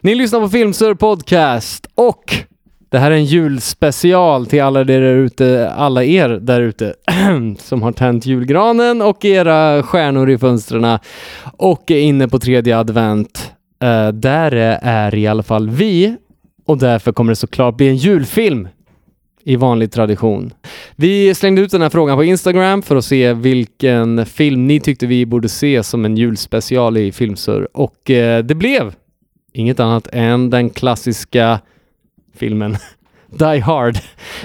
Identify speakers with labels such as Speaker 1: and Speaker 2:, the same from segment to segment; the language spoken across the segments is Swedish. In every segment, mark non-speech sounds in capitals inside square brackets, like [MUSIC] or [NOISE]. Speaker 1: Ni lyssnar på Filmsur Podcast och det här är en julspecial till alla, er där ute, alla er där ute [CLEARS THROAT] som har tänt julgranen och era stjärnor i fönstren och är inne på tredje advent. Eh, där är i alla fall vi och därför kommer det såklart bli en julfilm i vanlig tradition. Vi slängde ut den här frågan på Instagram för att se vilken film ni tyckte vi borde se som en julspecial i Filmsur och eh, det blev inget annat än den klassiska filmen [LAUGHS] Die Hard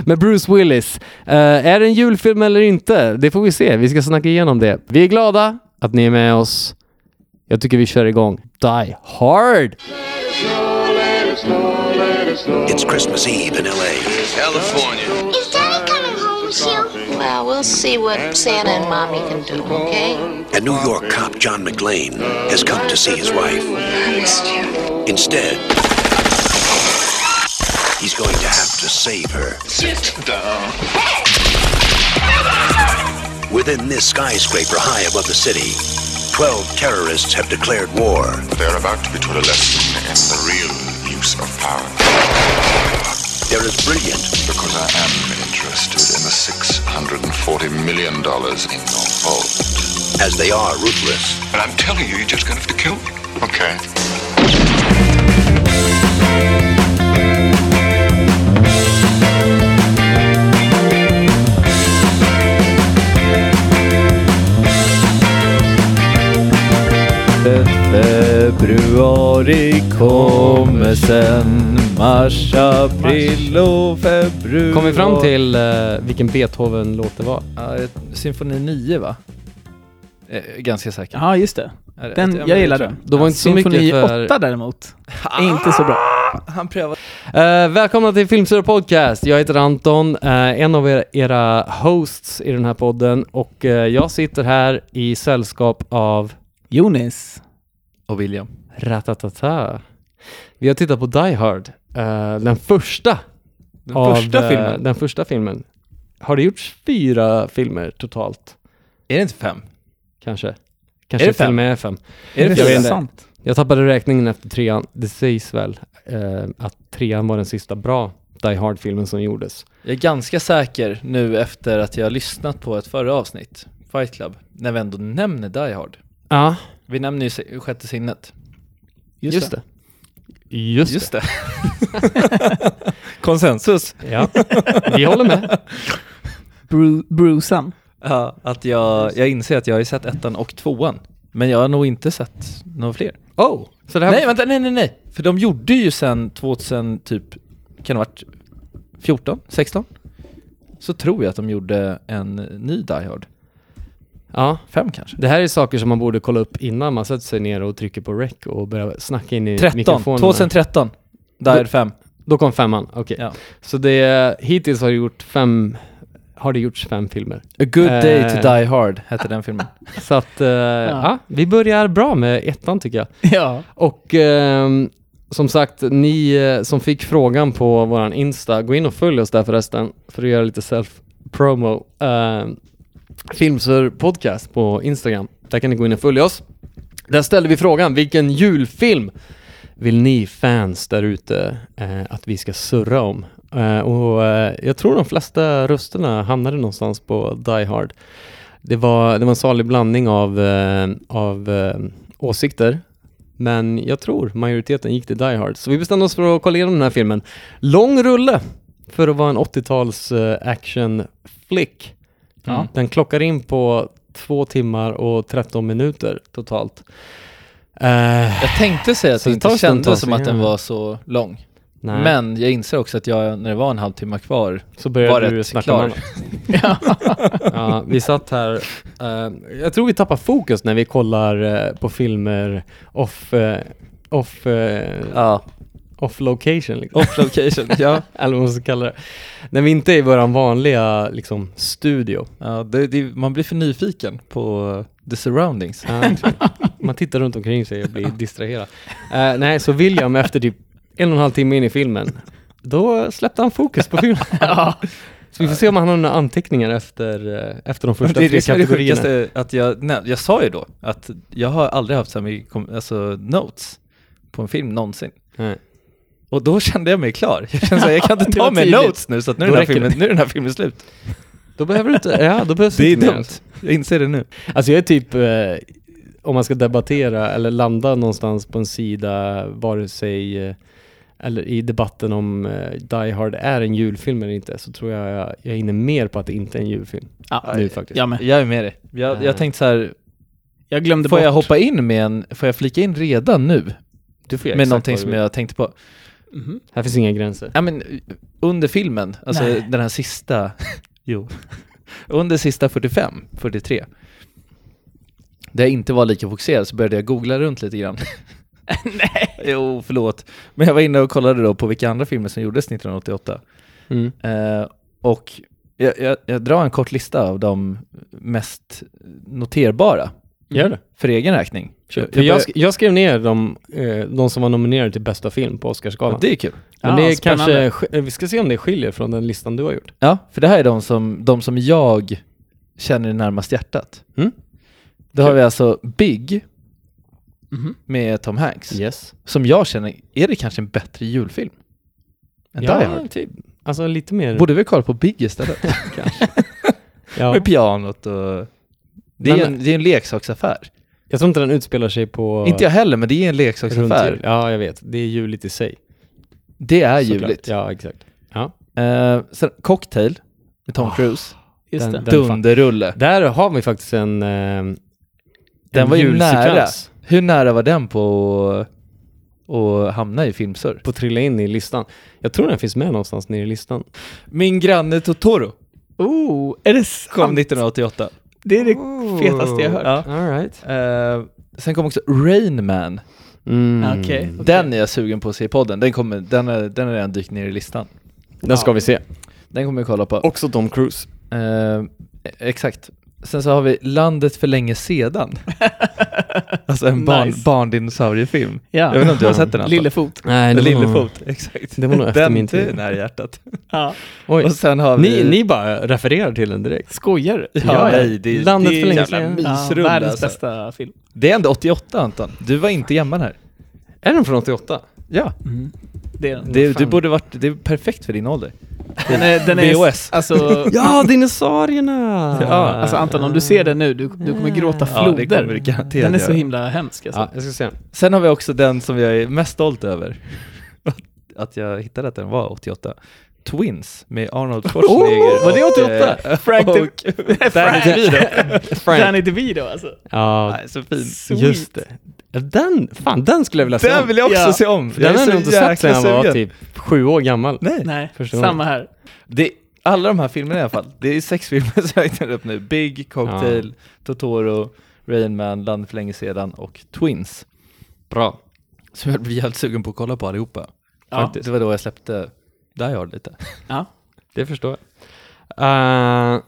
Speaker 1: med Bruce Willis. Eh, är det en julfilm eller inte? Det får vi se. Vi ska snacka igenom det. Vi är glada att ni är med oss. Jag tycker vi kör igång. Die Hard!
Speaker 2: It's Christmas Eve in LA. California.
Speaker 3: Is Daddy coming home soon?
Speaker 4: Well, we'll see what Santa and Mommy can do, okay?
Speaker 2: A New York cop, John McLean, has come to see his wife.
Speaker 4: I missed you.
Speaker 2: Instead, he's going to have to save her. Within this skyscraper high above the city, 12 terrorists have declared war.
Speaker 5: They're about to be taught a lesson in the real use of power.
Speaker 2: They're as brilliant
Speaker 5: Because I am interested in the $640 million in your vault.
Speaker 2: as they are ruthless.
Speaker 5: But I'm telling you, you're just going to have to kill me. Okay.
Speaker 6: Februari kommer sen Mars, april och februari
Speaker 1: Kom vi fram till eh, vilken Beethoven-låt det var?
Speaker 6: Ja, ett- Symfoni 9 va? Eh, Ganska säker.
Speaker 7: Ja, just det.
Speaker 6: Är det-
Speaker 7: Den,
Speaker 6: ja, men
Speaker 7: jag gillar
Speaker 6: tror
Speaker 7: den.
Speaker 1: Det var inte så mycket för...
Speaker 7: 8 däremot, är inte så bra.
Speaker 6: Ah, Han prövade.
Speaker 1: Eh, välkomna till Filmsura Podcast. Jag heter Anton, eh, en av era, era hosts i den här podden och eh, jag sitter här i sällskap av
Speaker 7: Jonis.
Speaker 6: Och William.
Speaker 1: Ratatata. Vi har tittat på Die Hard, eh, den första
Speaker 6: Den
Speaker 1: av
Speaker 6: första
Speaker 1: eh,
Speaker 6: filmen.
Speaker 1: den första filmen. Har det gjorts fyra filmer totalt?
Speaker 6: Är det inte fem?
Speaker 1: Kanske? Kanske
Speaker 6: Är det
Speaker 1: till och
Speaker 6: fem?
Speaker 1: med fem.
Speaker 6: Är det
Speaker 1: Jag vet
Speaker 6: fyra?
Speaker 1: inte. Jag tappade räkningen efter trean. Det sägs väl eh, att trean var den sista bra Die Hard-filmen som gjordes.
Speaker 6: Jag är ganska säker nu efter att jag har lyssnat på ett förra avsnitt, Fight Club, när vi ändå nämner Die Hard.
Speaker 1: Ja,
Speaker 6: Vi nämner ju se- sjätte sinnet.
Speaker 1: just, det. Just,
Speaker 6: Just det. [LAUGHS] Konsensus.
Speaker 1: det. Ja. Vi håller med.
Speaker 7: Bru- Brusan.
Speaker 6: Ja, att jag, jag inser att jag har ju sett ettan och tvåan. Men jag har nog inte sett några fler.
Speaker 1: [LAUGHS] Oh! Så det här,
Speaker 6: Nej, vänta, nej, nej, nej. För de gjorde ju sen 2000, typ, kan det ha varit 14, 16? Så tror jag att de gjorde en ny Die Hard.
Speaker 1: ja,
Speaker 6: Fem kanske?
Speaker 1: det här är saker som man borde kolla upp innan man sätter sig ner och trycker på rec och börjar snacka in i
Speaker 6: 13,
Speaker 1: mikrofonerna.
Speaker 6: 2013. Die Hard 5.
Speaker 1: Då kom femman, okej.
Speaker 6: Ja.
Speaker 1: Så det, hittills har det gjort fem, har det gjorts fem filmer.
Speaker 6: A good day
Speaker 1: Eh.
Speaker 6: to die hard hette
Speaker 1: [LAUGHS]
Speaker 6: den filmen.
Speaker 1: Så att, eh, ja. vi börjar bra med ettan tycker jag.
Speaker 7: Ja.
Speaker 1: Och ehm, som sagt, ni eh, som fick frågan på våran Insta, gå in och följ oss där förresten, för att göra lite self-promo. Uh, Filmsur podcast på Instagram, där kan ni gå in och följa oss. Där ställde vi frågan, vilken julfilm vill ni fans där ute eh, att vi ska surra om? Eh, och eh, jag tror de flesta rösterna hamnade någonstans på Die Hard. Det var, det var en salig blandning av, eh, av eh, åsikter, men jag tror majoriteten gick till Die Hard. Så vi bestämde oss för att kolla igenom den här filmen. Lång rulle för att vara en 80-tals eh, action flick.
Speaker 6: Ja.
Speaker 1: Den klockar in på två timmar och 13 minuter totalt. Eh,
Speaker 6: Jag tänkte säga att
Speaker 1: Så
Speaker 6: det
Speaker 1: det tar en stund
Speaker 6: inte
Speaker 1: att
Speaker 6: kändes
Speaker 1: ta
Speaker 6: som
Speaker 1: sig
Speaker 6: att den
Speaker 1: igenom.
Speaker 6: var så lång.
Speaker 1: nej.
Speaker 6: Men jag inser också att jag, när det var en halvtimme kvar,
Speaker 1: så
Speaker 6: var
Speaker 1: började du
Speaker 6: rätt
Speaker 1: snacka
Speaker 6: klar. [LAUGHS]
Speaker 1: om annat. ja, vi satt här, eh, jag tror vi tappar fokus när vi kollar eh, på filmer off, eh, off, eh,
Speaker 6: ja,
Speaker 1: off location. Liksom.
Speaker 6: [LAUGHS] off location. ja.
Speaker 1: [LAUGHS] Eller vad man ska kalla det. När vi inte är i våran vanliga liksom, studio.
Speaker 6: ja det, det, man blir för nyfiken på eh, the surroundings.
Speaker 1: Ja, Man tittar runt omkring sig och blir distraherad. Eh, nej, så William efter typ en och en halv timme in i filmen, då släppte han fokus på
Speaker 6: [LAUGHS]
Speaker 1: filmen. Så vi får se om han har några anteckningar efter, eh, efter de första
Speaker 6: det är
Speaker 1: tre
Speaker 6: det som är det
Speaker 1: kategorierna.
Speaker 6: sjukaste, att jag, nej, jag sa ju då att jag har aldrig haft så här mycket kom- alltså, notes på en film någonsin.
Speaker 1: Nej.
Speaker 6: Och då kände jag mig klar. Jag kände såhär, jag [LAUGHS] kan inte
Speaker 1: Det var
Speaker 6: ta mer
Speaker 1: tydligt.
Speaker 6: notes nu så att nu, är
Speaker 1: Då
Speaker 6: den här
Speaker 1: räcker det.
Speaker 6: filmen, nu är den här filmen slut.
Speaker 1: Då behöver du inte, ja då behövs
Speaker 6: Det är
Speaker 1: inte mer.
Speaker 6: dumt. Jag inser det nu.
Speaker 1: Alltså jag är typ, eh, om man ska debattera eller landa någonstans på en sida, vare sig eh, eller i debatten om eh, Die Hard är en julfilm eller inte, så tror jag jag, jag är inne mer på att det inte är en julfilm.
Speaker 7: Ja,
Speaker 1: Nu faktiskt.
Speaker 7: Jag med.
Speaker 6: Jag är med dig. Jag, jag tänkte så här,
Speaker 7: Jag glömde
Speaker 6: får
Speaker 7: bort.
Speaker 6: jag hoppa in med en, får jag flika in redan nu?
Speaker 1: Du får göra
Speaker 6: Med
Speaker 1: exakt
Speaker 6: någonting
Speaker 1: vad du
Speaker 6: som
Speaker 1: vill.
Speaker 6: jag tänkte på.
Speaker 7: Mhm.
Speaker 1: Här finns inga gränser.
Speaker 6: Ja men under filmen, alltså
Speaker 7: Nej.
Speaker 6: den här sista, jo, [LAUGHS] under sista 45, 43, där jag inte var lika fokuserad så började jag googla runt lite grann. Nej! [LAUGHS] Jo, förlåt. Men jag var inne och kollade då på vilka andra filmer som gjordes 1988.
Speaker 1: Mm.
Speaker 6: Eh, och jag, jag, jag drar en kort lista av de mest noterbara
Speaker 1: Gör det.
Speaker 6: för egen räkning. Jag-
Speaker 1: För
Speaker 6: jag
Speaker 1: jag,
Speaker 6: börjar-
Speaker 1: sk- jag skrev ner de, eh, de som var nominerade till bästa film på Oscarsgalan.
Speaker 6: det är kul.
Speaker 1: Men
Speaker 7: Ah,
Speaker 1: det är
Speaker 7: spännande.
Speaker 1: kanske, sk- eh, vi ska se om det skiljer från den listan du har gjort.
Speaker 6: Ja, för det här är de som, de som jag känner närmast hjärtat.
Speaker 1: Mm.
Speaker 6: Då har vi alltså Big
Speaker 7: Mhm.
Speaker 6: med Tom Hanks,
Speaker 1: Yes.
Speaker 6: som jag känner, är det kanske en bättre julfilm? Än Die Hard?
Speaker 1: typ. Alltså lite mer...
Speaker 6: Borde vi kolla på Big istället?
Speaker 1: ja.
Speaker 6: Med pianot och... Det är, ju
Speaker 1: Men-
Speaker 6: en, det är en leksaksaffär.
Speaker 1: Jag tror inte den utspelar sig på...
Speaker 6: Inte jag heller, men det är en
Speaker 1: runt jul.
Speaker 6: leksaksaffär.
Speaker 1: Ja, jag vet. Det är juligt i sig.
Speaker 6: Det är
Speaker 1: såklart.
Speaker 6: juligt.
Speaker 1: Ja, exakt. Ja.
Speaker 6: Eh, sen Cocktail med Tom Cruise.
Speaker 7: Just
Speaker 1: Ah, den-
Speaker 7: det.
Speaker 1: den-
Speaker 6: Dunderrulle.
Speaker 1: Där har vi faktiskt en... ehm,
Speaker 6: Den
Speaker 1: en
Speaker 6: var ju
Speaker 1: julsekvens
Speaker 6: nära. Hur nära var den på att- att hamna i filmsurr?
Speaker 1: På att trilla in i listan. Jag tror den finns med någonstans nere i listan.
Speaker 6: Min granne Totoro
Speaker 7: Oh, är det sant?
Speaker 6: kom 1988.
Speaker 7: Det är det
Speaker 1: Oh.
Speaker 7: fetaste jag hört.
Speaker 6: Ja.
Speaker 1: All right.
Speaker 6: Eh, sen kom också Rain Man.
Speaker 1: Mm.
Speaker 7: Okej. [LAUGHS]
Speaker 6: Den är jag sugen på att se i podden. Den, kommer, den, är, den är redan dykt ner i listan.
Speaker 1: Den ska vi se.
Speaker 6: Den kommer vi kolla på.
Speaker 1: Också Tom Cruise.
Speaker 6: Eh, exakt. Sen så har vi Landet för länge sedan. [LAUGHS] alltså en barn,
Speaker 7: Nice.
Speaker 6: barndinosauriefilm.
Speaker 7: Ja.
Speaker 6: Jag vet inte om du har sett den Anton?
Speaker 7: Lillefot.
Speaker 1: Nej,
Speaker 6: Lillefot, [LAUGHS] exakt.
Speaker 1: det var nog efter
Speaker 6: den
Speaker 1: min tid.
Speaker 6: är nära hjärtat.
Speaker 7: Ja.
Speaker 1: Oj.
Speaker 6: Och sen har vi...
Speaker 1: Ni, ni bara refererar till den direkt.
Speaker 7: Skojar du?
Speaker 6: Ja, nej, det,
Speaker 1: Landet
Speaker 6: det är
Speaker 1: för länge
Speaker 6: jävla
Speaker 1: sedan.
Speaker 6: mysrulle,
Speaker 7: världens
Speaker 6: alltså.
Speaker 7: bästa film.
Speaker 6: Det är ändå 88 Anton. Du var inte gammal här.
Speaker 1: Är den från 88?
Speaker 6: Ja.
Speaker 7: Det är den.
Speaker 6: Det,
Speaker 1: Vad fan.
Speaker 6: du borde varit, det är perfekt för din ålder.
Speaker 7: Den är, den är
Speaker 6: VHS.
Speaker 7: Alltså,
Speaker 1: Ja, dinosaurierna!
Speaker 6: Ja,
Speaker 7: alltså Anton, om du ser den nu, du, du kommer gråta
Speaker 6: Ja, det
Speaker 7: floder.
Speaker 6: kommer du garanterat
Speaker 7: den är så
Speaker 6: göra.
Speaker 7: himla hemsk alltså.
Speaker 1: Ja, jag ska se den.
Speaker 6: Sen har vi också den som jag är mest stolt över. [LAUGHS] Att jag hittade att den var 88. Twins med
Speaker 1: Oh!
Speaker 6: Arnold Schwarzenegger.
Speaker 7: var det
Speaker 6: och,
Speaker 7: 88?
Speaker 6: eh,
Speaker 7: Frank
Speaker 6: och,
Speaker 7: de-
Speaker 1: [LAUGHS]
Speaker 6: Danny
Speaker 7: Frank.
Speaker 6: DeVito.
Speaker 7: Danny DeVito alltså.
Speaker 1: Ja,
Speaker 6: Nej, så fin.
Speaker 7: Sweet.
Speaker 1: just det. Den, fan den skulle jag vilja se
Speaker 6: Den
Speaker 1: om.
Speaker 6: vill jag också
Speaker 7: Ja.
Speaker 6: se om. för
Speaker 1: Den
Speaker 6: jag är
Speaker 1: har jag nog
Speaker 6: så
Speaker 1: inte sett
Speaker 6: jäkla
Speaker 1: sedan jag var
Speaker 6: sugen.
Speaker 1: typ sju år gammal.
Speaker 6: Nej.
Speaker 7: Nej,
Speaker 1: Förstår
Speaker 7: samma här.
Speaker 6: Det, alla de här filmerna i alla fall. Det är sex filmer [LAUGHS] som jag räknar upp nu. Big, Cocktail, Totoro, Rain Man, Land för länge sedan och Twins.
Speaker 1: Bra.
Speaker 6: Som jag blir jävligt sugen på att kolla på allihopa.
Speaker 7: Ja.
Speaker 6: Faktiskt. Det var då jag släppte Die Hard lite.
Speaker 7: Ja.
Speaker 1: Det förstår jag. Eh,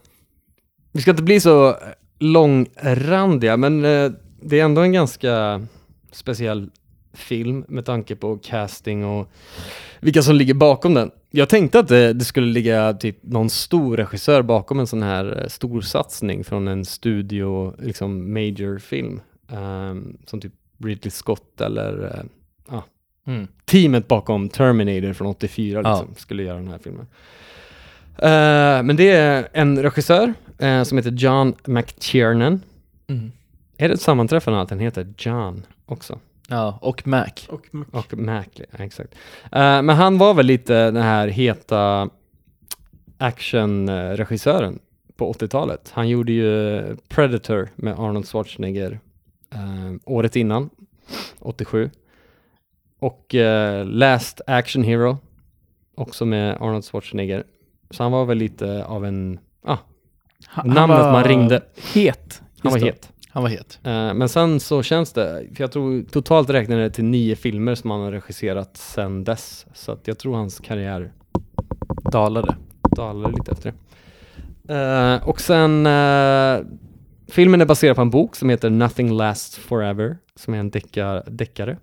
Speaker 1: vi ska inte bli så långrandiga, men eh, det är ändå en ganska speciell film med tanke på casting och vilka som ligger bakom den. Jag tänkte att eh, det, det skulle ligga typ någon stor regissör bakom en sån här eh, stor satsning från en studio, liksom major film. ehm, som typ Ridley Scott eller eh,
Speaker 6: Mm.
Speaker 1: teamet bakom Terminator från 84
Speaker 6: Ja.
Speaker 1: liksom, skulle göra den här filmen. Eh, men det är en regissör eh, som heter John McTiernan.
Speaker 6: Mm.
Speaker 1: Är det ett sammanträffande att han heter John också?
Speaker 6: Ja, och Mac.
Speaker 7: Och,
Speaker 1: Och Mac, ja, exakt. Eh, men han var väl lite den här heta actionregissören på 80-talet. Han gjorde ju Predator med Arnold Schwarzenegger eh, året innan, 87. Och eh, Last Action Hero, också med Arnold Schwarzenegger. Så han var väl lite av en, ah,
Speaker 7: han,
Speaker 1: namnet man ringde.
Speaker 7: Het.
Speaker 1: Han var
Speaker 7: Just det.
Speaker 1: het.
Speaker 6: Han var het.
Speaker 1: Eh, Men sen så känns det, för jag tror totalt räknar det till nio filmer som han har regisserat sen dess. Så att jag tror hans karriär dalade, dalade lite efter det. Eh, och sen, eh, filmen är baserad på en bok som heter Nothing Lasts Forever, som är en deckar, deckare.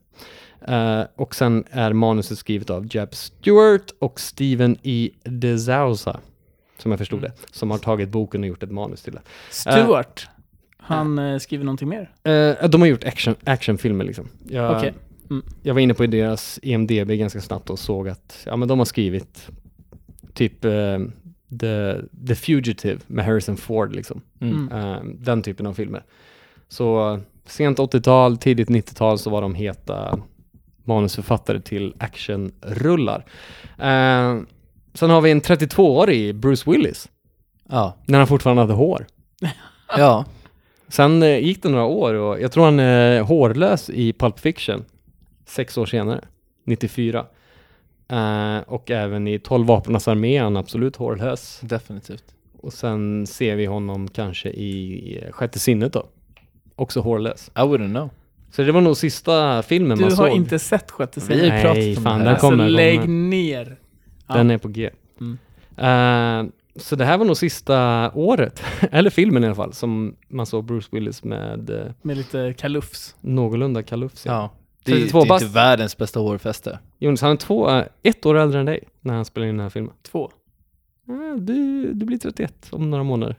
Speaker 1: Eh, och sen är manuset skrivet av Jeb Stewart och Steven E. DeSouza, som jag förstod det, som har tagit boken och gjort ett manus till det.
Speaker 7: Stuart. Han eh, skriver någonting mer.
Speaker 1: Eh, de har gjort action, actionfilmer liksom. Jag
Speaker 7: Okej. Mm.
Speaker 1: jag var inne på deras E EMDB ganska snabbt och såg att ja, men de har skrivit typ eh, The, The Fugitive med Harrison Ford, liksom.
Speaker 7: Mm.
Speaker 1: Eh, den typen av filmer. Så eh, sent 80-tal, tidigt 90-tal så var de heta manusförfattare till actionrullar. Eh, sen har vi en 32-årig Bruce Willis,
Speaker 6: Ja.
Speaker 1: när han fortfarande hade hår.
Speaker 6: Ja.
Speaker 1: Sen eh, gick det några år och jag tror han är hårlös i Pulp Fiction sex år senare, 94. Eh, och även i 12 vapenarnas armé är han absolut hårlös.
Speaker 6: Definitivt.
Speaker 1: Och sen ser vi honom kanske i eh, Sjätte sinnet då, också hårlös.
Speaker 6: I wouldn't know.
Speaker 1: Så det var nog sista filmen
Speaker 7: Du
Speaker 1: man såg.
Speaker 7: har inte sett Sjätte
Speaker 6: Vi har
Speaker 1: Nej,
Speaker 6: ju
Speaker 7: sinnet?
Speaker 6: pratat om
Speaker 1: fan,
Speaker 6: det
Speaker 1: den
Speaker 6: här.
Speaker 1: kom-
Speaker 7: Alltså,
Speaker 1: kommer,
Speaker 7: lägg
Speaker 1: kommer.
Speaker 7: ner.
Speaker 1: Den är på G.
Speaker 7: Mm.
Speaker 1: Eh, så det här var nog sista året, [LAUGHS] eller filmen i alla fall, som man såg Bruce Willis med eh,
Speaker 7: Med lite kalufs.
Speaker 1: någorlunda kalufs.
Speaker 6: Ja. Det är,
Speaker 1: 32
Speaker 6: det är
Speaker 1: bast.
Speaker 6: inte världens bästa hårfäste.
Speaker 1: Jonas, han är två, eh, ett år äldre än dig när han spelar in den här filmen.
Speaker 7: Två.
Speaker 1: Ja, Du, du blir 31 om några månader.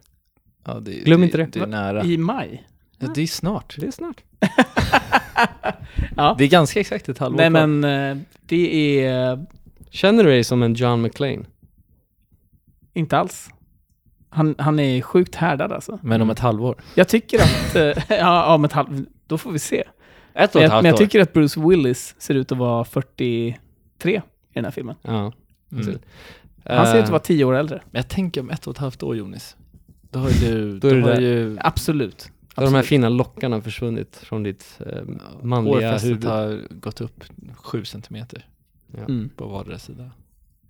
Speaker 6: Ja, det,
Speaker 1: Glöm
Speaker 6: det,
Speaker 1: inte det.
Speaker 6: Det är nära.
Speaker 7: I maj.
Speaker 6: Ja, det är snart.
Speaker 1: Det är snart.
Speaker 6: Det är ganska exakt ett halvår
Speaker 7: Nej
Speaker 6: kvar.
Speaker 7: men eh, det är eh,
Speaker 1: Känner du dig som en John McClane?
Speaker 7: inte alls. Han, han är sjukt härdad alltså.
Speaker 6: men om ett halvår.
Speaker 7: Jag tycker
Speaker 6: [LAUGHS]
Speaker 7: att, eh, ja, om ett halv, då får vi se.
Speaker 6: Ett
Speaker 7: Men
Speaker 6: och ett
Speaker 7: jag, men
Speaker 6: halvt
Speaker 7: jag
Speaker 6: år.
Speaker 7: tycker att Bruce Willis ser ut att vara 43 i den här filmen.
Speaker 1: Ja.
Speaker 6: Mm.
Speaker 7: Han ser ut att
Speaker 1: Eh,
Speaker 7: vara 10 år äldre.
Speaker 6: Men jag tänker om ett och ett halvt år Jonis. Då har ju du...
Speaker 1: Då är
Speaker 6: [LAUGHS] då
Speaker 1: du
Speaker 6: har
Speaker 1: där.
Speaker 6: ju...
Speaker 7: Absolut.
Speaker 1: då har de här fina lockarna försvunnit från ditt eh, manliga
Speaker 6: Hårfästet
Speaker 1: huvud.
Speaker 6: har gått upp sju centimeter
Speaker 7: Mm.
Speaker 6: på vardera sida.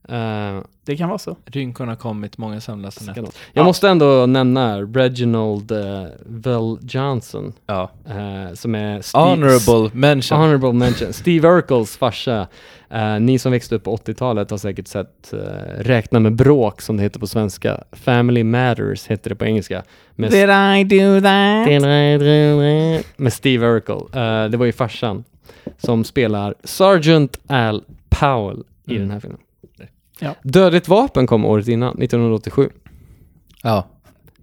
Speaker 1: Eh,
Speaker 7: Det kan vara så.
Speaker 6: Rynkorna har kommit, många sömnlösa nätter.
Speaker 1: skandaler. jag måste ändå nämna Reginald eh, Vell Johnson,
Speaker 6: Ja.
Speaker 1: eh, som är Steve,
Speaker 6: Honorable mention.
Speaker 1: Honorable mention. Steve Urkels farsa. Eh, ni som växte upp på 80-talet har säkert sett eh, Räkna med bråk, som det heter på svenska. Family Matters heter det på engelska. Med
Speaker 7: Did I do that?
Speaker 1: Med Steve Urkel. Eh, det var ju farsan som spelar Sergeant Al Powell i
Speaker 6: Mm.
Speaker 1: den här filmen.
Speaker 7: Ja.
Speaker 1: Dödligt vapen kom året innan, 1987.
Speaker 6: ja.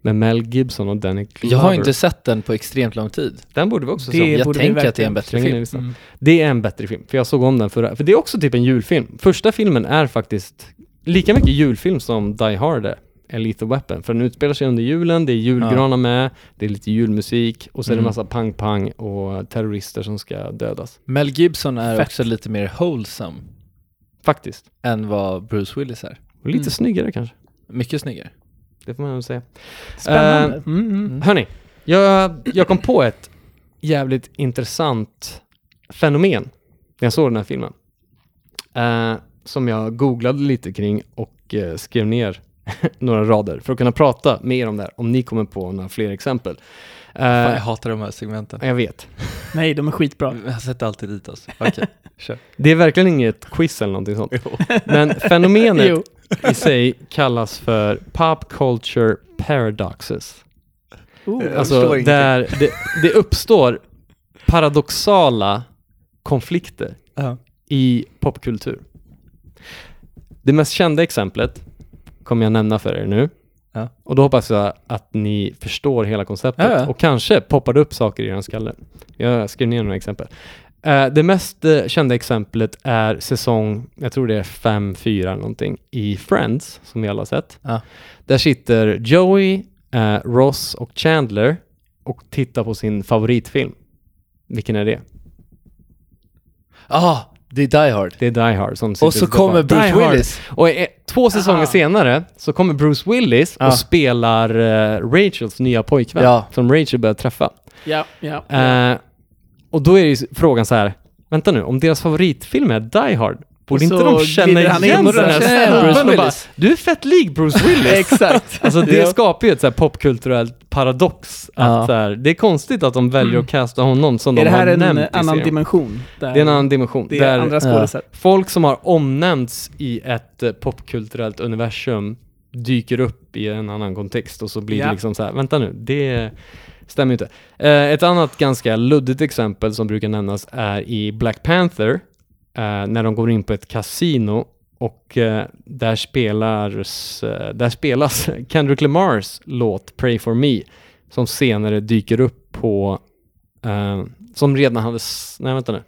Speaker 1: Med Mel Gibson och Danny Glover.
Speaker 6: Jag har inte sett den på extremt lång tid.
Speaker 1: Den borde vi också
Speaker 7: Det
Speaker 1: se om.
Speaker 7: är
Speaker 1: Jag
Speaker 6: Jag
Speaker 7: borde vi
Speaker 6: tänker att det är
Speaker 7: verkligen
Speaker 6: en bättre
Speaker 1: slänger ner i
Speaker 6: film.
Speaker 1: listan. Det är en bättre film, för jag såg om den förra. För det är också typ en julfilm. Första filmen är faktiskt lika mycket julfilm som Die Hard är. är Lethal Weapon. För den utspelar sig under julen, det är julgranar med, det är lite julmusik och så är det
Speaker 6: Mm.
Speaker 1: massa pang-pang och terrorister som ska dödas.
Speaker 6: Mel Gibson är
Speaker 7: Fett.
Speaker 6: också lite mer wholesome
Speaker 1: Faktiskt.
Speaker 6: än vad Bruce Willis är.
Speaker 1: Och lite
Speaker 7: Mm.
Speaker 1: snyggare kanske.
Speaker 6: Mycket snyggare.
Speaker 1: Det får man väl säga.
Speaker 7: Spännande.
Speaker 1: Eh,
Speaker 7: Mm, mm.
Speaker 1: Hörni, jag, jag kom på ett jävligt intressant fenomen när jag såg den här filmen. Eh, som jag googlade lite kring och eh, skrev ner [LAUGHS] några rader för att kunna prata med er om det här, om ni kommer på några fler exempel. Eh,
Speaker 6: Fan, jag hatar de här segmenten.
Speaker 1: jag vet.
Speaker 7: Nej, de är skitbra.
Speaker 6: Jag sätter alltid dit oss. Okej, kör.
Speaker 1: Det är verkligen inget quiz eller någonting sånt. Men fenomenet
Speaker 7: [LAUGHS] Jo.
Speaker 1: i sig kallas för pop culture paradoxes.
Speaker 7: Oh.
Speaker 1: Alltså där det, det uppstår paradoxala konflikter
Speaker 6: Ja.
Speaker 1: i popkultur. Det mest kända exemplet kommer jag nämna för er nu.
Speaker 6: Ja.
Speaker 1: Och då hoppas jag att ni förstår hela konceptet
Speaker 6: Ja, ja.
Speaker 1: och kanske poppar det upp saker i er skalle. Jag skrev ner några exempel. Eh, det mest eh, kända exemplet är säsong, jag tror det är 5-4 eller någonting, i Friends, som vi alla har sett.
Speaker 6: Ja.
Speaker 1: Där sitter Joey, eh, Ross och Chandler och tittar på sin favoritfilm. Vilken är det?
Speaker 6: [LAUGHS] Ah, det är Die Hard.
Speaker 1: Det är Die Hard som sitter
Speaker 6: Och så
Speaker 1: och stoppar.
Speaker 6: kommer
Speaker 1: Die
Speaker 6: Bruce
Speaker 1: Hard.
Speaker 6: Willis.
Speaker 1: Och eh, två säsonger senare så kommer Bruce Willis
Speaker 6: Ja.
Speaker 1: och spelar eh, Rachels nya pojkvän
Speaker 6: Ja.
Speaker 1: som Rachel börjar träffa.
Speaker 7: Ja, ja.
Speaker 1: Eh, och då är ju s- frågan så här, vänta nu, om deras favoritfilm är Die Hard, borde
Speaker 7: Och
Speaker 1: inte
Speaker 7: så
Speaker 1: de känna
Speaker 7: glider han
Speaker 1: igen
Speaker 7: in
Speaker 1: den
Speaker 7: och
Speaker 1: här
Speaker 7: så känner han
Speaker 1: snubben och
Speaker 6: Bruce
Speaker 1: bara,
Speaker 6: Willis.
Speaker 1: du är fett lik Bruce
Speaker 7: [LAUGHS]
Speaker 1: Willis?
Speaker 7: Exakt.
Speaker 1: Alltså det
Speaker 6: Ja.
Speaker 1: skapar ju ett så här popkulturellt paradox. Att
Speaker 6: Ja.
Speaker 1: så här, det är konstigt att de väljer att casta honom som
Speaker 7: är
Speaker 1: de
Speaker 7: det här
Speaker 1: har
Speaker 7: en
Speaker 1: nämnt i
Speaker 7: annan
Speaker 1: serien.
Speaker 7: dimension? Där
Speaker 1: Det är en annan dimension.
Speaker 7: det är
Speaker 1: där eh,
Speaker 7: andra skådisar.
Speaker 1: folk som har omnämnts i ett eh, popkulturellt universum dyker upp i en annan kontext och så blir det
Speaker 7: Ja.
Speaker 1: liksom så här, vänta nu, det stämmer ju inte. Eh, ett annat ganska luddigt exempel som brukar nämnas är i Black Panther, eh, när de går in på ett kasino och eh, där, spelas, eh, där spelas [LAUGHS] Kendrick Lamars låt Pray for me, som senare dyker upp på, eh, som redan hade, s- nej vänta nu,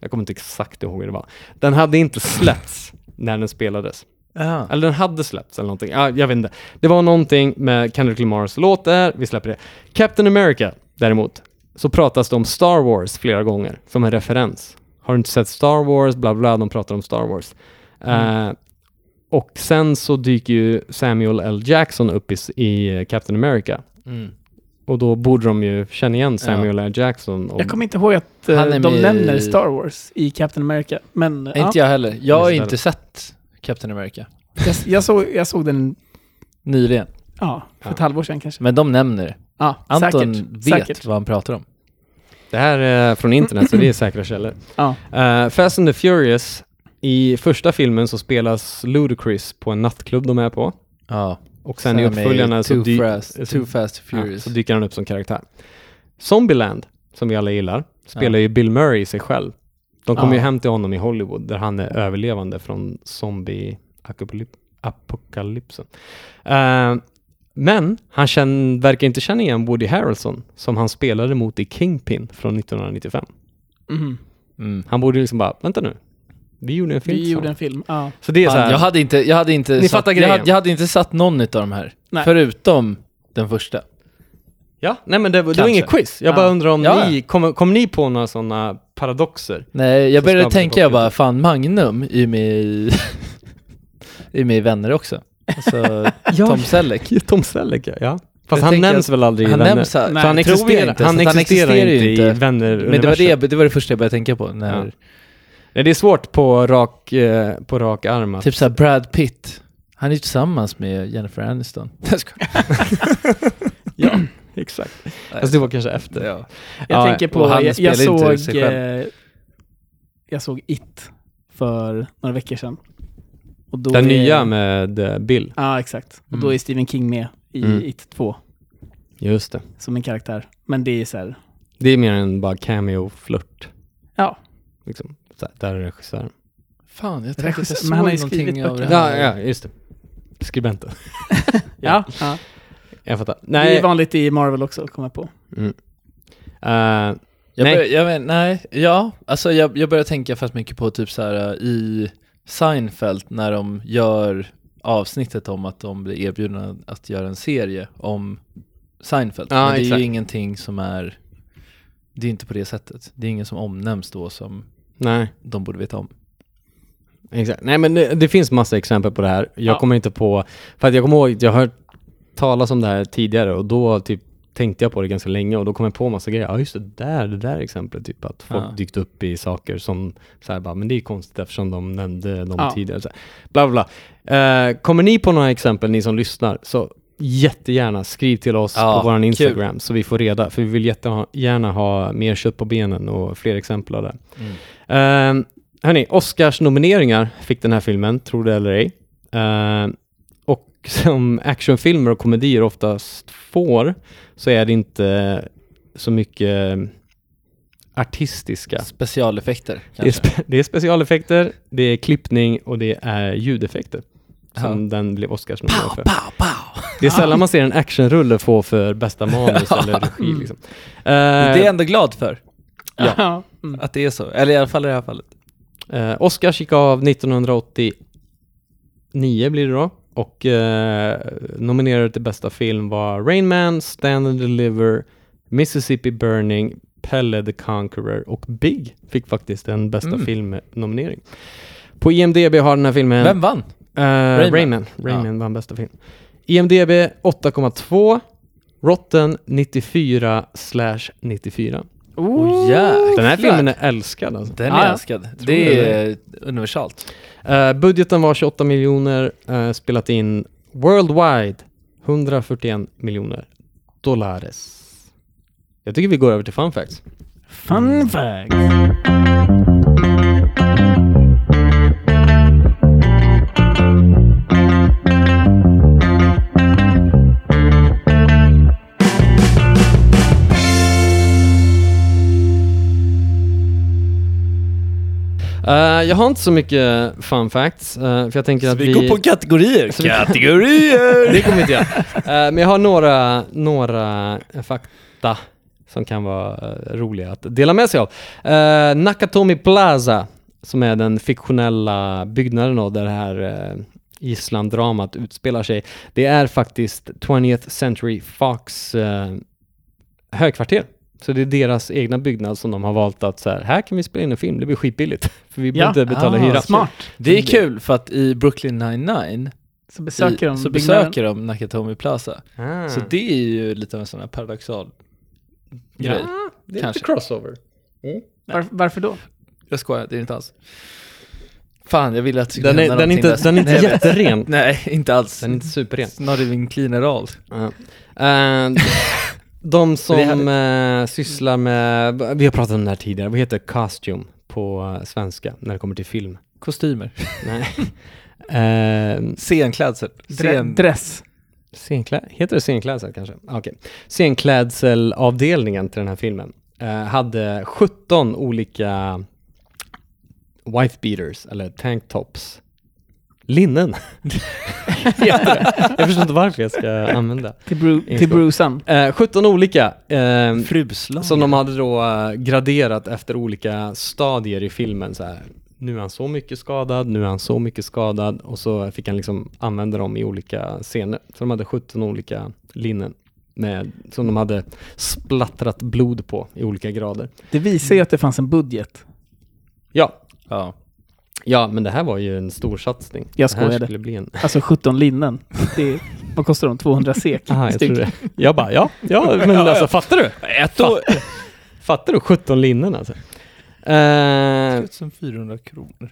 Speaker 1: Jag kommer inte exakt ihåg hur det var. Den hade inte släppts när den spelades.
Speaker 6: Ja.
Speaker 1: Eller den hade släppts eller någonting. Ja, jag vet inte. Det var någonting med Kendrick Lamars låt där. Vi släpper det. Captain America däremot, så pratas det om Star Wars flera gånger som en referens. Har du inte sett Star Wars? Bla bla, de pratar om Star Wars.
Speaker 7: Mm.
Speaker 1: Eh, och sen så dyker ju Samuel L. Jackson upp i, s- i Captain America.
Speaker 6: Mm.
Speaker 1: Och då borde de ju känna igen Samuel L. Jackson. Och,
Speaker 7: Jag kommer inte ihåg att eh,
Speaker 6: Han är
Speaker 7: de
Speaker 6: med
Speaker 7: nämner
Speaker 6: i-
Speaker 7: Star Wars i Captain America. Men eh,
Speaker 6: Inte
Speaker 7: ja,
Speaker 6: jag heller. Jag har
Speaker 1: Just det.
Speaker 6: inte sett Captain America.
Speaker 7: jag, jag, såg, jag såg den
Speaker 6: Nyligen.
Speaker 7: ja, för ett
Speaker 1: Ja.
Speaker 7: halvår sedan kanske.
Speaker 6: Men de nämner det.
Speaker 7: Ja,
Speaker 6: Anton
Speaker 7: säkert.
Speaker 6: vet
Speaker 7: säkert.
Speaker 6: vad han pratar om.
Speaker 1: Det här är från internet, så det är säkra källor.
Speaker 7: Ja.
Speaker 1: Eh, Fast and the Furious, i första filmen så spelas Ludacris på en nattklubb de är på.
Speaker 6: Ja.
Speaker 1: Och sen i uppföljarna så,
Speaker 6: too,
Speaker 1: dy- så-
Speaker 6: fast, too fast
Speaker 1: ja,
Speaker 6: Furious.
Speaker 1: så dyker han upp som karaktär. Zombieland, som vi alla gillar, spelar
Speaker 6: Ja.
Speaker 1: ju Bill Murray sig själv. De kommer
Speaker 7: Ja.
Speaker 1: ju hem till honom i Hollywood där han är överlevande från zombie-apokalypsen. Eh, men han känn, verkar inte känna igen Woody Harrelson som han spelade mot i Kingpin från 1995.
Speaker 7: Mhm.
Speaker 6: Mm.
Speaker 1: Han borde ju liksom bara, vänta nu, vi gjorde en film
Speaker 7: Vi gjorde en
Speaker 1: tillsammans."
Speaker 7: film. Ja.
Speaker 1: Så det är så
Speaker 6: Fan,
Speaker 1: här,
Speaker 6: jag hade inte, jag hade inte,
Speaker 1: Ni fattar
Speaker 6: jag,
Speaker 1: grejen.
Speaker 6: hade, jag hade inte satt någon av de här.
Speaker 7: Nej.
Speaker 6: Förutom den första.
Speaker 1: ja, nej men det, var- det var
Speaker 6: Kanske.
Speaker 1: inget quiz. Jag
Speaker 7: Ja.
Speaker 1: bara undrar om
Speaker 6: Ja, ja.
Speaker 1: ni, kom, kom ni på några sådana paradoxer?
Speaker 6: Nej, jag
Speaker 1: Så
Speaker 6: började
Speaker 1: snabbt
Speaker 6: tänka, jag
Speaker 1: tillbaka.
Speaker 6: bara, fan Magnum är ju med i, är med [LAUGHS] i Vänner också. Alltså Tom Selleck.
Speaker 1: Tom Selleck ja. ja.
Speaker 6: Jag
Speaker 1: Fast han
Speaker 6: tänker
Speaker 1: nämns väl aldrig i
Speaker 6: Han
Speaker 1: Vänner?
Speaker 6: nämns här,
Speaker 1: Så han
Speaker 6: tror jag
Speaker 1: existerar,
Speaker 6: inte, så
Speaker 1: han
Speaker 6: att han
Speaker 1: existerar ju
Speaker 6: existerar ju
Speaker 1: inte i
Speaker 6: inte.
Speaker 1: vänner
Speaker 6: Men det var det, jag- det var det första jag började tänka på. När,
Speaker 1: Ja. Nej, det är svårt på rak, eh, på rak arm att...
Speaker 6: Typ såhär Brad Pitt. Han är ju tillsammans med Jennifer Aniston. Jag skojar.
Speaker 1: ja, exakt. Fast det var kanske efter.
Speaker 6: Ja.
Speaker 7: Jag
Speaker 1: Ja,
Speaker 7: tänker på,
Speaker 6: och han
Speaker 7: jag, jag,
Speaker 6: spelar inte sig
Speaker 7: såg,
Speaker 6: själv.
Speaker 7: eh, jag såg It för några veckor sedan. Och då
Speaker 1: Den
Speaker 7: är-
Speaker 1: nya med eh, Bill.
Speaker 7: Ja, exakt. Och då
Speaker 6: Mm.
Speaker 7: är Stephen King med i
Speaker 1: Mm.
Speaker 7: It 2
Speaker 1: Just det.
Speaker 7: som en karaktär. Men det är så här,
Speaker 1: Det är mer än bara cameo-flört.
Speaker 7: Ja.
Speaker 1: Liksom, så här, där är regissören.
Speaker 6: Fan, jag tänkte att
Speaker 7: Regissör-
Speaker 6: jag
Speaker 7: men
Speaker 6: såg
Speaker 7: han har ju
Speaker 6: någonting
Speaker 7: skrivit
Speaker 6: av det
Speaker 7: böcker.
Speaker 1: Ja,
Speaker 6: här.
Speaker 1: ja, just det. Skribenten.
Speaker 7: ja. ja.
Speaker 1: Jag fattar.
Speaker 7: Det är
Speaker 1: Nej,
Speaker 7: vanligt i Marvel också, kommer jag på.
Speaker 1: eh,
Speaker 6: Jag
Speaker 1: Nej.
Speaker 6: bör, jag men, nej, ja, alltså jag, jag börjar tänka fast mycket på typ så här äh, i Seinfeld när de gör avsnittet om att de blir erbjudna att göra en serie om Seinfeld.
Speaker 1: Ja,
Speaker 6: Men det är
Speaker 1: exakt.
Speaker 6: ju ingenting som är, det är inte på det sättet. Det är ingen som omnämns då som
Speaker 1: nej.
Speaker 6: de borde veta om.
Speaker 1: Exakt. Nej men det, det finns massa exempel på det här. Jag
Speaker 7: Ja.
Speaker 1: kommer inte på, för att jag kommer ihåg, jag har hört talas om det här tidigare och då typ tänkte jag på det ganska länge och då kom jag på massa grejer. Ja just det där, det där exemplet, typ att folk
Speaker 6: Ja.
Speaker 1: dykt upp i saker som så här bara, men det är ju konstigt eftersom de nämnde dem
Speaker 7: Ja.
Speaker 1: tidigare. Så här, bla bla. bla. Eh, kommer ni på några exempel, ni som lyssnar, så jättegärna skriv till oss
Speaker 6: Ja,
Speaker 1: på vår
Speaker 6: kul.
Speaker 1: Instagram så vi får reda, för vi vill jättegärna gärna ha mer kött på benen och fler exempel av det.
Speaker 6: Mm.
Speaker 1: Ehm, hörni, Oscars nomineringar fick den här filmen, tror det eller ej. Ehm, och som actionfilmer och komedier oftast får så är det inte så mycket artistiska.
Speaker 6: Specialeffekter
Speaker 1: Det är,
Speaker 6: kanske.
Speaker 1: spe- det är specialeffekter, det är klippning och det är ljudeffekter som den blev Oscarsnominerad för.
Speaker 6: Pow, pow.
Speaker 1: Det är sällan man ser en actionrulle få för bästa manus eller
Speaker 6: [LAUGHS]
Speaker 1: regi. Liksom. Ehm,
Speaker 6: Det är jag ändå glad för,
Speaker 1: Ja.
Speaker 7: Ja. Mm.
Speaker 6: att det är så. Eller i alla fall i det här fallet.
Speaker 1: Eh, Oscars gick av 1989 blir det då. Och eh, nominerade till bästa film var Rain Man, Stand and Deliver, Mississippi Burning, Pelle the Conqueror och Big fick faktiskt en bästa
Speaker 6: Mm.
Speaker 1: filmnominering. På IMDB har den här filmen...
Speaker 6: Vem vann?
Speaker 1: Eh, Rayman.
Speaker 6: Rayman.
Speaker 1: Rayman, vann bästa film. IMDB 8,2. Rotten 94 slash 94.
Speaker 6: Oh, jäklar.
Speaker 1: Den här filmen är älskad alltså.
Speaker 6: Den
Speaker 1: Ja,
Speaker 6: är
Speaker 1: ja.
Speaker 6: älskad.
Speaker 1: det
Speaker 6: Det är universalt.
Speaker 1: Eh, budgeten var 28 miljoner, eh, spelat in worldwide 141 miljoner dollares. Jag tycker vi går över till fun facts.
Speaker 7: Fun fact.
Speaker 1: Eh, jag har inte så mycket fun facts, eh, för jag tänker att vi... [LAUGHS]
Speaker 6: kategorier.
Speaker 1: Så vi- [LAUGHS]
Speaker 6: Kategorier!
Speaker 1: Det kommer inte jag. Eh, men jag har några, några fakta som kan vara eh, roliga att dela med sig av. Eh, Nakatomi Plaza, som är den fiktionella byggnaden då, där det här eh, gisslandramat utspelar sig. Det är faktiskt 20th Century Fox eh, högkvarter. Så det är deras egna byggnad som de har valt att så här, här kan vi spela in en film, det blir skitbilligt. [LAUGHS] För vi behöver
Speaker 7: Ja.
Speaker 1: inte betala
Speaker 6: Ah,
Speaker 1: hyra.
Speaker 7: Smart.
Speaker 6: Det är kul för att i Brooklyn 99
Speaker 7: Så besöker
Speaker 6: i,
Speaker 7: de
Speaker 6: så
Speaker 7: byggnaden.
Speaker 6: besöker de Nakatomi Plaza.
Speaker 1: Ah.
Speaker 6: Så det är ju lite av en sån här paradoxal grej.
Speaker 1: det är
Speaker 6: kanske.
Speaker 1: lite crossover.
Speaker 7: Var, varför då?
Speaker 6: Jag skojar, det är inte alls. Fan, jag ville att det skulle
Speaker 1: Den är,
Speaker 6: hända
Speaker 1: den är
Speaker 6: någonting
Speaker 1: inte,
Speaker 6: där.
Speaker 1: den är inte
Speaker 6: [LAUGHS] Nej, jag vet.
Speaker 1: jätteren.
Speaker 6: Nej, inte alls.
Speaker 1: Den är inte superren.
Speaker 6: Not even clean at all.
Speaker 1: Ja. Eh, [LAUGHS] de som
Speaker 6: Det är
Speaker 1: eh, sysslar med, vi har pratat om det här tidigare, vad heter costume på eh, svenska när det kommer till film?
Speaker 6: Kostymer.
Speaker 1: Nej. Eh,
Speaker 6: Scenklädsel.
Speaker 7: Dre-
Speaker 6: Scen...
Speaker 7: Dress.
Speaker 1: Scenklä... Heter det Eh, scenklädsel kanske? Ah, Okej. Scenklädselavdelningen till den här filmen eh, hade 17 olika wife beaters eller tanktops. Linnen. [LAUGHS] Heter det. jag förstår inte varför jag ska använda.
Speaker 7: Till, bru- till
Speaker 1: Ingenstans.
Speaker 7: brusan.
Speaker 1: Eh, 17 olika. ehm,
Speaker 6: Fruslager.
Speaker 1: som de hade då eh, graderat efter olika stadier i filmen. Så här, nu är han så mycket skadad, nu är han så mycket skadad och så fick han liksom använda dem i olika scener. Så de hade 17 olika linnen med, som de hade splattrat blod på i olika grader.
Speaker 7: Det visar ju att det fanns en budget.
Speaker 1: Ja,
Speaker 6: Ja.
Speaker 1: ja men det här var ju en stor satsning.
Speaker 7: Jag
Speaker 1: Det här
Speaker 7: skojade.
Speaker 1: skulle bli
Speaker 7: [LAUGHS]
Speaker 1: en...
Speaker 7: Alltså 17 linnen. Det, vad kostar de? 200 sek?
Speaker 1: Aha, jag,
Speaker 7: styck.
Speaker 1: tror det. jag bara, ja, ja, men alltså fattar du?
Speaker 6: Ett år.
Speaker 1: Fattar du 17 linnen alltså? Eh,
Speaker 6: 1400 kronor.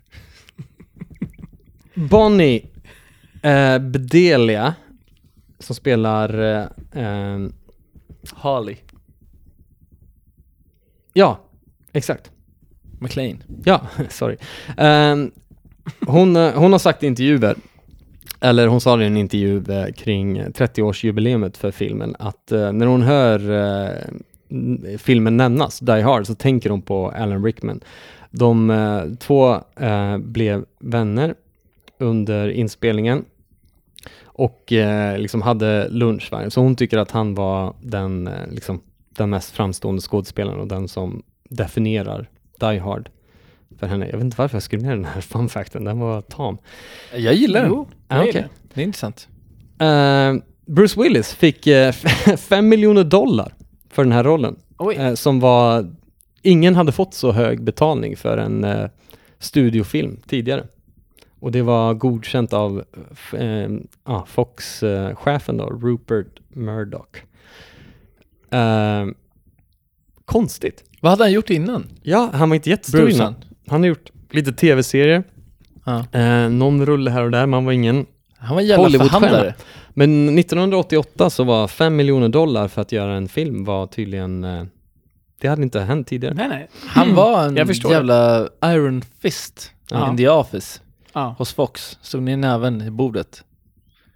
Speaker 1: Bonnie eh, Bedelia, som spelar... Eh, eh,
Speaker 6: Harley.
Speaker 1: ja, exakt.
Speaker 6: McLean.
Speaker 1: Ja, [LAUGHS] sorry. Eh, hon, eh, hon har sagt i intervjuer, eller hon sa det i en intervju eh, kring 30-årsjubileumet för filmen, att eh, när hon hör eh, n- filmen nämnas, Die Hard, så tänker hon på Alan Rickman. De eh, två eh, blev vänner under inspelningen och eh, liksom hade lunch varje. Så hon tycker att han var den, eh, liksom, den mest framstående skådespelaren och den som definierar Die Hard för henne. Jag vet inte varför jag skrev ner den här fun facten, den var tam.
Speaker 6: Jag gillar den.
Speaker 7: Jo,
Speaker 1: Ah,
Speaker 7: jag
Speaker 1: okej.
Speaker 7: gillar
Speaker 6: Det är intressant.
Speaker 1: Eh, Bruce Willis fick [LAUGHS] 5 miljoner dollar för den här rollen.
Speaker 7: Oj.
Speaker 1: eh, som var, ingen hade fått så hög betalning för en eh, studiofilm tidigare. Och det var godkänt av f- eh, ah, Fox-chefen då, Rupert Murdoch. Eh, konstigt.
Speaker 6: Vad hade han gjort innan?
Speaker 1: Ja, han var inte jättestor
Speaker 6: Bruce,
Speaker 1: innan. Han har gjort lite tv-serier,
Speaker 6: Ja.
Speaker 1: eh, någon rulle här och där, man var ingen
Speaker 6: Han var en jävla förhandlare.
Speaker 1: men 1988 så var 5 miljoner dollar för att göra en film var tydligen, eh, det hade inte hänt tidigare.
Speaker 7: Nej, nej.
Speaker 6: Han var en
Speaker 7: Jag förstår
Speaker 6: jävla Iron Fist
Speaker 1: Ja.
Speaker 6: in the office
Speaker 7: Ja.
Speaker 6: hos Fox. Stod ner näven i bordet.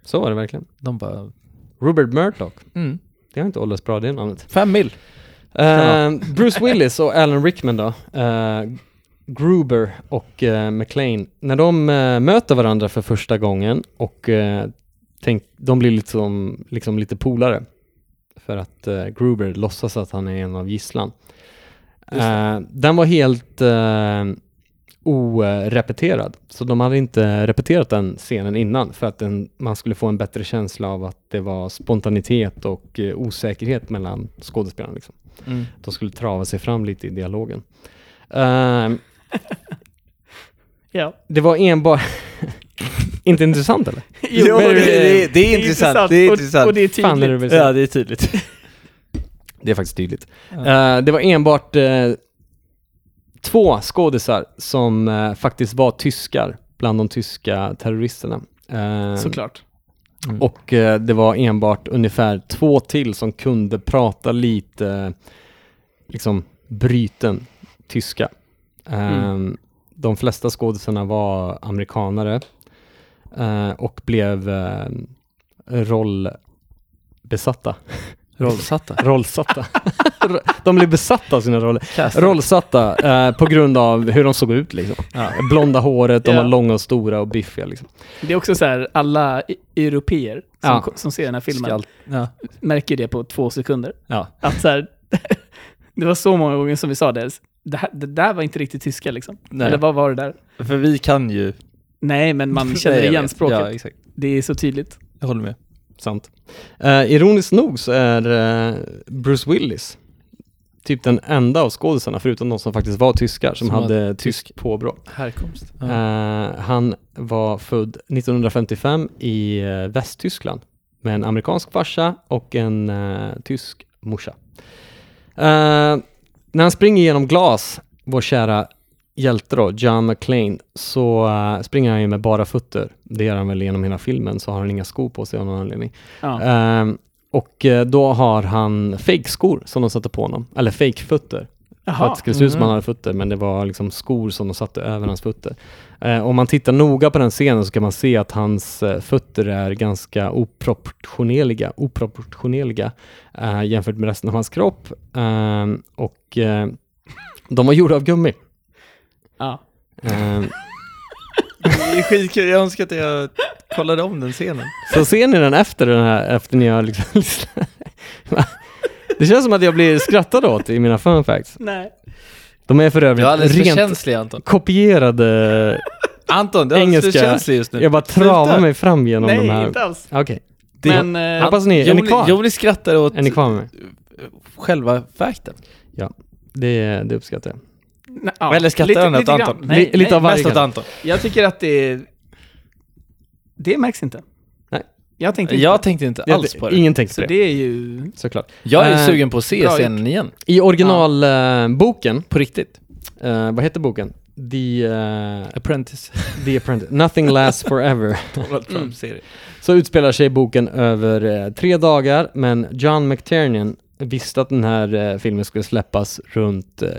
Speaker 1: Så var det verkligen.
Speaker 6: De bara,
Speaker 1: Robert Murdoch,
Speaker 6: mm,
Speaker 1: det har inte åldrats bra det namnet.
Speaker 6: fem mil.
Speaker 1: Eh, Bruce Willis och Alan Rickman då, eh, Gruber och eh, McLean, när de eh, möter varandra för första gången och eh, tänk, de blir liksom, liksom lite polare. För att eh, Gruber låtsas att han är en av gisslan. Eh, den var helt eh, orepeterad, så de hade inte repeterat den scenen innan för att den, man skulle få en bättre känsla av att det var spontanitet och eh, osäkerhet mellan skådespelarna. Liksom.
Speaker 6: Mm.
Speaker 1: De skulle trava sig fram lite i dialogen. Ehm,
Speaker 7: ja.
Speaker 1: det var enbart... [LAUGHS] inte intressant eller? men
Speaker 7: Jo,
Speaker 1: det- det-
Speaker 6: det är intressant, det är intressant.
Speaker 7: Och, och det är tydligt.
Speaker 1: Fan, är det väl så?
Speaker 6: det är tydligt.
Speaker 1: Det är faktiskt tydligt. Eh, det var enbart eh, två skådisar som eh, faktiskt var tyskar bland de tyska terroristerna. Ehm,
Speaker 7: Såklart.
Speaker 1: Och eh, det var enbart ungefär två till som kunde prata lite eh, liksom bruten tyska.
Speaker 6: Mm.
Speaker 1: Ehm, De flesta skådisarna var amerikanare eh, och blev eh, rollbesatta.
Speaker 6: Rollsatta.
Speaker 1: [LAUGHS] Rollsatta. de blev besatta av sina roller. Rollsatta eh, på grund av hur de såg ut liksom.
Speaker 6: Ja.
Speaker 1: Blonda håret, de
Speaker 7: Ja.
Speaker 1: var långa och stora och biffiga liksom.
Speaker 7: Det är också så här, alla i- europeer som,
Speaker 1: Ja.
Speaker 7: ko- som ser den här filmen
Speaker 6: Skall- Ja.
Speaker 7: märker ju det på två sekunder.
Speaker 1: Ja.
Speaker 7: Att så här, [LAUGHS] Det var så många gånger som vi sa det. Det, här, det där var inte riktigt tyska liksom.
Speaker 6: Nej.
Speaker 7: Eller vad var det där?
Speaker 6: För vi kan ju...
Speaker 7: Nej,
Speaker 1: [LAUGHS]
Speaker 7: men man
Speaker 6: Nej,
Speaker 7: känner
Speaker 6: jag
Speaker 7: igen
Speaker 6: vet.
Speaker 7: språket.
Speaker 6: Ja, exakt.
Speaker 7: Det är så tydligt.
Speaker 6: Jag håller med.
Speaker 1: Sant. Eh, ironiskt nog så är eh, Bruce Willis typ den enda av skådisarna, förutom de som faktiskt var tyskar, som,
Speaker 6: Som har
Speaker 1: hade tysk påbrå.
Speaker 6: Härkomst. Ja.
Speaker 1: Eh, han var född 1955 i eh, Västtyskland med en amerikansk farsa och en eh, tysk morsa. Eh, när han springer genom glas, vår kära hjälte då, John McClane, så eh, springer han ju med bara fötter. Det gör han väl genom hela filmen, så har han inga skor på sig av någon anledning.
Speaker 7: Ja.
Speaker 1: Ehm, och eh, då har han fake-skor som de satte på honom, eller fake-fötter. För att
Speaker 7: Jaha.
Speaker 1: det skulle se ut som han hade fötter, men det var liksom skor som de satte över hans fötter. Eh, om man tittar noga på den scenen så kan man se att hans eh, fötter är ganska oproportionerliga, oproportionerliga eh, jämfört med resten av hans kropp. Ehm, och eh, de var gjorda av gummi.
Speaker 7: Ja.
Speaker 1: Ehm,
Speaker 6: Det är skitkul, jag önskar att jag kollade om den scenen.
Speaker 1: Så ser ni den efter den här, efter ni har liksom lyssnat? Va? Det känns som att jag blir skrattad åt i mina fun facts.
Speaker 7: Nej.
Speaker 1: De är för
Speaker 6: Du är alldeles
Speaker 1: övrigt
Speaker 6: för
Speaker 1: rent
Speaker 6: känslig Anton.
Speaker 1: kopierade.
Speaker 6: Anton, du är alldeles för
Speaker 1: Engelska.
Speaker 6: känslig just nu.
Speaker 1: Jag bara travar mig fram genom de
Speaker 7: Nej,
Speaker 1: här.
Speaker 7: inte alls.
Speaker 1: Okej.
Speaker 7: Men,
Speaker 1: Men,
Speaker 7: eh,
Speaker 1: hoppas ni, är ni kvar?
Speaker 6: Johnny skrattar åt
Speaker 1: Är ni kvar med mig?
Speaker 6: själva fakten.
Speaker 1: Det, det uppskattar jag.
Speaker 7: Nej, ja.
Speaker 6: Eller skrattar
Speaker 7: Lite-
Speaker 6: han åt
Speaker 7: lite grann.
Speaker 6: Anton?
Speaker 7: Nej,
Speaker 1: Li- lite
Speaker 7: nej.
Speaker 1: av varje
Speaker 6: Mest åt
Speaker 1: kanske.
Speaker 6: Anton.
Speaker 7: Jag tycker att det... Det märks inte.
Speaker 1: Nej.
Speaker 7: Jag tänkte inte.
Speaker 6: Jag tänkte inte alls på det.
Speaker 1: Ingen tänkte
Speaker 7: Så
Speaker 1: på det,
Speaker 7: det är ju...
Speaker 1: såklart.
Speaker 6: Jag är
Speaker 1: Eh,
Speaker 6: sugen på att se
Speaker 7: bra
Speaker 6: scenen igen.
Speaker 1: I originalboken,
Speaker 6: På riktigt.
Speaker 1: eh, vad heter boken? The, eh,
Speaker 6: Apprentice.
Speaker 1: The Apprentice, Nothing Lasts Forever.
Speaker 6: [LAUGHS] Donald Trump-serie.
Speaker 1: Så utspelar sig boken över eh, tre dagar, men John McTiernan visste att den här eh, filmen skulle släppas runt eh,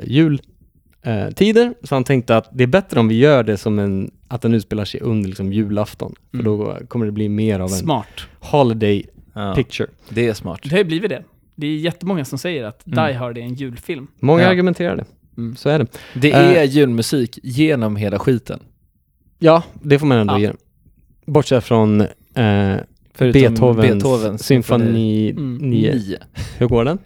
Speaker 1: jultider, så han tänkte att det är bättre om vi gör det som en, att den utspelar sig under liksom, julafton, för
Speaker 6: Mm.
Speaker 1: då kommer det bli mer av en
Speaker 7: Smart.
Speaker 1: holiday
Speaker 6: Ja,
Speaker 1: picture.
Speaker 6: det är smart.
Speaker 7: Det har ju blivit det. Det är jättemånga som säger att
Speaker 1: Mm.
Speaker 7: Die Hard är en julfilm.
Speaker 1: Många
Speaker 6: Ja. Mm.
Speaker 1: argumenterar det. Så är det.
Speaker 6: Det är julmusik genom hela skiten.
Speaker 1: Ja, det får man ändå
Speaker 7: Ja.
Speaker 1: ge Bortsett från eh,
Speaker 6: Förutom
Speaker 1: Beethovens,
Speaker 6: Beethovens
Speaker 1: symfoni
Speaker 7: Mm.
Speaker 1: 9. Hur går den?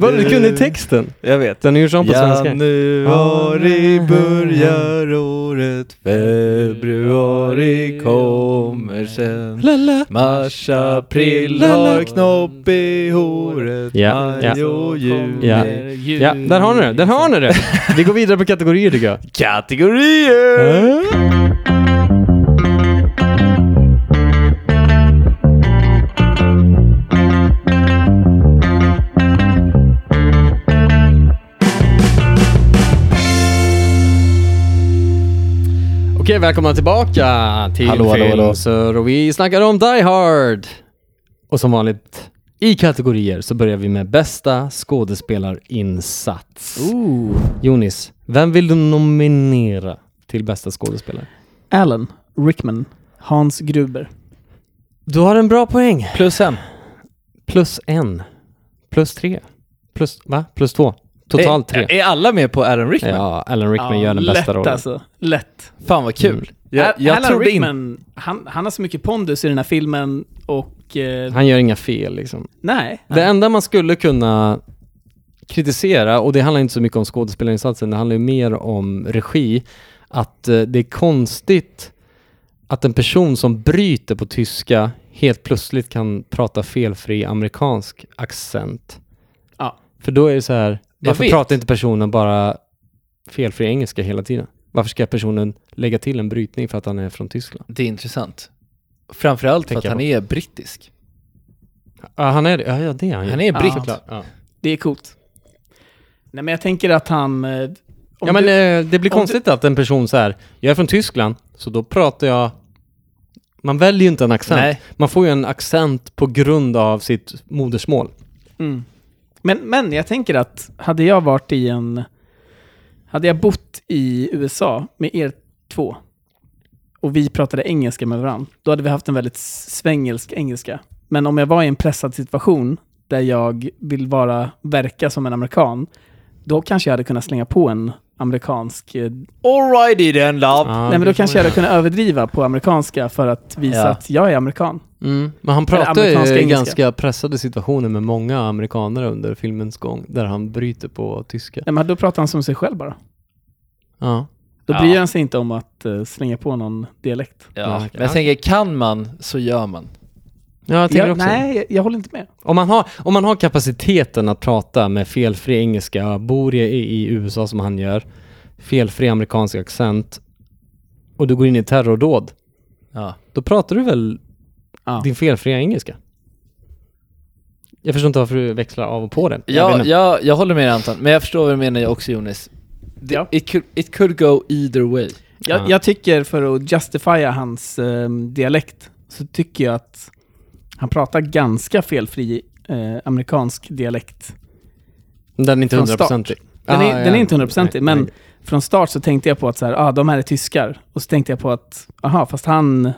Speaker 1: Vad du kunde texten?
Speaker 6: Jag vet.
Speaker 1: Den är ju sån på svenska.
Speaker 6: Januari börjar året, februari kommer sen.
Speaker 1: Lala.
Speaker 6: Mars, april har knopp i håret,
Speaker 1: Ja,
Speaker 6: maj och juni.
Speaker 1: Ja. Ja, där har ni det. Där har ni det. [LAUGHS] Vi går vidare på kategorier tycker jag.
Speaker 6: Kategorier!
Speaker 1: Okej, välkomna tillbaka till
Speaker 6: Hallå, hallå, hallå.
Speaker 1: Filmsör och vi snackar om Die Hard. Och som vanligt i kategorier så börjar vi med bästa skådespelarinsats. Jonis, vem vill du nominera till bästa skådespelare?
Speaker 7: Alan Rickman. Hans Gruber.
Speaker 1: Du har en bra poäng.
Speaker 6: Plus en.
Speaker 1: Plus en. Plus tre. Plus, va? Plus två. Totalt tre.
Speaker 6: Är, är alla med på Aaron Rickman?
Speaker 1: Ja, Alan Rickman
Speaker 7: Ja,
Speaker 1: gör den
Speaker 7: lätt
Speaker 1: bästa rollen.
Speaker 7: alltså. Lätt.
Speaker 6: Fan vad kul.
Speaker 1: Mm.
Speaker 6: Jag,
Speaker 7: Al-
Speaker 6: jag
Speaker 7: Alan
Speaker 6: trodde inte...
Speaker 7: Rickman, han, han har så mycket pondus i den här filmen och... Eh,
Speaker 1: Han gör inga fel liksom.
Speaker 7: nej.
Speaker 1: Det enda man skulle kunna kritisera, och det handlar inte så mycket om skådespelarinsatsen, det handlar ju mer om regi, att eh, det är konstigt att en person som bryter på tyska helt plötsligt kan prata felfri amerikansk accent.
Speaker 7: Ja.
Speaker 1: För då är det så här,
Speaker 6: Jag
Speaker 1: varför
Speaker 6: vet.
Speaker 1: pratar inte personen bara felfri engelska hela tiden? Varför ska personen lägga till en brytning för att han är från Tyskland?
Speaker 6: Det är intressant. Framförallt för att
Speaker 1: Tänker
Speaker 6: han är brittisk.
Speaker 1: Ja, han är det. Ja, ja, det är han ju.
Speaker 6: Han är
Speaker 7: Ja.
Speaker 6: britt.
Speaker 7: Såklart.
Speaker 1: Ja,
Speaker 7: Det är coolt. Nej, men jag tänker att han... eh, om
Speaker 1: ja men
Speaker 7: du-
Speaker 1: eh, det blir
Speaker 7: om
Speaker 1: konstigt att en person så här, jag är från Tyskland, så då pratar jag... Man väljer ju inte en accent.
Speaker 6: Nej.
Speaker 1: Man får ju en accent på grund av sitt modersmål.
Speaker 7: Mm. Men, men jag tänker att hade jag varit i en... Hade jag bott i USA med er två och vi pratade engelska med varandra, då hade vi haft en väldigt svängelsk engelska. Men om jag var i en pressad situation där jag vill vara, verka som en amerikan, då kanske jag hade kunnat slänga på en amerikansk... eh,
Speaker 6: Alrighty then love!
Speaker 1: Ja,
Speaker 7: nej men
Speaker 1: det
Speaker 7: då
Speaker 1: får
Speaker 7: kanske jag
Speaker 1: man-
Speaker 7: hade kunnat överdriva på amerikanska för att visa
Speaker 6: Ja.
Speaker 7: att jag är amerikan.
Speaker 1: Mm. Men han pratar ju
Speaker 7: amerikanska
Speaker 1: i
Speaker 7: engelska.
Speaker 1: ganska pressade situationer med många amerikaner under filmens gång, där han bryter på tyska.
Speaker 7: Nej men då pratar han som sig själv bara.
Speaker 1: Ja.
Speaker 7: Då
Speaker 6: Ja.
Speaker 7: bryr han sig inte om att eh, slänga på någon dialekt.
Speaker 1: Ja,
Speaker 6: Ja, men
Speaker 1: ja.
Speaker 6: jag tänker, kan man så gör man.
Speaker 1: Ja, jag tänker
Speaker 7: Jag,
Speaker 1: också
Speaker 7: nej, jag, jag håller inte med.
Speaker 1: Om man, har, om man har kapaciteten att prata med felfri engelska, bor i, i USA som han gör, felfri amerikansk accent och du går in i terrordåd,
Speaker 6: Ja.
Speaker 1: då pratar du väl
Speaker 7: Ja.
Speaker 1: din felfria engelska? Jag förstår inte varför du växlar av och på den. Jag vet
Speaker 6: Jag,
Speaker 1: inte.
Speaker 6: jag, jag håller med dig Anton, men jag förstår vad du menar jag också Jonas. Det-
Speaker 7: Ja.
Speaker 6: It, could, it could go either way.
Speaker 7: Jag,
Speaker 1: Ja.
Speaker 7: jag tycker för att justifiera hans eh, dialekt så tycker jag att han pratar ganska felfri eh, amerikansk dialekt.
Speaker 1: Den är inte
Speaker 7: Från
Speaker 1: hundraprocentig.
Speaker 7: Den, är,
Speaker 1: Ah,
Speaker 7: den
Speaker 1: ja.
Speaker 7: är inte hundraprocentig,
Speaker 1: Nej,
Speaker 7: men
Speaker 1: nej.
Speaker 7: från start så tänkte jag på att så här, ah, de här är tyskar. Och så tänkte jag på att, aha, fast han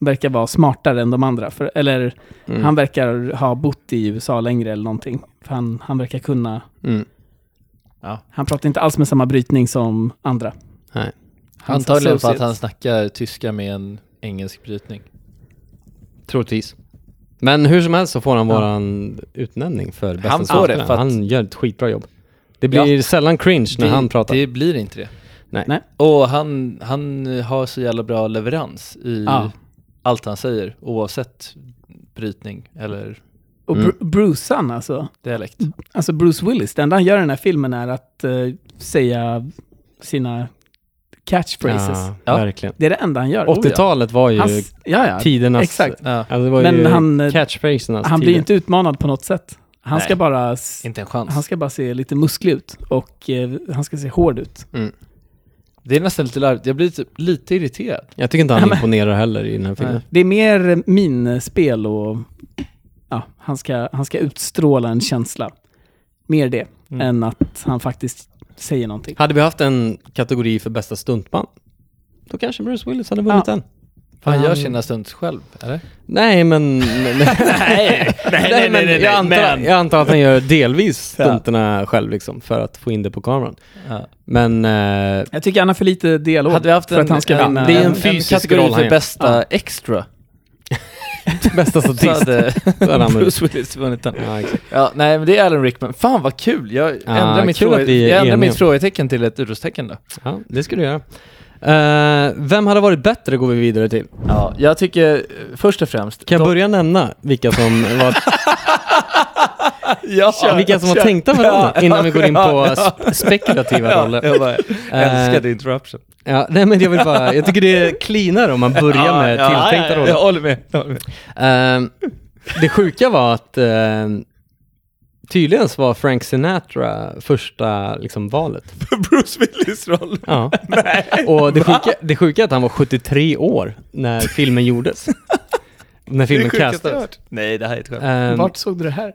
Speaker 7: verkar vara smartare än de andra. För, eller
Speaker 1: Mm.
Speaker 7: han verkar ha bott i USA längre eller någonting. För han, han verkar kunna...
Speaker 1: Mm.
Speaker 6: Ja.
Speaker 7: Han pratar inte alls med samma brytning som andra.
Speaker 1: Nej.
Speaker 7: Hans
Speaker 6: Antagligen för att han
Speaker 7: associates.
Speaker 6: snackar tyska med en engelsk brytning.
Speaker 1: Troligtvis. Men hur som helst så får han våran utnämning för bästa
Speaker 6: Han får
Speaker 1: skådespelaren.
Speaker 6: det för att-
Speaker 1: Han gör ett skitbra jobb. Det blir sällan cringe när
Speaker 6: det,
Speaker 1: han pratar.
Speaker 6: Det blir inte det.
Speaker 1: Nej.
Speaker 7: Nej.
Speaker 6: Och han, han har så jävla bra leverans i
Speaker 7: Ja.
Speaker 6: allt han säger, oavsett brytning eller
Speaker 7: Och
Speaker 1: Mm.
Speaker 7: Bru- Brucean alltså.
Speaker 6: dialekt.
Speaker 7: Alltså Bruce Willis, det enda han gör i den här filmen är att eh, säga sina catchphrases.
Speaker 1: Ja,
Speaker 6: Ja.
Speaker 1: verkligen.
Speaker 7: Det är det enda han gör.
Speaker 1: 80-talet var ju
Speaker 7: Hans, ja, ja.
Speaker 1: tidernas...
Speaker 7: Exakt.
Speaker 6: Ja,
Speaker 1: Alltså det var
Speaker 7: Men
Speaker 1: ju
Speaker 7: han, eh,
Speaker 1: catchphrasernas
Speaker 7: Han
Speaker 1: tider.
Speaker 7: blir inte utmanad på något sätt. Han
Speaker 6: Nej.
Speaker 7: ska bara... s-
Speaker 6: inte en chans.
Speaker 7: Han ska bara se lite musklig ut och eh, han ska se hård ut.
Speaker 6: Det är nästan lite larvigt, jag blir typ lite irriterad.
Speaker 1: Jag tycker inte han imponerar heller i den här filmen.
Speaker 6: Nej.
Speaker 7: Det är mer minspel och ja, han, ska, han ska utstråla en känsla. Mer det,
Speaker 6: Mm.
Speaker 7: än att han faktiskt säger någonting.
Speaker 1: Hade vi haft en kategori för bästa stuntman, då kanske Bruce Willis hade vunnit den.
Speaker 6: För han gör
Speaker 1: Han-
Speaker 6: sina stunts själv, eller?
Speaker 1: Nej, men... [LAUGHS] nej, nej,
Speaker 6: [LAUGHS] nej,
Speaker 1: men
Speaker 6: nej,
Speaker 1: jag, antar,
Speaker 6: men-
Speaker 1: jag antar att han gör delvis stunterna själv liksom, för att få in det på kameran.
Speaker 6: Ja.
Speaker 1: Men... Eh,
Speaker 7: Jag tycker han har för lite dialog
Speaker 6: Hade vi haft
Speaker 7: för
Speaker 6: en, [LAUGHS]
Speaker 7: att han ska
Speaker 6: ja,
Speaker 7: vinna.
Speaker 1: det är en
Speaker 7: en-
Speaker 1: fysisk roll
Speaker 6: kategori
Speaker 1: han gör.
Speaker 6: för bästa extra,
Speaker 1: [LAUGHS] bästa
Speaker 6: så
Speaker 1: statist. [LAUGHS]
Speaker 6: hade
Speaker 1: hade han vunnit.
Speaker 6: Bruce Willis vunnit den.
Speaker 1: ja, exakt.
Speaker 6: [LAUGHS] Ja, nej men det är Alan Rickman. Fan vad kul! Jag ändrar, mitt,
Speaker 1: kul
Speaker 6: fråge-
Speaker 1: att vi är
Speaker 6: jag ändrar
Speaker 1: eniga.
Speaker 6: mitt frågetecken till ett utropstecken då.
Speaker 1: ja, det ska du göra. Eh, vem hade varit bättre går vi vidare till.
Speaker 6: Ja, jag tycker eh, först och främst...
Speaker 1: Kan jag
Speaker 6: de-
Speaker 1: börja nämna vilka som var
Speaker 6: [LAUGHS] Ja,
Speaker 1: Ja, vilka som var tänkta med rollen innan vi går in på sp-
Speaker 6: [LAUGHS]
Speaker 1: spekulativa
Speaker 6: Ja,
Speaker 1: roller.
Speaker 6: jag bara älskade
Speaker 1: Eh,
Speaker 6: interruption.
Speaker 1: Ja, nej men jag vill bara, jag tycker det är cleanare om man börjar med
Speaker 6: ja,
Speaker 1: tilltänkta
Speaker 6: ja,
Speaker 1: roller.
Speaker 6: Jag håller med. Jag håller med. [LAUGHS]
Speaker 1: Ehm, det sjuka var att ehm, tydligen så var Frank Sinatra första liksom, valet.
Speaker 6: Bruce Willis roll.
Speaker 1: Ja.
Speaker 6: [LAUGHS]
Speaker 1: Och det sjuka, det sjuka är att han var 73 år när filmen
Speaker 6: [LAUGHS]
Speaker 1: gjordes. när filmen castades.
Speaker 6: Nej, det här är ett skämt.
Speaker 1: Ehm,
Speaker 7: Vart såg du det här?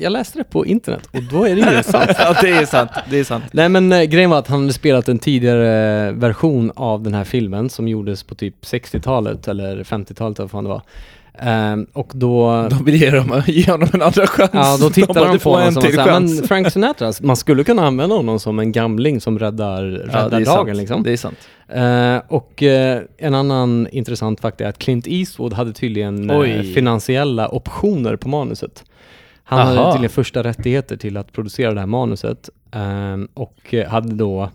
Speaker 1: jag läste det på internet och då är det ju sant.
Speaker 6: [LAUGHS] ja, det är sant. Det är sant.
Speaker 1: Nej men eh, grejen var att han hade spelat en tidigare eh, version av den här filmen som gjordes på typ 60-talet eller 50-talet eller vad fan det var. Ehm, och
Speaker 6: [LAUGHS]
Speaker 1: då...
Speaker 6: De vill ge, dem, ge honom en andra chans.
Speaker 1: Ja, då tittar de,
Speaker 6: bara,
Speaker 1: på
Speaker 6: "Du får
Speaker 1: honom som var såhär,
Speaker 6: chans."
Speaker 1: men Frank Sinatra,
Speaker 6: [LAUGHS]
Speaker 1: man skulle kunna använda honom som en gamling som räddar,
Speaker 6: Ja, det
Speaker 1: räddar
Speaker 6: är
Speaker 1: dagen
Speaker 6: sant.
Speaker 1: liksom.
Speaker 6: Det är sant.
Speaker 1: Eh, och eh, en annan intressant fakta är att Clint Eastwood hade tydligen eh,
Speaker 6: Oj.
Speaker 1: finansiella optioner på manuset. Han hade
Speaker 6: Aha.
Speaker 1: tydligen första rättigheter till att producera det här manuset eh, och eh, hade då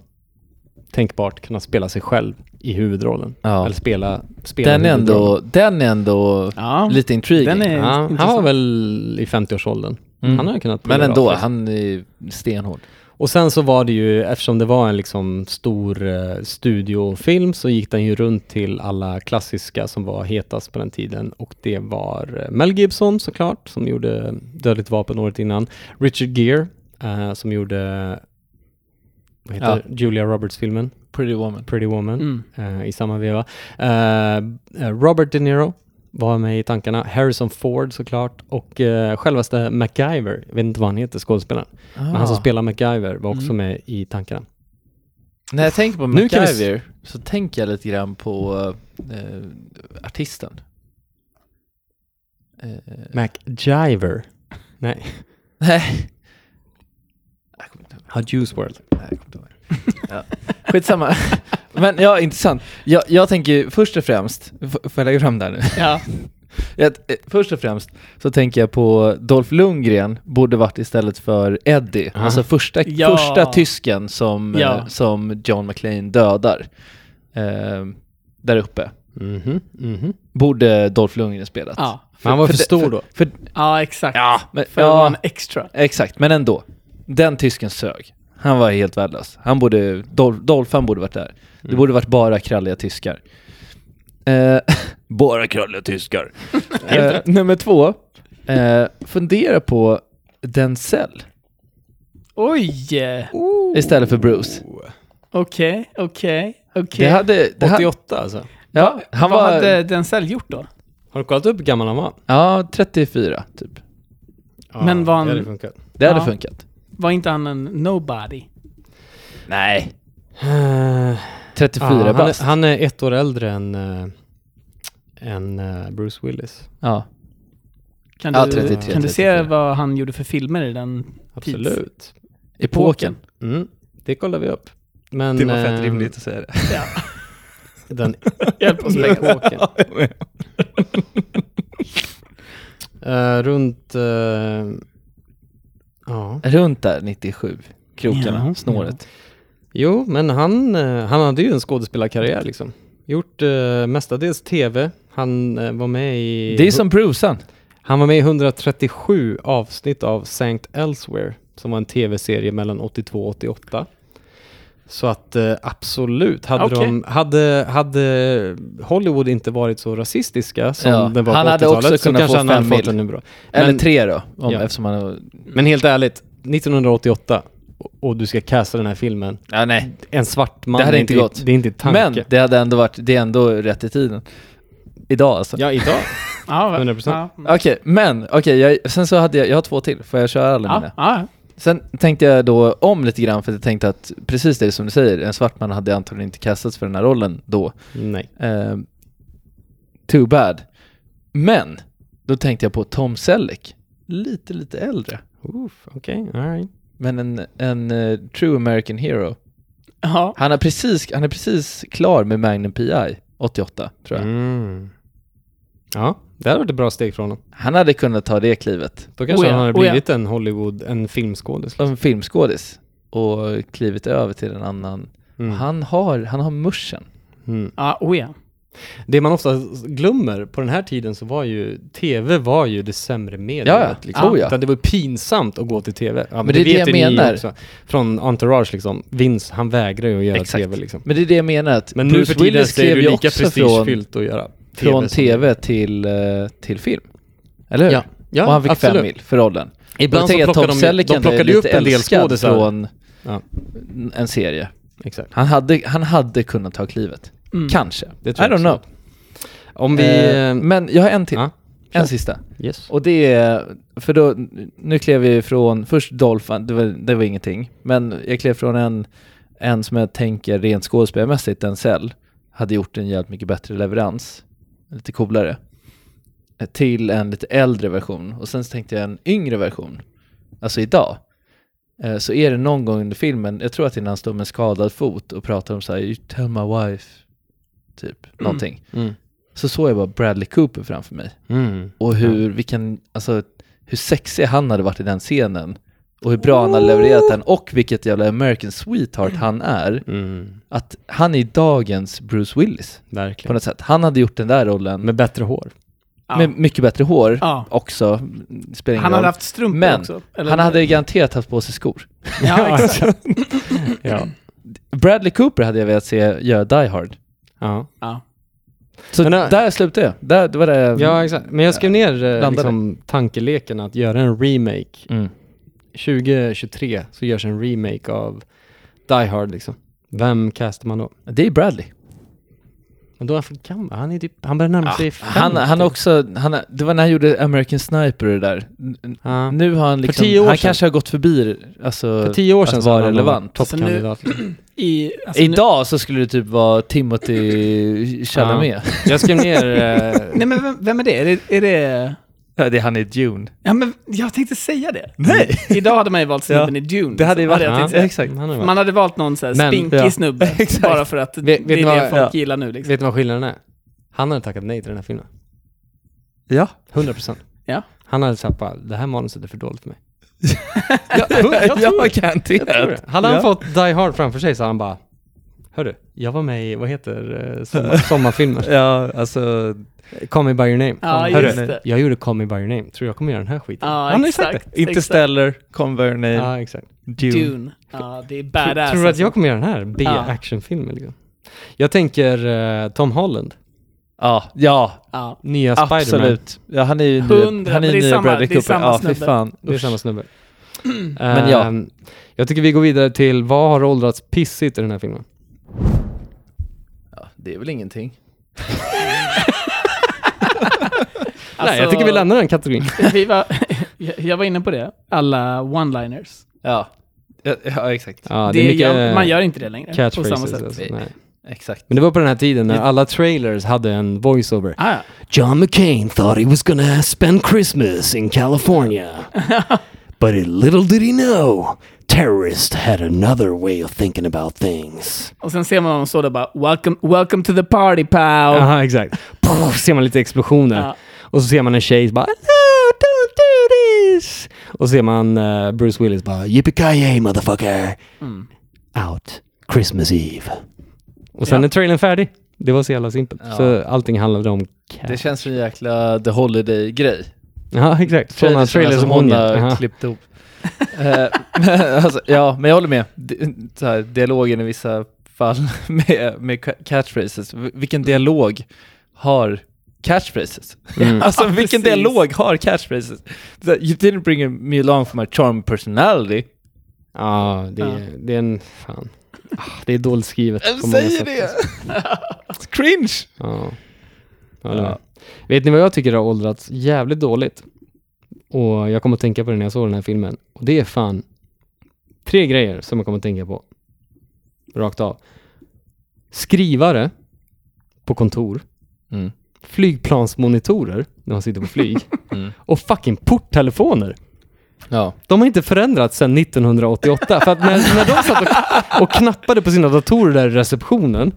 Speaker 1: tänkbart kunnat spela sig själv i huvudrollen.
Speaker 6: Ja.
Speaker 1: Eller spela, spela
Speaker 6: Den är
Speaker 1: huvudrollen.
Speaker 6: ändå, den är ändå
Speaker 7: Ja,
Speaker 6: lite intriguing.
Speaker 7: den är
Speaker 1: Ja, han var
Speaker 7: intressant.
Speaker 1: väl i 50-årsåldern.
Speaker 6: Mm.
Speaker 1: Han hade kunnat
Speaker 6: Men
Speaker 1: bli
Speaker 6: ändå,
Speaker 1: bra.
Speaker 6: han är stenhård.
Speaker 1: Och sen så var det ju, eftersom det var en liksom stor eh, studiofilm så gick den ju runt till alla klassiska som var hetast på den tiden och det var eh, Mel Gibson såklart som gjorde Dödligt vapen året innan, Richard Gere eh, som gjorde vad heter
Speaker 6: Ja.
Speaker 1: det? Julia Roberts-filmen
Speaker 6: Pretty woman.
Speaker 1: Pretty Woman
Speaker 7: Mm.
Speaker 1: eh, i samma veva. Eh, eh, Robert De Niro var med i tankarna, Harrison Ford såklart och eh, självaste MacGyver, jag vet inte vad han heter skådespelaren.
Speaker 6: Ah.
Speaker 1: Men han som spelar MacGyver var
Speaker 6: Mm.
Speaker 1: också med i tankarna.
Speaker 6: När jag tänker på
Speaker 1: Nu kan vi s-
Speaker 6: MacGyver så tänker jag lite grann på eh, artisten. Eh,
Speaker 1: MacGyver? Nej.
Speaker 6: nej,
Speaker 1: Har Juice World.
Speaker 6: [LAUGHS] nej, jag kommer inte ihåg. Skitsamma. Men ja, intressant. Jag, jag tänker ju först och främst, f- får jag lägga fram det här nu? [LAUGHS]
Speaker 7: Ja.
Speaker 6: Ett- eh, Först och främst så tänker jag på Dolph Lundgren borde varit istället för Eddie.
Speaker 8: Aha.
Speaker 6: Alltså första,
Speaker 7: Ja.
Speaker 6: första tysken som, eh,
Speaker 7: Ja.
Speaker 6: som John McClane dödar. Eh, där uppe.
Speaker 8: Mhm, mhm.
Speaker 6: Borde Dolph Lundgren spelat.
Speaker 7: Ja,
Speaker 8: Men han var för,
Speaker 6: det-
Speaker 8: stor då.
Speaker 6: För,
Speaker 7: ja exakt.
Speaker 6: ja, men,
Speaker 7: För att vara
Speaker 6: ja,
Speaker 7: en extra.
Speaker 6: exakt. Men ändå. Den tysken sög. Han var helt värdelös. Han borde, Dolph, Dolph han borde varit där. Det borde varit bara kralliga tyskar. Eh, [LAUGHS] bara kralliga tyskar. [LAUGHS] Eh, nummer två. Eh, fundera på Denzel
Speaker 7: Oj! eh,
Speaker 6: istället för Bruce.
Speaker 7: Okej, okej, okej.
Speaker 6: Det hade... Det hade
Speaker 8: 88 alltså.
Speaker 6: ja, han
Speaker 7: Vad
Speaker 6: var...
Speaker 7: hade Denzel gjort då?
Speaker 8: Har du kollat upp hur gammal han var?
Speaker 6: Ja, 34 typ.
Speaker 8: Ja,
Speaker 7: Men var han-
Speaker 8: det hade funkat.
Speaker 6: Det hade
Speaker 7: Ja.
Speaker 6: funkat.
Speaker 7: Var inte han en nobody?
Speaker 6: Nej.
Speaker 8: Eh,
Speaker 6: 34
Speaker 8: ja, han,
Speaker 6: bast.
Speaker 8: är, han är ett år äldre än, eh, än eh, Bruce Willis.
Speaker 6: Ja.
Speaker 7: Kan du,
Speaker 6: Ja, 33,
Speaker 7: kan du se
Speaker 6: 34.
Speaker 7: vad han gjorde för filmer i den?
Speaker 8: Absolut.
Speaker 6: Epoken.
Speaker 8: Mm, det kollar vi upp. Men,
Speaker 6: Det var fett
Speaker 8: eh,
Speaker 6: rimligt att säga det. [LAUGHS]
Speaker 8: Den Hjälp oss med epoken. Eh, runt... eh, ja.
Speaker 6: Runt där, 97. Krokarna,
Speaker 7: Ja.
Speaker 6: snåret.
Speaker 8: Jo, men han, eh, han hade ju en skådespelarkarriär liksom. Gjort eh, mestadels tv. Han eh, var med i...
Speaker 6: Det är som Brucean.
Speaker 8: Han var med i 137 avsnitt av St. Elsewhere, som var en tv-serie mellan 82 och 88. Så att eh, absolut, hade,
Speaker 7: Okej.
Speaker 8: de, hade, hade Hollywood inte varit så rasistiska som
Speaker 6: Ja,
Speaker 8: den var
Speaker 6: han
Speaker 8: på
Speaker 6: hade
Speaker 8: 80-talet
Speaker 6: också
Speaker 8: så
Speaker 6: kunnat
Speaker 8: kanske
Speaker 6: få
Speaker 8: han hade
Speaker 6: fem
Speaker 8: fått
Speaker 6: mil.
Speaker 8: en bra.
Speaker 6: Eller
Speaker 8: Men-
Speaker 6: tre då, om,
Speaker 8: Ja.
Speaker 6: eftersom han...
Speaker 8: Men helt ärligt, 1988 och- och du ska casta den här filmen,
Speaker 6: Ja, nej.
Speaker 8: en svart man,
Speaker 6: Det hade
Speaker 8: är
Speaker 6: inte gått.
Speaker 8: Det är inte tanken.
Speaker 6: Men det hade ändå varit, det är ändå rätt i tiden. Idag alltså.
Speaker 8: Ja, idag.
Speaker 7: Ja, va-
Speaker 8: 100%.
Speaker 7: Ja,
Speaker 6: Okej, men okej, jag, sen så hade jag, jag har två till. Får jag köra alla
Speaker 7: ja,
Speaker 6: mina?
Speaker 7: ja.
Speaker 6: Sen tänkte jag då om lite grann för jag tänkte att precis det som du säger, en svart man hade antagligen inte kastats för den här rollen då.
Speaker 8: Nej.
Speaker 6: Eh, too bad. Men, då tänkte jag på Tom Selleck. Lite, lite äldre.
Speaker 8: Oof, Okej, all right.
Speaker 6: Men en, en eh, true American hero.
Speaker 7: ja.
Speaker 6: Han är, precis, han är precis klar med Magnum PI, 88 tror jag.
Speaker 8: Mm. Ja, det hade varit ett bra steg från honom.
Speaker 6: Han hade kunnat ta det klivet.
Speaker 8: Då kanske
Speaker 7: Oh ja,
Speaker 8: han hade
Speaker 7: oh ja.
Speaker 8: blivit en Hollywood, en filmskådis.
Speaker 6: Som filmskådis. Och klivit över till en annan.
Speaker 8: Mm.
Speaker 6: Han, har, han har muschen.
Speaker 8: Mm.
Speaker 7: ja, oh ja.
Speaker 8: Det man ofta glömmer, på den här tiden så var ju tv var ju det sämre mediet.
Speaker 6: Ja,
Speaker 8: liksom.
Speaker 6: oh ja.
Speaker 8: Utan det var pinsamt att gå till tv. Ja, men,
Speaker 6: det är det jag
Speaker 8: ju ni
Speaker 6: menar.
Speaker 8: också. Från Entourage liksom, Vince han vägrar ju att göra
Speaker 6: Exakt.
Speaker 8: tv liksom.
Speaker 6: Men det är det jag menar att
Speaker 8: Men nu
Speaker 6: Bruce
Speaker 8: för tiden
Speaker 6: Willis
Speaker 8: så är
Speaker 6: klev
Speaker 8: det
Speaker 6: ju
Speaker 8: ju lika
Speaker 6: också från,
Speaker 8: prestigefyllt att göra TV
Speaker 6: från
Speaker 8: som-
Speaker 6: tv till, eh, till film. Eller hur?
Speaker 8: Ja. Ja,
Speaker 6: och han fick
Speaker 8: absolut.
Speaker 6: fem mil för rollen.
Speaker 8: Ibland
Speaker 6: Och
Speaker 8: så
Speaker 6: tänker jag att
Speaker 8: plockar
Speaker 6: Tom
Speaker 8: de ju-
Speaker 6: Selleck
Speaker 8: de
Speaker 6: ändå är
Speaker 8: plockade ju
Speaker 6: lite
Speaker 8: upp en del
Speaker 6: älskad
Speaker 8: skådisar.
Speaker 6: från
Speaker 8: Ja.
Speaker 6: en serie.
Speaker 8: Exakt. Mm.
Speaker 6: Han hade, han hade kunnat ta klivet. Kanske.
Speaker 8: Det tror
Speaker 6: I
Speaker 8: jag
Speaker 6: don't know.
Speaker 8: absolut. Om vi...
Speaker 6: Eh, men jag har en till.
Speaker 8: ja,
Speaker 6: en sista.
Speaker 8: yes.
Speaker 6: Och det är, för då, nu klev vi från, först Dolph, det var, det var ingenting, men jag klev från en, en som jag tänker rent skådespelarmässigt, Denzel, hade gjort en jävligt mycket bättre leverans, lite coolare, eh, till en lite äldre version. Och sen så tänkte jag en yngre version, alltså idag. Eh, Så är det någon gång under filmen, jag tror att det är när han står med en skadad fot och pratar om så här, you tell my wife, typ, någonting.
Speaker 8: Mm.
Speaker 6: Så såg jag bara Bradley Cooper framför mig.
Speaker 8: Mm.
Speaker 6: Och hur, vilken, alltså, hur sexig han hade varit i den scenen. Och hur bra han hade levererat den. Och vilket jävla American sweetheart han är.
Speaker 8: Mm.
Speaker 6: Att han är dagens Bruce Willis. På
Speaker 8: Verkligen.
Speaker 6: något sätt. Han hade gjort den där rollen med,
Speaker 8: Med bättre hår.
Speaker 6: med mycket bättre hår
Speaker 7: Ja.
Speaker 6: också. Spelar ingen
Speaker 7: Han hade
Speaker 6: roll.
Speaker 7: haft strumpor
Speaker 6: Men
Speaker 7: också.
Speaker 6: han hade [LAUGHS] garanterat haft på sig skor.
Speaker 7: Ja, exakt.
Speaker 8: Ja.
Speaker 6: Bradley Cooper hade jag velat se göra Die Hard.
Speaker 8: ja.
Speaker 7: Ja.
Speaker 6: Så
Speaker 8: Men, äh,
Speaker 6: där slutade jag. Där, det var det.
Speaker 7: Mm.
Speaker 8: Ja, exakt. Men jag skrev ner eh,
Speaker 6: Blandade.
Speaker 8: liksom, tankeleken att göra en remake.
Speaker 6: Mm.
Speaker 8: 2023 så görs en remake av Die Hard liksom. Vem castar man då?
Speaker 6: Det är Bradley.
Speaker 8: Men då är han för gammal. Han, är typ, han börjar närma sig 50.
Speaker 6: Ah, Han, han också, han, det var när han gjorde American Sniper det där.
Speaker 8: Ja.
Speaker 6: Nu har han liksom,
Speaker 8: tio år
Speaker 6: han
Speaker 8: sedan.
Speaker 6: kanske har gått förbi alltså,
Speaker 8: För tio år sedan
Speaker 6: att
Speaker 8: så
Speaker 6: vara
Speaker 8: han
Speaker 6: relevant.
Speaker 8: toppkandidat.
Speaker 7: I, alltså, nu-
Speaker 6: Idag så skulle det typ vara [LAUGHS] Timothy Chalamet.
Speaker 8: Jag skrev ner... eh,
Speaker 6: [LAUGHS]
Speaker 7: Nej men vem, vem är det? Är det, är det
Speaker 6: Ja, det är han i Dune.
Speaker 7: Ja, men jag tänkte säga det.
Speaker 6: Nej!
Speaker 7: Idag hade man ju valt snubben
Speaker 6: Ja,
Speaker 7: i Dune.
Speaker 6: Det hade ju varit...
Speaker 7: jag tänkt
Speaker 6: Ja,
Speaker 7: säga.
Speaker 6: exakt.
Speaker 1: Han är väl-
Speaker 7: Man hade valt någon sån här
Speaker 1: Men-
Speaker 7: spinkig
Speaker 6: ja.
Speaker 7: snubbe,
Speaker 6: [LAUGHS] Exakt.
Speaker 7: bara för att
Speaker 1: vet
Speaker 7: det
Speaker 1: ni
Speaker 7: är
Speaker 1: vad-
Speaker 7: det folk
Speaker 6: ja.
Speaker 7: gillar nu. Liksom.
Speaker 1: Vet du vad skillnaden är? Han hade tackat nej till den här filmen.
Speaker 6: Ja.
Speaker 1: 100 procent.
Speaker 7: Ja.
Speaker 1: Han hade sagt bara, det här manuset är för dåligt för mig.
Speaker 6: Ja,
Speaker 1: jag tror
Speaker 6: jag garanterat.
Speaker 1: Hade han
Speaker 6: Ja.
Speaker 1: fått Die Hard framför sig så hade han bara, hörru, jag var med i, vad heter eh, sommar, sommarfilmer?
Speaker 6: Ja, alltså...
Speaker 1: Call me by your name.
Speaker 7: Ja,
Speaker 1: Hörru,
Speaker 7: just det.
Speaker 1: jag gjorde Call me by your name. Tror jag kommer göra den här skiten?
Speaker 7: Ja,
Speaker 1: han har ju sagt
Speaker 7: exakt. exakt.
Speaker 6: Interstellar, Conver Name,
Speaker 1: Ja, exakt.
Speaker 6: Dune.
Speaker 7: Dune. Ja, det är
Speaker 1: Tror,
Speaker 7: badass.
Speaker 1: tror du att
Speaker 7: alltså.
Speaker 1: jag kommer göra den här B-actionfilmen? Liksom? Jag tänker eh, Tom Holland,
Speaker 6: Ja, ja
Speaker 7: Ja.
Speaker 1: nya Spiderman.
Speaker 6: absolut. Ja, han är ju
Speaker 7: Hundra,
Speaker 6: nya, han är
Speaker 7: det är
Speaker 6: ju nya
Speaker 7: samma-
Speaker 6: Bradley
Speaker 7: det är
Speaker 6: Cooper.
Speaker 7: samma
Speaker 6: Ja, fy
Speaker 7: snubbe.
Speaker 6: fan.
Speaker 1: Det är
Speaker 6: Usch.
Speaker 1: samma
Speaker 7: [CLEARS THROAT]
Speaker 1: snubbe.
Speaker 6: Men ja.
Speaker 1: Ehm, Jag tycker vi går vidare till vad har åldrats pissigt i den här filmen?
Speaker 6: Det är väl ingenting.
Speaker 7: Alltså,
Speaker 1: Nej, jag tycker vi lämnar den
Speaker 7: [LAUGHS]
Speaker 1: kategorin.
Speaker 7: vi var, jag- jag var inne på det. Alla one-liners.
Speaker 6: Ja, ja, ja exakt.
Speaker 1: Ja,
Speaker 7: det gör, man gör inte det längre på
Speaker 1: catchphrases.
Speaker 7: samma sätt.
Speaker 1: Alltså. Nej.
Speaker 6: exakt.
Speaker 1: Men det var på den här tiden när alla trailers hade en voiceover.
Speaker 7: Ah, ja.
Speaker 1: John McCain thought he was gonna spend Christmas in California. [LAUGHS] But little did he know, terrorists had another way of thinking about things.
Speaker 7: Och sen ser man honom stå där och bara welcome, welcome to the party pal.
Speaker 1: Ja, exakt. Puff, ser man lite explosioner.
Speaker 7: Ja.
Speaker 1: Och så ser man en tjej bara No, don't do this! Och så ser man eh, Bruce Willis bara Yippee motherfucker! Mm. Out Christmas Eve. Och sen
Speaker 7: Ja.
Speaker 1: är trailern färdig. Det var så jävla simpelt.
Speaker 6: Ja.
Speaker 1: Så allting handlade om cat.
Speaker 6: Det känns som en jäkla The Holiday-grej.
Speaker 1: Ja, exakt. Sådana trailers som hon gör.
Speaker 6: alltså har
Speaker 1: Aha.
Speaker 6: klippt ihop. Eh, [LAUGHS] men, alltså, ja, men jag håller med. Di- Så här, dialogen i vissa fall [LAUGHS] med, med ca- catchphrases. V- Vilken dialog har catchphrases?
Speaker 1: Mm.
Speaker 6: [LAUGHS] Alltså
Speaker 7: Ja,
Speaker 6: vilken
Speaker 7: precis.
Speaker 6: dialog har catchphrases? Så, här, you didn't bring me along for my charm personality.
Speaker 1: Ja, det,
Speaker 7: Ja.
Speaker 1: det är en... Fan. Ah, Det är dåligt skrivet på många sätt. alltså.
Speaker 6: Cringe!
Speaker 1: Ja. Jag håller
Speaker 6: Ja.
Speaker 1: med. Vet ni vad jag tycker har åldrats jävligt dåligt? Och jag kommer att tänka på det när jag såg den här filmen. Och det är fan tre grejer som jag kommer att tänka på. Rakt av. Skrivare på kontor.
Speaker 6: Mm.
Speaker 1: Flygplansmonitorer när man sitter på flyg.
Speaker 6: [LAUGHS] Mm.
Speaker 1: Och fucking porttelefoner.
Speaker 6: Ja.
Speaker 1: De har inte förändrats sedan 1988. För att när, när de satt och, och knappade på sina datorer där i receptionen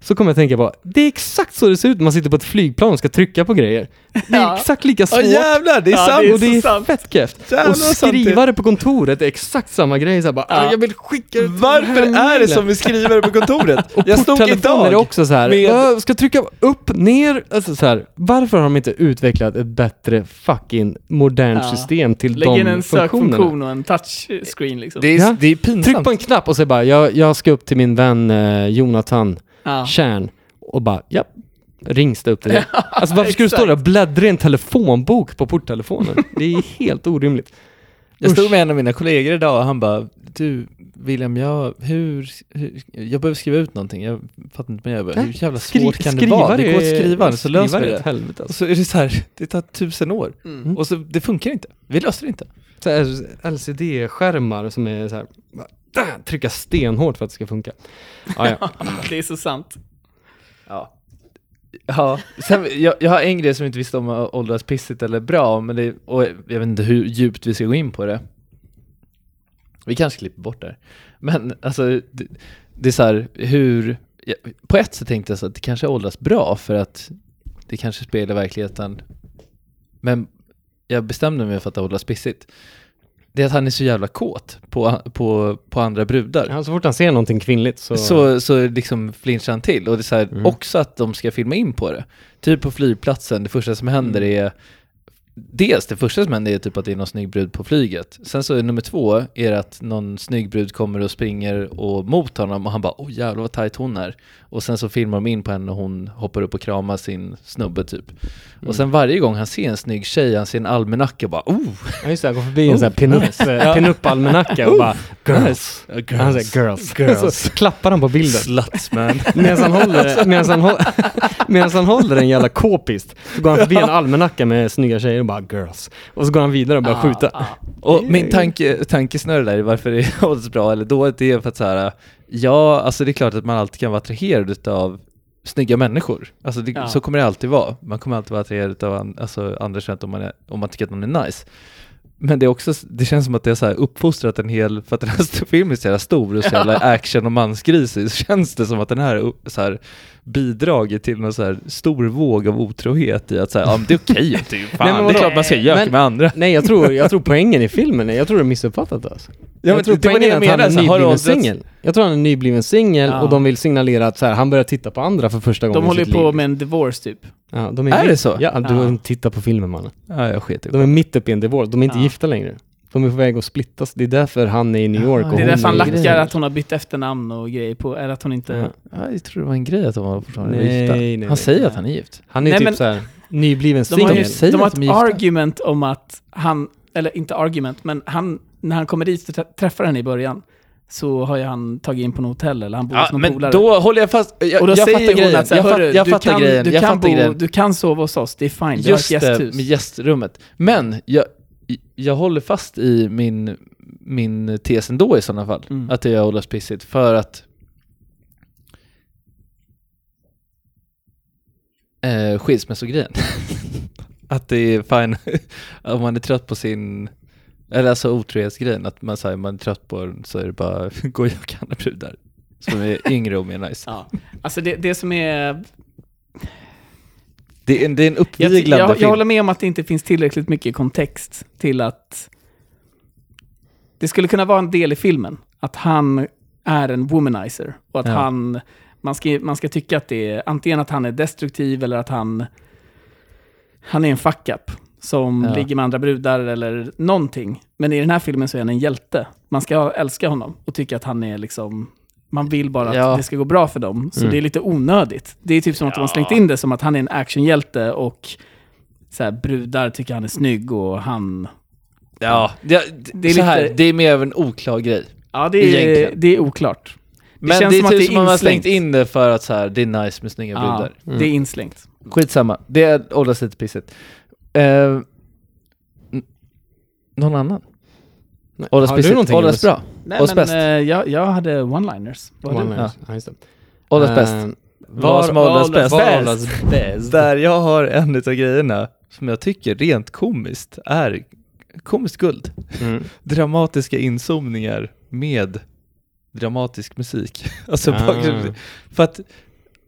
Speaker 1: så kommer jag att tänka på, det är exakt så det ser ut när man sitter på ett flygplan och ska trycka på grejer. Det är
Speaker 7: Ja.
Speaker 1: exakt lika svårt.
Speaker 6: Åh jävlar, det är
Speaker 7: Ja,
Speaker 6: sant!
Speaker 7: det är
Speaker 1: och det
Speaker 7: så
Speaker 1: är
Speaker 7: sant.
Speaker 1: fett keft.
Speaker 6: Jävlar
Speaker 1: Och
Speaker 6: vad sant det är.
Speaker 1: skrivare på kontoret är exakt samma grej. Så här, bara,
Speaker 7: Ja.
Speaker 1: "Ah, Jag vill skicka det till den
Speaker 6: Varför
Speaker 1: här
Speaker 6: är det
Speaker 1: mailen."
Speaker 6: som vi skriver på
Speaker 1: [LAUGHS]
Speaker 6: kontoret? Jag stod
Speaker 1: Telefoner är
Speaker 6: idag...
Speaker 1: också så här,
Speaker 6: med-
Speaker 1: "Ö, ska trycka upp, ner, alltså så här. Varför har de inte utvecklat ett bättre fucking modernt
Speaker 7: Ja.
Speaker 1: system till
Speaker 7: Lägg in
Speaker 1: de
Speaker 7: en
Speaker 1: funktionerna?
Speaker 7: sökfunktion och en touchscreen liksom.
Speaker 6: Det är,
Speaker 1: Ja.
Speaker 6: det är pinsamt.
Speaker 1: Tryck på en knapp och säg bara, jag, jag ska upp till min vän eh, Jonathan
Speaker 7: ja.
Speaker 1: Kärn och bara, ja, rings det upp till dig. Alltså varför ska du stå där och bläddra i en telefonbok på porttelefonen? Det är
Speaker 6: [LAUGHS]
Speaker 1: helt orimligt.
Speaker 6: Jag
Speaker 1: Usch.
Speaker 6: stod med en av mina kollegor idag och han bara Du William, jag, hur, hur, jag behöver skriva ut någonting, jag fattar inte men jag bara,
Speaker 1: Nej,
Speaker 6: hur jävla
Speaker 1: Skri-
Speaker 6: svårt kan det
Speaker 1: skriva
Speaker 6: vara? Det går att skriva så
Speaker 1: skriva
Speaker 6: löser vi
Speaker 1: är ett
Speaker 6: det.
Speaker 1: Helvete,
Speaker 6: Och
Speaker 1: alltså.
Speaker 6: så är det så här, [LAUGHS] det tar tusen år.
Speaker 7: Mm.
Speaker 6: Och så, det funkar inte. Vi löser det inte.
Speaker 1: Så här, LCD-skärmar som är så här, bara, där, trycka stenhårt för att det ska funka. Ah, ja.
Speaker 7: det är så sant.
Speaker 6: Ja. Ja, sen, jag, jag har en grej som jag inte visste om har åldrats pissigt eller bra, men det, och jag vet inte hur djupt vi ska gå in på det. Vi kanske klipper bort det här. Men alltså, det, det är så här, hur... ja, På ett sätt tänkte jag så att det kanske har åldrats bra för att det kanske speglar verkligheten. Men jag bestämde mig för att det har åldrats pissigt. Det är att han är så jävla kåt på, på, på andra brudar.
Speaker 1: Ja, så fort han ser någonting kvinnligt så...
Speaker 6: Så, så liksom flinchar han till. Och det är så här,
Speaker 1: Mm.
Speaker 6: också att de ska filma in på det. Typ på flygplatsen, det första som händer
Speaker 1: Mm.
Speaker 6: är Dels det första som händer är typ att det är någon snygg brud på flyget. Sen så är nummer två är att någon snygg brud kommer och springer och mot honom och han bara åh jävlar vad tajt hon är. Och sen så filmar de in på henne och hon hoppar upp och kramar sin snubbe typ.
Speaker 1: Mm.
Speaker 6: Och sen varje gång han ser en snygg tjej, han ser en almanacka och bara
Speaker 1: [LAUGHS]
Speaker 6: oh!
Speaker 1: Ja, just det, han går förbi en sån här pinup, eh, pinup-almanacka och bara girls.
Speaker 6: Girls.
Speaker 1: Han säger girls,
Speaker 6: [LAUGHS] Girls.
Speaker 1: Så klappar han på
Speaker 6: [LAUGHS]
Speaker 1: bilden.
Speaker 6: Sluts man.
Speaker 1: Medan han håller, medan han håller, [LAUGHS] medan han håller en jävla k-pist så går han förbi en almanacka med snygga tjejer och bara girls. Och så går han vidare och börjar
Speaker 6: Ah,
Speaker 1: skjuta.
Speaker 6: Och min tanke, tankesnurra där, varför [LAUGHS] det hålls bra eller dåligt, det är för att så här, ja, alltså det är klart att man alltid kan vara attraherad utav snygga människor. Alltså det,
Speaker 7: Ja.
Speaker 6: så kommer det alltid vara. Man kommer alltid vara attraherad av an, alltså andra könet om man, är, om man tycker att någon är nice. Men det, är också, det känns som att det har så här uppfostrat en hel, för att den här st- filmen är så jävla stor och så jävla action och mansgrisig, så känns det som att den här, upp- så här bidragit till någon så här stor våg av otrohet i att så här, ja men det är okej, att [LAUGHS] det är ju fan,
Speaker 1: Nej, men
Speaker 6: det är
Speaker 1: vadå?
Speaker 6: klart man ska göra
Speaker 1: Men-
Speaker 6: med andra.
Speaker 1: Nej, jag tror, jag tror poängen i filmen, är- jag tror det är missuppfattat alltså.
Speaker 6: men
Speaker 1: jag tror
Speaker 6: det var det
Speaker 1: poängen är att han är
Speaker 6: jag menade, så här, har du
Speaker 1: nybliven
Speaker 6: åldrats?
Speaker 1: singel. Jag tror han är nybliven singel
Speaker 7: Ja.
Speaker 1: och de vill signalera att så här, han börjar titta på andra för första gången
Speaker 7: De håller
Speaker 1: i
Speaker 7: ju
Speaker 1: sitt
Speaker 7: på
Speaker 1: liv.
Speaker 7: med en divorce typ.
Speaker 1: Ja, de är,
Speaker 6: Är
Speaker 1: mitt-
Speaker 6: det så?
Speaker 1: Ja, du
Speaker 7: Ja.
Speaker 1: titta på filmen mannen.
Speaker 6: Ja, jag skiter i
Speaker 1: De är mitt uppe i en divorce, de är inte
Speaker 7: Ja.
Speaker 1: gifta längre. De är på väg att splittas, det är därför han är i New York
Speaker 6: Ja,
Speaker 1: och
Speaker 7: Det är
Speaker 1: hon
Speaker 7: därför han
Speaker 1: i-
Speaker 7: lackar att hon har bytt efternamn och grejer på, eller att hon inte...
Speaker 1: Ja.
Speaker 6: Ja, jag tror det var en grej att de var fortfarande
Speaker 1: Nej,
Speaker 6: gifta.
Speaker 1: nej,
Speaker 6: han
Speaker 1: nej.
Speaker 6: säger att han är gift.
Speaker 1: Han är
Speaker 7: Nej,
Speaker 1: typ
Speaker 7: men-
Speaker 1: så här nybliven
Speaker 7: De har,
Speaker 1: singel.
Speaker 7: ju,
Speaker 6: Säger
Speaker 7: de har
Speaker 6: att
Speaker 7: ett
Speaker 6: de är gifta.
Speaker 7: argument om att han, eller inte argument, men han, när han kommer dit och trä- träffar henne i början så har ju han tagit in på något hotell eller han bor hos någon polare.
Speaker 6: håller jag fast. Jag,
Speaker 7: och då
Speaker 6: jag
Speaker 7: säger
Speaker 6: fattar
Speaker 7: hon
Speaker 6: grejen.
Speaker 7: att så här,
Speaker 6: jag, fatt-
Speaker 7: "Hörru,
Speaker 6: jag
Speaker 7: du
Speaker 6: fattar
Speaker 7: kan,
Speaker 6: grejen.
Speaker 7: Du,
Speaker 6: jag
Speaker 7: kan
Speaker 6: fattar
Speaker 7: bo,
Speaker 6: grejen.
Speaker 7: du kan sova hos oss, det är fine. Vi
Speaker 6: Just
Speaker 7: har ett
Speaker 6: det,
Speaker 7: gästhus.
Speaker 6: med gästrummet. Men jag, jag håller fast i min, min tes ändå i sådana fall.
Speaker 7: Mm.
Speaker 6: Att det är Olas pissigt. För att eh, skilsmässogrejen. [LAUGHS] att det är fine [LAUGHS] om man är trött på sin eller alltså otrohetsgrejen, att man säger man är trött på den så är det bara [LAUGHS] gå och jaga andra brudar. Som är yngre och mer nice.
Speaker 7: Ja. Alltså det, det som är...
Speaker 6: Det är en, det är en
Speaker 7: Jag,
Speaker 6: uppviglande
Speaker 7: jag, jag
Speaker 6: film.
Speaker 7: håller med om att det inte finns tillräckligt mycket kontext till att... Det skulle kunna vara en del i filmen, att han är en womanizer. Och att
Speaker 6: Ja.
Speaker 7: han... Man ska, man ska tycka att det är antingen att han är destruktiv eller att han... Han är en fuck-up som
Speaker 6: Ja.
Speaker 7: ligger med andra brudar eller någonting. Men i den här filmen så är han en hjälte. Man ska älska honom och tycka att han är liksom... Man vill bara att
Speaker 6: Ja.
Speaker 7: det ska gå bra för dem, så det är lite onödigt. Det är typ som att de har slängt in det som att han är en actionhjälte och så här, brudar tycker han är snygg och han...
Speaker 6: Ja, det,
Speaker 7: Det
Speaker 6: det,
Speaker 7: är
Speaker 6: är så här,
Speaker 7: lite-
Speaker 6: det är mer av en oklar grej.
Speaker 7: Ja, det är,
Speaker 6: Egentligen.
Speaker 7: det är oklart. Det
Speaker 6: Men det,
Speaker 7: känns
Speaker 6: är som
Speaker 7: som att
Speaker 6: typ
Speaker 7: det är
Speaker 6: som att man har slängt
Speaker 7: inslängt.
Speaker 6: in det för att så här, det är nice med snygga
Speaker 7: Ja,
Speaker 6: brudar.
Speaker 7: det är inslängt.
Speaker 6: Skitsamma, det är åldras lite pissigt. Eh, n- någon annan? Åldras
Speaker 1: har du
Speaker 6: pissigt,
Speaker 1: någonting,
Speaker 6: åldras bra,
Speaker 7: Nej,
Speaker 6: Åldras
Speaker 7: men
Speaker 6: bäst.
Speaker 7: eh, jag, jag hade one-liners. Vad hade du?
Speaker 1: One-liners. Ja, just det.
Speaker 6: åldras
Speaker 1: Eh,
Speaker 6: bäst.
Speaker 1: Var
Speaker 6: Vad som åldras
Speaker 1: åldras
Speaker 6: bäst.
Speaker 1: var åldras bäst.
Speaker 6: Där jag har en av grejerna som jag tycker rent komiskt är komiskt guld.
Speaker 1: Mm.
Speaker 6: dramatiska inzoomningar med dramatisk musik. [LAUGHS] Alltså,
Speaker 1: Ah.
Speaker 6: bakgrunds- för att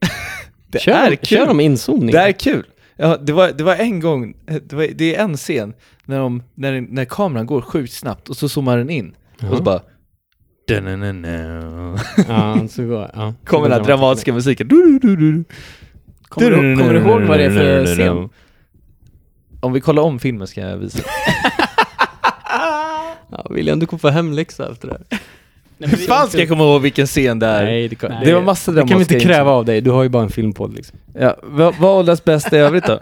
Speaker 6: [LAUGHS] det
Speaker 1: Kör,
Speaker 6: är kul.
Speaker 1: kör de inzoomning?
Speaker 6: det är kul. Ja, det, var, det var en gång, det, var, det är en scen när, de, när, när kameran går sjukt snabbt och så zoomar den in och så bara Da-na-na-na.
Speaker 1: Ja, så går, ja. Så
Speaker 6: [LAUGHS] kommer
Speaker 1: går
Speaker 6: den här dramatiska musiken. Du, du, du, du.
Speaker 7: Kommer du, kommer du ihåg vad det är för scen?
Speaker 6: Om vi kollar om filmen ska jag visa.
Speaker 1: Ja, William, du kommer få hemläxa efter det här.
Speaker 7: [LAUGHS]
Speaker 6: Hur fan ska jag komma ihåg vilken scen det är?
Speaker 1: det, kan,
Speaker 6: Det var massa
Speaker 1: det kan vi
Speaker 6: dramatiska
Speaker 1: inte kräva av dig, du har ju bara en filmpodd liksom.
Speaker 6: Ja, vad, vad åldras bäst i övrigt då? [LAUGHS]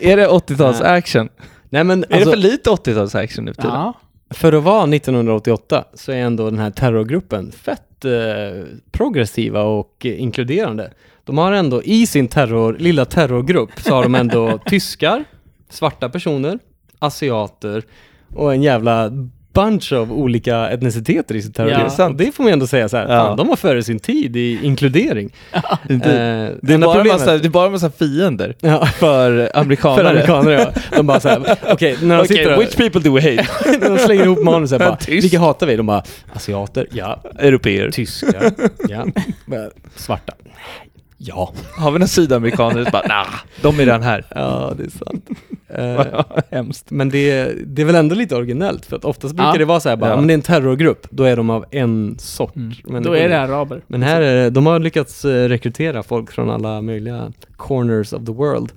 Speaker 6: är det 80-tals action?
Speaker 1: Nej men
Speaker 6: är det
Speaker 1: alltså,
Speaker 6: för
Speaker 1: för...
Speaker 6: lite 80-tals action nu för tiden?
Speaker 7: Ja.
Speaker 1: att vara 1988 så är ändå den här terrorgruppen fett eh, progressiva och eh, inkluderande. De har ändå i sin terror, lilla terrorgrupp så har de [LAUGHS] ändå tyskar, svarta personer, asiater och en jävla bunch av olika etniciteter i sin
Speaker 7: Ja.
Speaker 1: terrorgrupp.
Speaker 7: Det är
Speaker 1: Och det får man ändå säga så här,
Speaker 6: Ja.
Speaker 1: fan, de var före sin tid i inkludering. Eh,
Speaker 6: Det, är
Speaker 1: enda
Speaker 6: bara
Speaker 1: problemet-
Speaker 6: massa, det är bara massa fiender
Speaker 1: Ja.
Speaker 6: [LAUGHS] för amerikanare.
Speaker 1: För amerikaner ja. De bara såhär, [LAUGHS] okej, när de sitter
Speaker 6: Okej,
Speaker 1: där-
Speaker 6: which people do we hate?
Speaker 1: de slänger ihop manuset bara,
Speaker 6: Tyst.
Speaker 1: vilka hatar vi? De bara, asiater, ja.
Speaker 6: Europeer.
Speaker 1: Tyskar, ja. Bara, Svarta, ja.
Speaker 6: Har vi några sydamerikaner? bara, nah, de är redan [LAUGHS] här.
Speaker 1: Ja, det är [LAUGHS] sant.
Speaker 6: Hemskt.
Speaker 1: Eh, men det, det är väl ändå lite originellt, för att oftast brukar
Speaker 7: Ja.
Speaker 1: det vara så här, bara,
Speaker 6: Ja.
Speaker 1: men det är en terrorgrupp, då är de av en sort. Men,
Speaker 7: Då är det araber.
Speaker 1: men här är det, de har lyckats eh, rekrytera folk från alla möjliga corners of the world.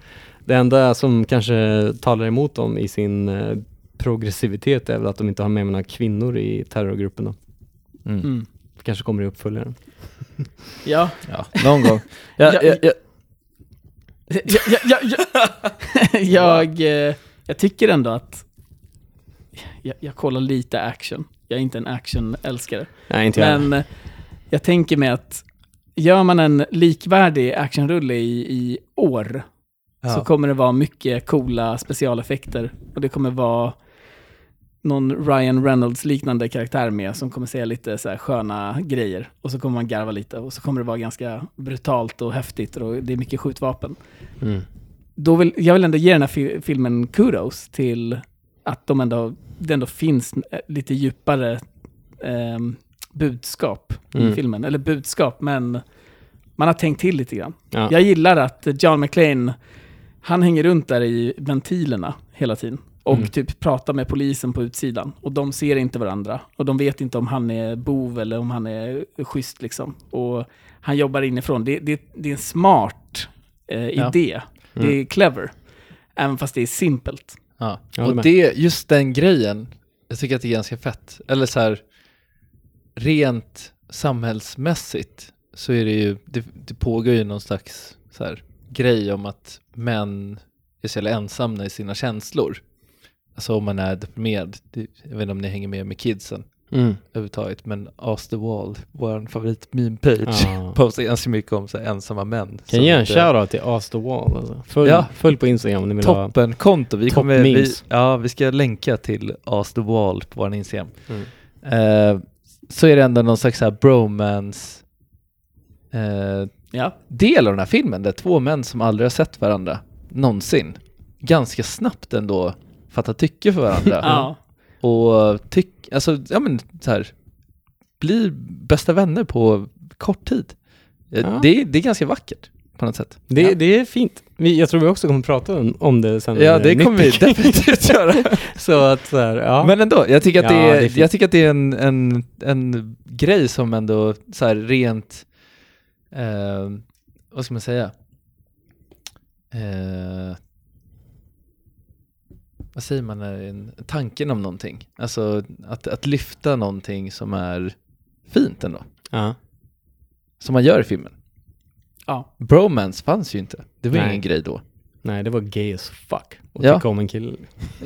Speaker 1: Det enda som kanske talar emot dem i sin eh, progressivitet är väl att de inte har med några kvinnor i terrorgruppen. Då.
Speaker 7: Mm.
Speaker 1: Kanske kommer i uppföljaren.
Speaker 7: Ja.
Speaker 6: Ja, någon gång. Jag, jag, jag,
Speaker 7: jag, jag, [LAUGHS] jag, jag, eh, jag tycker ändå att jag, jag kollar lite action. Jag är inte en actionälskare.
Speaker 1: Nej, inte jag.
Speaker 7: Men eh, jag tänker mig att gör man en likvärdig actionrulle i, i år
Speaker 6: ja.
Speaker 7: så kommer det vara mycket coola specialeffekter. Och det kommer vara någon Ryan Reynolds-liknande karaktär med som kommer säga lite så här sköna grejer. Och så kommer man garva lite och så kommer det vara ganska brutalt och häftigt och det är mycket skjutvapen.
Speaker 1: Mm.
Speaker 7: Då vill, jag vill ändå ge den här fi- filmen kudos till att de ändå, det ändå finns eh, lite djupare ehm, budskap
Speaker 1: Mm.
Speaker 7: i filmen. Eller budskap, men man har tänkt till lite grann.
Speaker 1: Ja.
Speaker 7: Jag gillar att John McClane, han hänger runt där i ventilerna hela tiden och
Speaker 1: Mm.
Speaker 7: typ pratar med polisen på utsidan. Och de ser inte varandra och de vet inte om han är bov eller om han är schysst liksom. Och han jobbar inifrån. Det, det, det är en smart eh,
Speaker 6: Ja.
Speaker 7: idé. Det
Speaker 1: Mm.
Speaker 7: är clever. Även fast det är simpelt.
Speaker 6: Ja.
Speaker 1: Jag håller
Speaker 6: Och
Speaker 1: med.
Speaker 6: det, just den grejen, jag tycker att det är ganska fett. Eller så här, rent samhällsmässigt så är det ju, det, det pågår ju någon slags så här, grej om att män är så jävla ensamma i sina känslor. Alltså om man är deprimerad, det, jag vet inte om ni hänger med med kidsen
Speaker 1: Mm.
Speaker 6: överhuvudtaget, men Ask the Wall, vår favorit meme page,
Speaker 1: Ja.
Speaker 6: [LAUGHS] postar ganska mycket om så här, ensamma män.
Speaker 1: Kan
Speaker 6: som
Speaker 1: jag ge en
Speaker 6: inte-
Speaker 1: shoutout till Ask the Wall alltså. följ,
Speaker 6: Ja.
Speaker 1: följ på Instagram om ni vill ha.
Speaker 6: Toppenkonto. Vi
Speaker 1: Top
Speaker 6: kommer, vi,
Speaker 1: memes.
Speaker 6: ja, vi ska länka till Ask the Wall på vår Instagram.
Speaker 1: Mm.
Speaker 6: Eh, så är det ändå någon slags så här bromance eh,
Speaker 7: Ja.
Speaker 6: del av den här filmen där två män som aldrig har sett varandra någonsin ganska snabbt ändå fattar tycke
Speaker 1: [LAUGHS]
Speaker 6: för varandra.
Speaker 7: ja.
Speaker 6: Och tyck, alltså, ja men så här, blir bästa vänner på kort tid. Eh,
Speaker 1: Ja.
Speaker 6: Det, är- det är ganska vackert på något sätt.
Speaker 1: Det,
Speaker 6: Ja.
Speaker 1: det är fint. Vi, jag tror vi också kommer prata om, om det sen.
Speaker 6: Ja,
Speaker 1: eh,
Speaker 6: det
Speaker 1: nytt.
Speaker 6: kommer vi definitivt göra.
Speaker 1: Så att så här, ja.
Speaker 6: Men ändå, jag tycker att,
Speaker 1: Ja,
Speaker 6: det,
Speaker 1: det är
Speaker 6: är,
Speaker 1: fint.
Speaker 6: jag tycker att det är en, en, en grej som ändå så här rent, eh, vad ska man säga? Eh, vad säger man när det är en, tanken om någonting? Alltså att, att lyfta någonting som är fint ändå,
Speaker 1: ja.
Speaker 6: som man gör i filmen.
Speaker 7: Ja.
Speaker 6: Bromance fanns ju inte, det var
Speaker 1: Nej.
Speaker 6: ingen grej då.
Speaker 1: Nej, det var gay as fuck. Och
Speaker 6: Ja.
Speaker 1: tycka om en kille.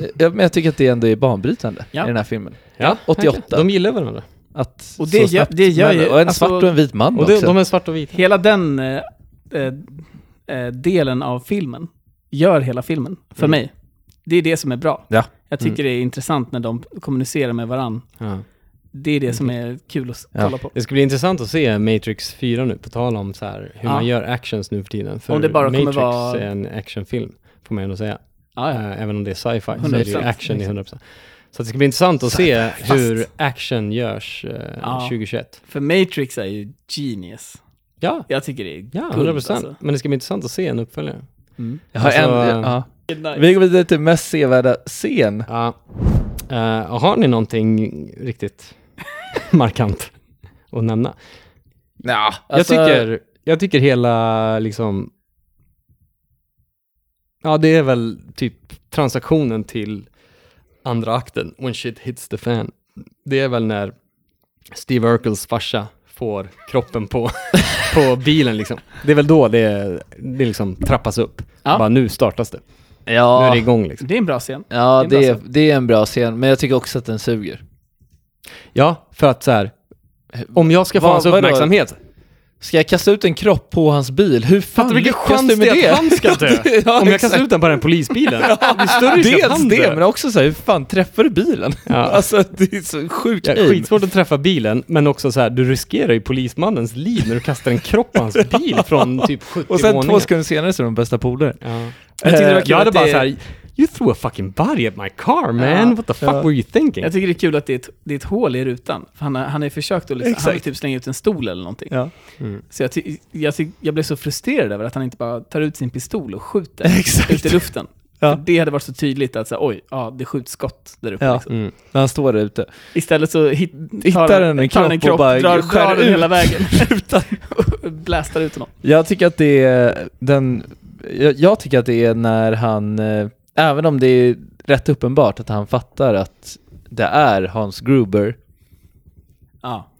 Speaker 6: Eh, Ja, men jag tycker att det ändå är banbrytande
Speaker 7: Ja.
Speaker 6: i den här filmen.
Speaker 1: Ja,
Speaker 6: 88.
Speaker 1: De gillar varandra.
Speaker 6: Att
Speaker 7: Och det
Speaker 6: så
Speaker 7: gör-
Speaker 6: snabbt,
Speaker 7: det gör
Speaker 6: men,
Speaker 7: ju-
Speaker 6: och en
Speaker 7: alltså-
Speaker 6: svart och en vit man
Speaker 1: Och
Speaker 6: också.
Speaker 1: det, de är svarta och vita.
Speaker 7: Hela den eh, eh, eh, delen av filmen gör hela filmen, för
Speaker 1: Mm.
Speaker 7: mig. Det är det som är bra.
Speaker 6: Ja.
Speaker 7: Jag tycker det är intressant när de kommunicerar med varandra.
Speaker 1: Ja.
Speaker 7: Det
Speaker 1: Mm.
Speaker 7: är det som är kul att s-
Speaker 6: Ja.
Speaker 7: kolla på.
Speaker 1: Det ska bli intressant att se Matrix 4 nu, på tal om så här, hur
Speaker 7: Ja.
Speaker 1: man gör actions nu för tiden. För
Speaker 7: Om det bara kommer
Speaker 1: Matrix
Speaker 7: vara-
Speaker 1: är en actionfilm, får man ändå säga.
Speaker 7: Ja, ja.
Speaker 1: Äh, Även om det är sci-fi så är det ju
Speaker 7: 100%.
Speaker 1: action i 100%. Så att det ska bli intressant att se hur action görs eh,
Speaker 7: Ja.
Speaker 1: 2021.
Speaker 7: För Matrix är ju genius.
Speaker 1: Ja,
Speaker 7: Jag tycker det är alltså.
Speaker 1: ja
Speaker 7: guld,
Speaker 1: 100%. Men det ska bli intressant att se en uppföljare.
Speaker 6: Jag har en,
Speaker 1: Alltså,
Speaker 6: ja.
Speaker 7: Nice.
Speaker 6: Vi går vidare till mest sevärda scen.
Speaker 1: Ja. Eh, och har ni någonting riktigt [LAUGHS] markant att nämna?
Speaker 6: Ja,
Speaker 1: jag, tycker, jag tycker hela liksom... Ja, det är väl typ transaktionen till andra akten, when shit hits the fan. Det är väl när Steve Urkels farsa får kroppen på, [LAUGHS] på bilen liksom. Det är väl då det, det liksom trappas upp.
Speaker 7: Ja.
Speaker 1: Bara nu startas det. Nu är
Speaker 6: Ja,
Speaker 1: det igång liksom.
Speaker 7: Det är en bra scen.
Speaker 6: ja
Speaker 7: det är en
Speaker 6: det,
Speaker 7: bra
Speaker 6: är, det är en bra scen, men jag tycker också att den suger.
Speaker 1: Ja, för att så här, om jag ska få
Speaker 6: Vad-
Speaker 1: hans
Speaker 6: vadå?
Speaker 1: uppmärksamhet,
Speaker 6: Ska jag kasta ut en kropp på hans bil? Hur fan
Speaker 1: Fattar vilken
Speaker 6: lyckas
Speaker 1: chans
Speaker 6: du med
Speaker 1: det är
Speaker 6: det?
Speaker 1: att han [LAUGHS] ska dö?
Speaker 6: [LAUGHS] Ja,
Speaker 1: Om jag
Speaker 6: exakt.
Speaker 1: kastar ut den på den här polisbilen, det är större risk att
Speaker 6: [LAUGHS] Dels
Speaker 1: han
Speaker 6: det,
Speaker 1: dör.
Speaker 6: men också så här, hur fan träffar du bilen?
Speaker 1: Ja.
Speaker 6: [LAUGHS] Alltså det är så sjukt
Speaker 1: Ja,
Speaker 6: aim.
Speaker 1: skitsvårt att träffa bilen, men också så här, du riskerar ju polismannens liv när du kastar en kropp på hans bil från typ 70
Speaker 6: Och sen två
Speaker 1: våningar.
Speaker 6: sekunder senare så är de bästa polare.
Speaker 1: Ja.
Speaker 6: Jag tyckte det var
Speaker 1: Eh,
Speaker 6: kul
Speaker 1: jag hade
Speaker 6: att
Speaker 1: bara
Speaker 6: det-
Speaker 1: så här, you threw a fucking body at my car man,
Speaker 7: Ja.
Speaker 1: what the fuck were you thinking?
Speaker 7: Jag tycker det är kul att det är ett, det är ett hål i rutan. För han, har, han har ju försökt att liksom, han har ju
Speaker 6: Exakt.
Speaker 7: typ slänga ut en stol eller någonting.
Speaker 6: Ja.
Speaker 7: Så jag, ty- jag, ty- jag blev så frustrerad över att han inte bara tar ut sin pistol
Speaker 6: [LAUGHS]
Speaker 7: och skjuter ut i luften.
Speaker 6: Ja.
Speaker 7: För det hade varit så tydligt att så, här, oj, ja, det skjuts skott där uppe.
Speaker 6: Ja.
Speaker 7: Liksom.
Speaker 1: Mm.
Speaker 6: När han står där ute.
Speaker 7: Istället så hit,
Speaker 6: Hittar den en
Speaker 7: tar
Speaker 6: kropp,
Speaker 7: han
Speaker 6: och bara
Speaker 7: drar,
Speaker 6: skär
Speaker 7: drar den
Speaker 6: ut. [LAUGHS]
Speaker 7: hela vägen. [LAUGHS] och Blastar ut honom.
Speaker 6: Jag tycker att det är den, jag, jag tycker att det är när han, eh, även om det är rätt uppenbart att han fattar att det är Hans Gruber,
Speaker 7: Ja,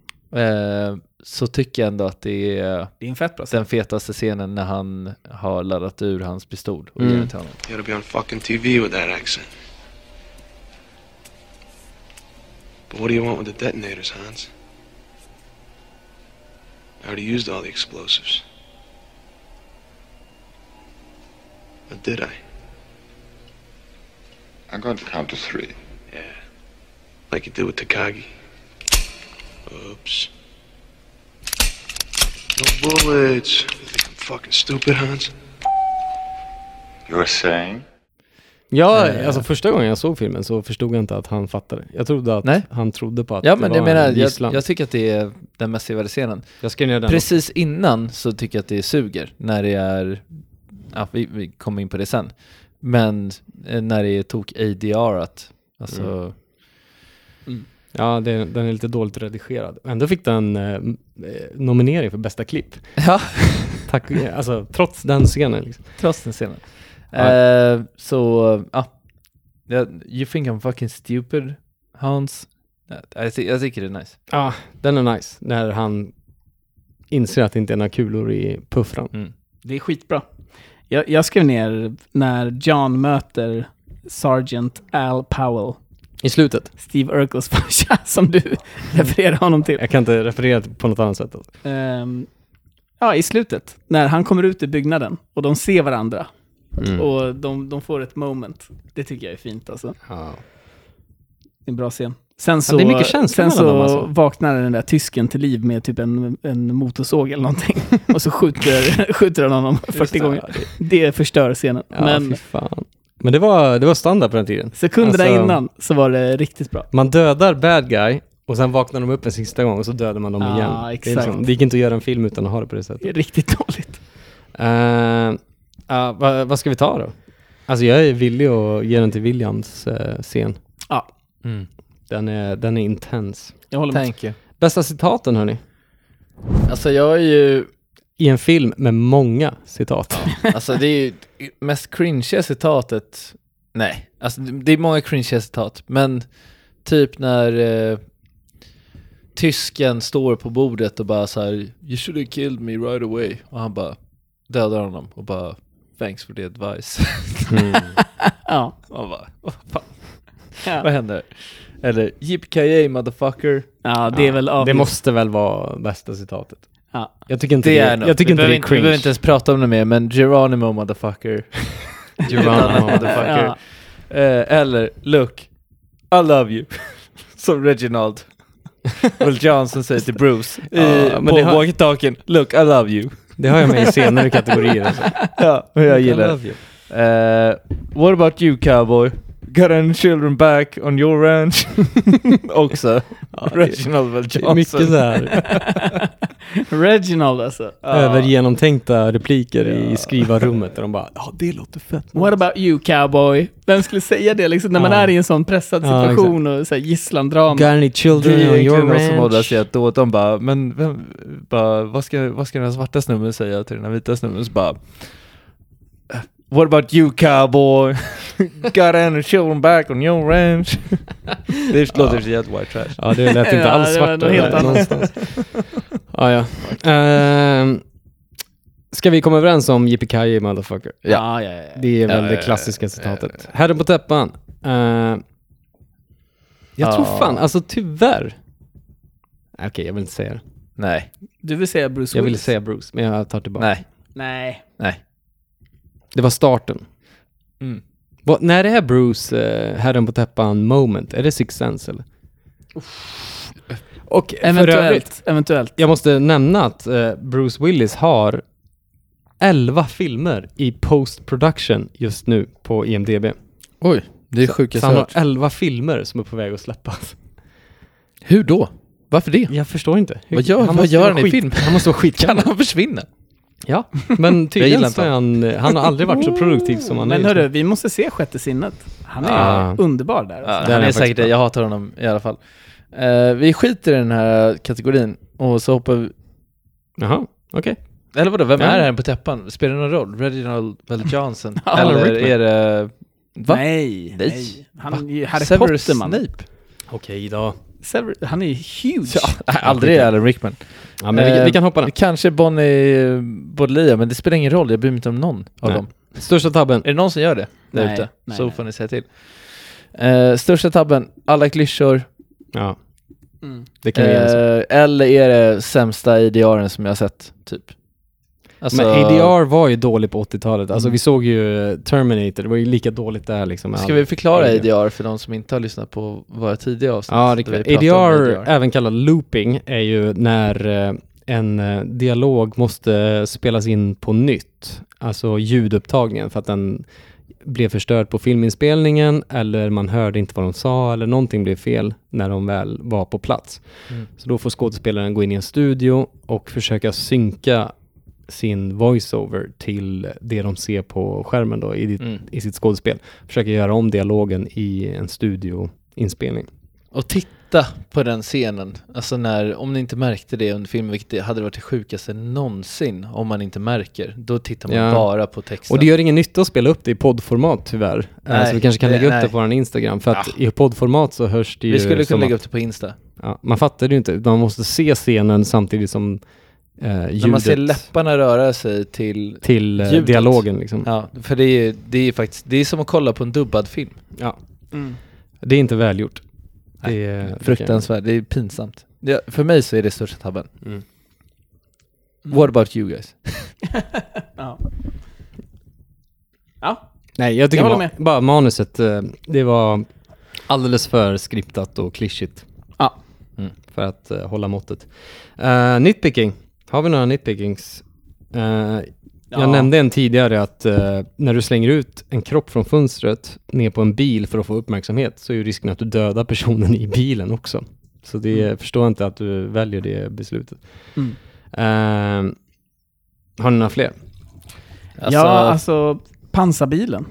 Speaker 6: eh, så tycker jag ändå att det är
Speaker 7: det är en fett bra scen.
Speaker 6: den fetaste scenen när han har laddat ur hans pistol och
Speaker 8: Mm.
Speaker 6: ger den till honom.
Speaker 9: You ought to be on fucking TV with that accent. But what do you want with the detonators, Hans? I already used all the explosives. Or did I?
Speaker 5: I'm going to count to three.
Speaker 9: Yeah. Like you did with Takagi. Oops. No bullets. You think I'm fucking stupid, Hans?
Speaker 5: You're saying?
Speaker 8: Ja,
Speaker 6: Eh.
Speaker 8: alltså första gången jag såg filmen så förstod jag inte att han fattade. Jag trodde att
Speaker 6: Nej.
Speaker 8: han trodde på att
Speaker 6: Ja
Speaker 8: det
Speaker 6: men
Speaker 8: var
Speaker 6: jag menar,
Speaker 8: en gisslan.
Speaker 6: jag, jag tycker att det är den mest civiliserade scenen.
Speaker 8: jag skrev ner den.
Speaker 6: Precis innan så tycker jag att det suger när det är, ja, vi, vi kommer in på det sen, men eh, när det är tok adr -at. Alltså,
Speaker 8: Mm. Ja, det, den är lite dåligt redigerad. Ändå fick den eh, m- eh, nominering för bästa klipp. [LAUGHS]
Speaker 6: [LAUGHS] ja,
Speaker 8: Tack, alltså trots den scenen liksom.
Speaker 6: trots den scenen.
Speaker 8: Ja.
Speaker 6: Eh, så, ja, Jag- you think I'm fucking stupid, Hans? Ja, Jag, ty- jag tycker det är nice.
Speaker 8: Ja, den är nice. När han inser att det inte är några kulor i puffran.
Speaker 7: Det är skitbra. Jag, jag skrev ner när John möter Sergeant Al Powell,
Speaker 8: I slutet.
Speaker 7: Steve Urkels farsa, [LAUGHS] som du refererar honom till.
Speaker 8: Jag kan inte referera på något annat sätt. Alltså.
Speaker 7: Ehm, ja, i slutet. När han kommer ut ur byggnaden och de ser varandra.
Speaker 8: Mm.
Speaker 7: Och de, de får ett moment. Det tycker jag är fint alltså.
Speaker 8: Ja.
Speaker 7: Det är en bra scen. Sen så,
Speaker 8: det är mycket känslor
Speaker 7: sen så
Speaker 8: mellan dem, alltså.
Speaker 7: vaknar den där tysken till liv med typ en, en motorsåg eller
Speaker 8: [LAUGHS]
Speaker 7: någonting. och så skjuter, skjuter han honom 40 gånger. Det förstör scenen.
Speaker 8: Ja,
Speaker 7: Men
Speaker 8: fy fan. Men det var, det var standard på den tiden.
Speaker 7: sekunderna
Speaker 8: Alltså-
Speaker 7: innan så var det riktigt bra.
Speaker 8: Man dödar bad guy och sen vaknar de upp en sista gång och så dödar man dem
Speaker 7: Ja,
Speaker 8: igen. Det, är
Speaker 7: exakt.
Speaker 8: liksom, det gick inte att göra en film utan att ha det på det sättet.
Speaker 7: Det är riktigt dåligt.
Speaker 8: Eh, ja, vad, vad ska vi ta då? Alltså jag är villig att ge den till Williams eh, scen.
Speaker 7: Ja.
Speaker 6: Mm.
Speaker 8: Den är, den är intens.
Speaker 7: Jag håller med.
Speaker 6: Thank you.
Speaker 8: Bästa citaten hörni?
Speaker 6: Alltså jag är ju,
Speaker 8: I en film med många citat.
Speaker 6: alltså det är ju [LAUGHS] mest cringe citatet, nej, alltså det det är många cringe citat, men typ när eh, tysken står på bordet och bara så här You should have killed me right away och han bara dödar honom och bara Thanks for the advice.
Speaker 7: Ja.
Speaker 6: Man bara, vad fan, vad
Speaker 7: Ja.
Speaker 6: händer? Eller Yippee motherfucker.
Speaker 7: ja, det är väl
Speaker 8: [LAUGHS] det
Speaker 7: avgjort.
Speaker 8: måste väl vara bästa citatet.
Speaker 7: Ja.
Speaker 8: Jag tycker inte
Speaker 6: Det
Speaker 8: det,
Speaker 6: är något.
Speaker 8: jag tycker
Speaker 6: vi
Speaker 8: inte
Speaker 6: behöver
Speaker 8: det är
Speaker 6: inte, vi behöver inte
Speaker 8: cringe.
Speaker 6: ens prata om det mer, men Geronimo motherfucker.
Speaker 8: Geronimo.
Speaker 6: motherfucker.
Speaker 7: Ja.
Speaker 6: Eh, eller look, I love you. [LAUGHS] Som
Speaker 8: [LAUGHS]
Speaker 6: Reginald. Will Johnson säger till Bruce i,
Speaker 8: Ja, men
Speaker 6: på
Speaker 8: det har-
Speaker 6: walkie-talkien. Look, I love
Speaker 8: [LAUGHS]
Speaker 6: you.
Speaker 8: [LAUGHS] Det har jag med i senare kategorier. Alltså.
Speaker 6: Ja, och [LAUGHS] jag gillar
Speaker 8: det.
Speaker 6: det. Eh, what about you cowboy? Got any children back on your ranch? [LAUGHS]
Speaker 8: [LAUGHS]
Speaker 6: Också. Reginald Will
Speaker 8: Det är
Speaker 6: Johnson.
Speaker 8: mycket så här
Speaker 6: [LAUGHS]
Speaker 7: Reginald alltså.
Speaker 8: övergenomtänkta repliker i skrivarrummet där de bara ja det låter fett.
Speaker 7: What about you cowboy? Vem skulle säga det liksom när man
Speaker 8: Ja.
Speaker 7: är i en sån pressad
Speaker 8: Ja,
Speaker 7: situation och så här gisslandrama?
Speaker 8: Got any
Speaker 6: Det
Speaker 8: children
Speaker 6: är
Speaker 8: on your
Speaker 6: egentligen de som håller
Speaker 8: ranch?
Speaker 6: sig att då, de bara, men vem, bara, vad, ska, vad ska den här svarta snubben säga till den här vita snubben? Så bara, "Eh, What about you cowboy? [LAUGHS] Got any children back on your ranch? [LAUGHS] det låter så jävla white trash.
Speaker 8: Ja det lät
Speaker 7: [LAUGHS]
Speaker 8: inte
Speaker 7: Ja,
Speaker 8: alls
Speaker 7: det var
Speaker 8: svart
Speaker 7: något helt
Speaker 8: över-
Speaker 7: annat.
Speaker 8: någonstans. ja, ja. Ehm, ska vi komma överens om Yippee motherfucker?
Speaker 7: Ah, Ja, ja, ja. ja.
Speaker 8: Det är väl
Speaker 6: Ja,
Speaker 8: det
Speaker 6: ja,
Speaker 8: klassiska citatet. Herren på täppan. Eh, jag tror
Speaker 6: Ja.
Speaker 7: Ah.
Speaker 8: fan, alltså tyvärr. [LAUGHS] Okej, jag vill inte säga det.
Speaker 6: Nej,
Speaker 7: Du vill säga Bruce
Speaker 8: Jag
Speaker 7: Willis?
Speaker 8: ville säga Bruce, men jag tar tillbaka.
Speaker 6: nej,
Speaker 7: Nej.
Speaker 6: nej.
Speaker 8: Det var starten.
Speaker 6: Mm.
Speaker 8: Vad- när är Bruce eh, herren på täppan moment? Är det Six Sense eller? Och för övrigt,
Speaker 7: Eventuellt. Eventuellt.
Speaker 8: jag måste nämna att eh, Bruce Willis har 11 filmer i post production just nu på IMDB.
Speaker 6: Oj, det är
Speaker 8: Så han har 11 filmer som är på väg att släppas.
Speaker 6: Hur då? Varför det?
Speaker 8: Jag förstår inte. Hur-
Speaker 6: Vad gör- vad
Speaker 8: måste
Speaker 6: gör
Speaker 8: vara
Speaker 6: han i [LAUGHS]
Speaker 8: skit-
Speaker 6: film?
Speaker 8: Han måste vara skitgammal.
Speaker 6: han försvinna?
Speaker 8: Ja, [LAUGHS] men
Speaker 6: Jag
Speaker 8: tydligen
Speaker 6: gillar
Speaker 8: så
Speaker 6: inte
Speaker 8: är han, han har aldrig varit så produktiv som han är
Speaker 7: Men
Speaker 8: just nu.
Speaker 7: hörru, vi måste se Sjätte sinnet. Han är
Speaker 8: Ja.
Speaker 7: underbar där.
Speaker 6: Ja,
Speaker 8: Där
Speaker 6: han
Speaker 8: är
Speaker 6: är
Speaker 8: han
Speaker 6: säkert
Speaker 8: faktiskt
Speaker 6: jag hatar honom i alla fall. Eh, vi skiter i den här kategorin och så hoppar vi
Speaker 8: Jaha, okej.
Speaker 6: Eller vadå, vem
Speaker 8: Ja.
Speaker 6: är det här på täppan? Spelar det någon roll? Reginald Bell [LAUGHS] Johnson?
Speaker 7: Ja,
Speaker 6: Eller
Speaker 8: Rickman.
Speaker 6: är det... Va?
Speaker 7: Nej,
Speaker 6: Nej.
Speaker 7: nej. Han är ju Harry
Speaker 6: Severus
Speaker 7: Potter man.
Speaker 6: Snape?
Speaker 8: Okej då.
Speaker 7: Sever- han är ju huge.
Speaker 6: Ja, nej, aldrig Alan Rickman.
Speaker 8: Ja, men vi,
Speaker 6: Eh,
Speaker 8: vi kan hoppa den.
Speaker 6: Kanske Bonnie Bodlia, men det spelar ingen roll. Jag bryr mig inte om någon av
Speaker 8: Nej.
Speaker 6: dem.
Speaker 8: Största tabben.
Speaker 6: Är det någon som gör det där
Speaker 7: Nej,
Speaker 6: ute?
Speaker 7: nej,
Speaker 6: Så
Speaker 7: nej.
Speaker 6: får ni säga till. Eh, största tabben, alla klyschor.
Speaker 8: Ja,
Speaker 7: Mm.
Speaker 8: det kan vi enas om.
Speaker 6: Eh, eller är det sämsta IDR som jag har sett, typ? Alltså, Mm.
Speaker 1: Men ADR var ju dålig på 80-talet. Alltså vi såg ju eh, Terminator, det var ju lika dåligt där liksom. med
Speaker 6: Ska
Speaker 1: all-
Speaker 6: vi
Speaker 1: Ja,
Speaker 6: förklara
Speaker 1: det
Speaker 6: ADR för de som inte har lyssnat på våra tidiga avsnitt?
Speaker 1: Ja, det
Speaker 6: där
Speaker 1: kan.
Speaker 6: vi pratar om
Speaker 1: ADR, även kallad looping, är ju när eh, en eh, dialog måste spelas in på nytt. Alltså ljudupptagningen för att den blev förstörd på filminspelningen eller man hörde inte vad de sa eller någonting blev fel när de väl var på plats.
Speaker 6: Mm.
Speaker 1: Så då får skådespelaren gå in i en studio och försöka synka sin voiceover till det de ser på skärmen då i, ditt,
Speaker 6: Mm.
Speaker 1: i sitt skådespel. Försöka göra om dialogen i en studioinspelning.
Speaker 6: Och titta på den scenen, alltså när, om ni inte märkte det under filmen, vilket det hade varit det sjukaste någonsin om man inte märker, då tittar man
Speaker 1: Ja.
Speaker 6: bara på texten.
Speaker 1: Och det gör ingen nytta att spela upp det i poddformat tyvärr.
Speaker 6: Nej,
Speaker 1: Nej, så vi kanske kan
Speaker 6: det-
Speaker 1: lägga upp
Speaker 6: nej.
Speaker 1: det på vår Instagram. För att i poddformat så hörs det ju...
Speaker 6: Vi skulle
Speaker 1: som
Speaker 6: kunna lägga
Speaker 1: att,
Speaker 6: upp det på Insta.
Speaker 1: ja, Man fattar det ju inte. utan Man måste se scenen samtidigt som eh,
Speaker 6: När man ser
Speaker 1: ljudet
Speaker 6: läpparna röra sig till,
Speaker 1: till eh,
Speaker 6: ljudet.
Speaker 1: dialogen. Liksom.
Speaker 6: ja, för det är, det är faktiskt, det är som att kolla på en dubbad film.
Speaker 1: Ja.
Speaker 7: Mm.
Speaker 1: Det är inte välgjort.
Speaker 6: Nej,
Speaker 1: Det är- det kan-
Speaker 6: Fruktansvärt, det är pinsamt. Ja, för mig så är det största tabben.
Speaker 1: Mm.
Speaker 6: What about you guys?
Speaker 7: Ja. Ja,
Speaker 1: Nej, jag tycker
Speaker 7: Jag
Speaker 1: bara,
Speaker 7: håller
Speaker 1: bara manuset, eh, det var alldeles för skriptat och klyschigt.
Speaker 7: Ja.
Speaker 1: Mm, för att eh, hålla måttet. Eh, nitpicking. Har vi några nitpickings? Eh, Jag
Speaker 7: Ja.
Speaker 1: nämnde en tidigare att eh, när du slänger ut en kropp från fönstret ner på en bil för att få uppmärksamhet så är ju risken att du dödar personen i bilen också. Så det jag förstår inte att du väljer det beslutet.
Speaker 7: Mm.
Speaker 1: Eh, har ni några fler?
Speaker 6: Alltså,
Speaker 7: ja alltså pansarbilen.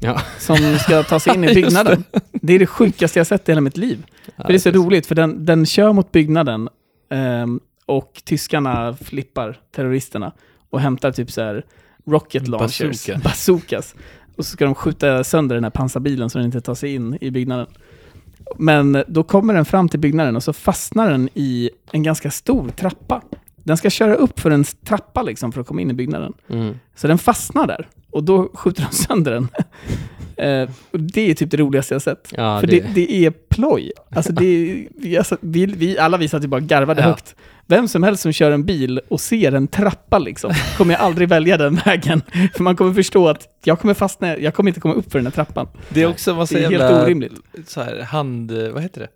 Speaker 1: Ja.
Speaker 7: Som ska ta sig in i byggnaden. Det är det sjukaste jag sett i hela mitt liv. För det är så roligt, för den, den kör mot byggnaden ehm, och tyskarna flippar terroristerna och hämtar typ så här rocket launchers,
Speaker 6: Bazooka.
Speaker 7: bazookas. Och så ska de skjuta sönder den här pansarbilen så den inte tar sig in i byggnaden. Men då kommer den fram till byggnaden och så fastnar den i en ganska stor trappa. Den ska köra upp för en trappa liksom för att komma in i byggnaden.
Speaker 1: Mm.
Speaker 7: Så den fastnar där och då skjuter de [LAUGHS] sönder den. Eh, och det är typ det roligaste jag sett.
Speaker 1: Ja,
Speaker 7: För det, det är ploj. Alltså det, är- vi, alltså, vi, vi alla vi satt ju bara och garvade
Speaker 6: Ja.
Speaker 7: högt. Vem som helst som kör en bil och ser en trappa liksom, kommer jag aldrig välja den vägen. För man kommer förstå att jag kommer fastna, jag kommer inte komma upp för den här trappan.
Speaker 6: det är också massa
Speaker 7: Det är
Speaker 6: jävla...
Speaker 7: helt orimligt.
Speaker 6: så här, hand... Vad heter det?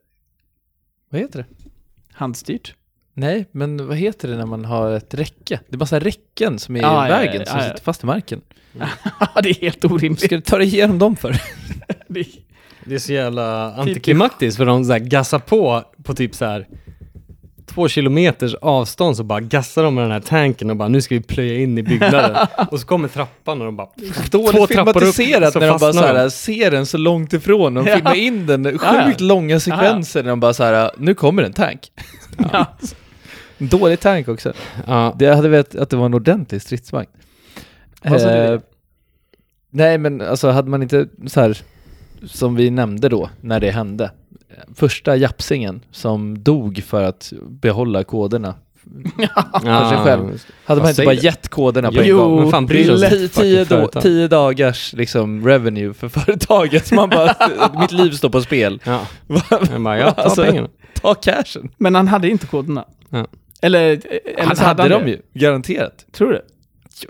Speaker 6: Vad heter det?
Speaker 7: Handstyrt. [LAUGHS]
Speaker 6: Nej, men vad heter det när man har ett räcke? Det är massa räcken som är
Speaker 7: Ja,
Speaker 6: i
Speaker 7: ja,
Speaker 6: vägen
Speaker 7: ja,
Speaker 6: som
Speaker 7: ja, ja.
Speaker 6: sitter fast i marken.
Speaker 7: Ja, det är helt orimligt.
Speaker 6: Ska du ta dig igenom dem för?
Speaker 7: Det är-
Speaker 1: Det är så jävla antiklimaktiskt för de så här gassar på på typ så här två kilometers avstånd så bara gassar de med den här tanken och bara nu ska vi plöja in i
Speaker 6: [LAUGHS]
Speaker 1: byggnaden. och så kommer trappan och de bara
Speaker 6: Dåligt filmatiserat
Speaker 1: så
Speaker 6: när de bara så
Speaker 1: fastnar
Speaker 6: här, ser den så långt ifrån. De
Speaker 7: [LAUGHS] Ja.
Speaker 6: filmar in den, sjukt
Speaker 7: Ja, ja.
Speaker 6: långa sekvenser när de bara så här, nu kommer en tank.
Speaker 7: [LAUGHS]
Speaker 6: [LAUGHS]
Speaker 7: Ja.
Speaker 6: Dålig tank också.
Speaker 1: Ja,
Speaker 6: Det hade velat att det var en ordentlig stridsvagn. Eh,
Speaker 7: Vad sa du?
Speaker 6: nej, men alltså hade man inte så här, som vi nämnde då, när det hände. eh, Första japsingen som dog för att behålla koderna.
Speaker 1: ja,
Speaker 6: sig själv. Hade
Speaker 1: Vad
Speaker 6: man inte
Speaker 1: säger
Speaker 6: bara
Speaker 1: du?
Speaker 6: gett koderna på en
Speaker 1: Jo,
Speaker 6: gång?
Speaker 1: men fan bryr
Speaker 6: Det är
Speaker 1: sig om
Speaker 6: tio, tio,
Speaker 1: fucking
Speaker 6: då,
Speaker 1: företag.
Speaker 6: tio dagars liksom revenue för företaget. Man [LAUGHS] bara, mitt liv står på spel. [LAUGHS]
Speaker 1: Ja, jag bara, ja, ta
Speaker 6: Alltså,
Speaker 1: pengarna.
Speaker 6: Ta cashen.
Speaker 7: Men han hade inte koderna.
Speaker 1: Ja.
Speaker 7: Eller, eller
Speaker 6: Han
Speaker 7: så
Speaker 6: hade
Speaker 7: hade han
Speaker 6: dem
Speaker 7: det.
Speaker 6: ju, garanterat.
Speaker 7: Tror du?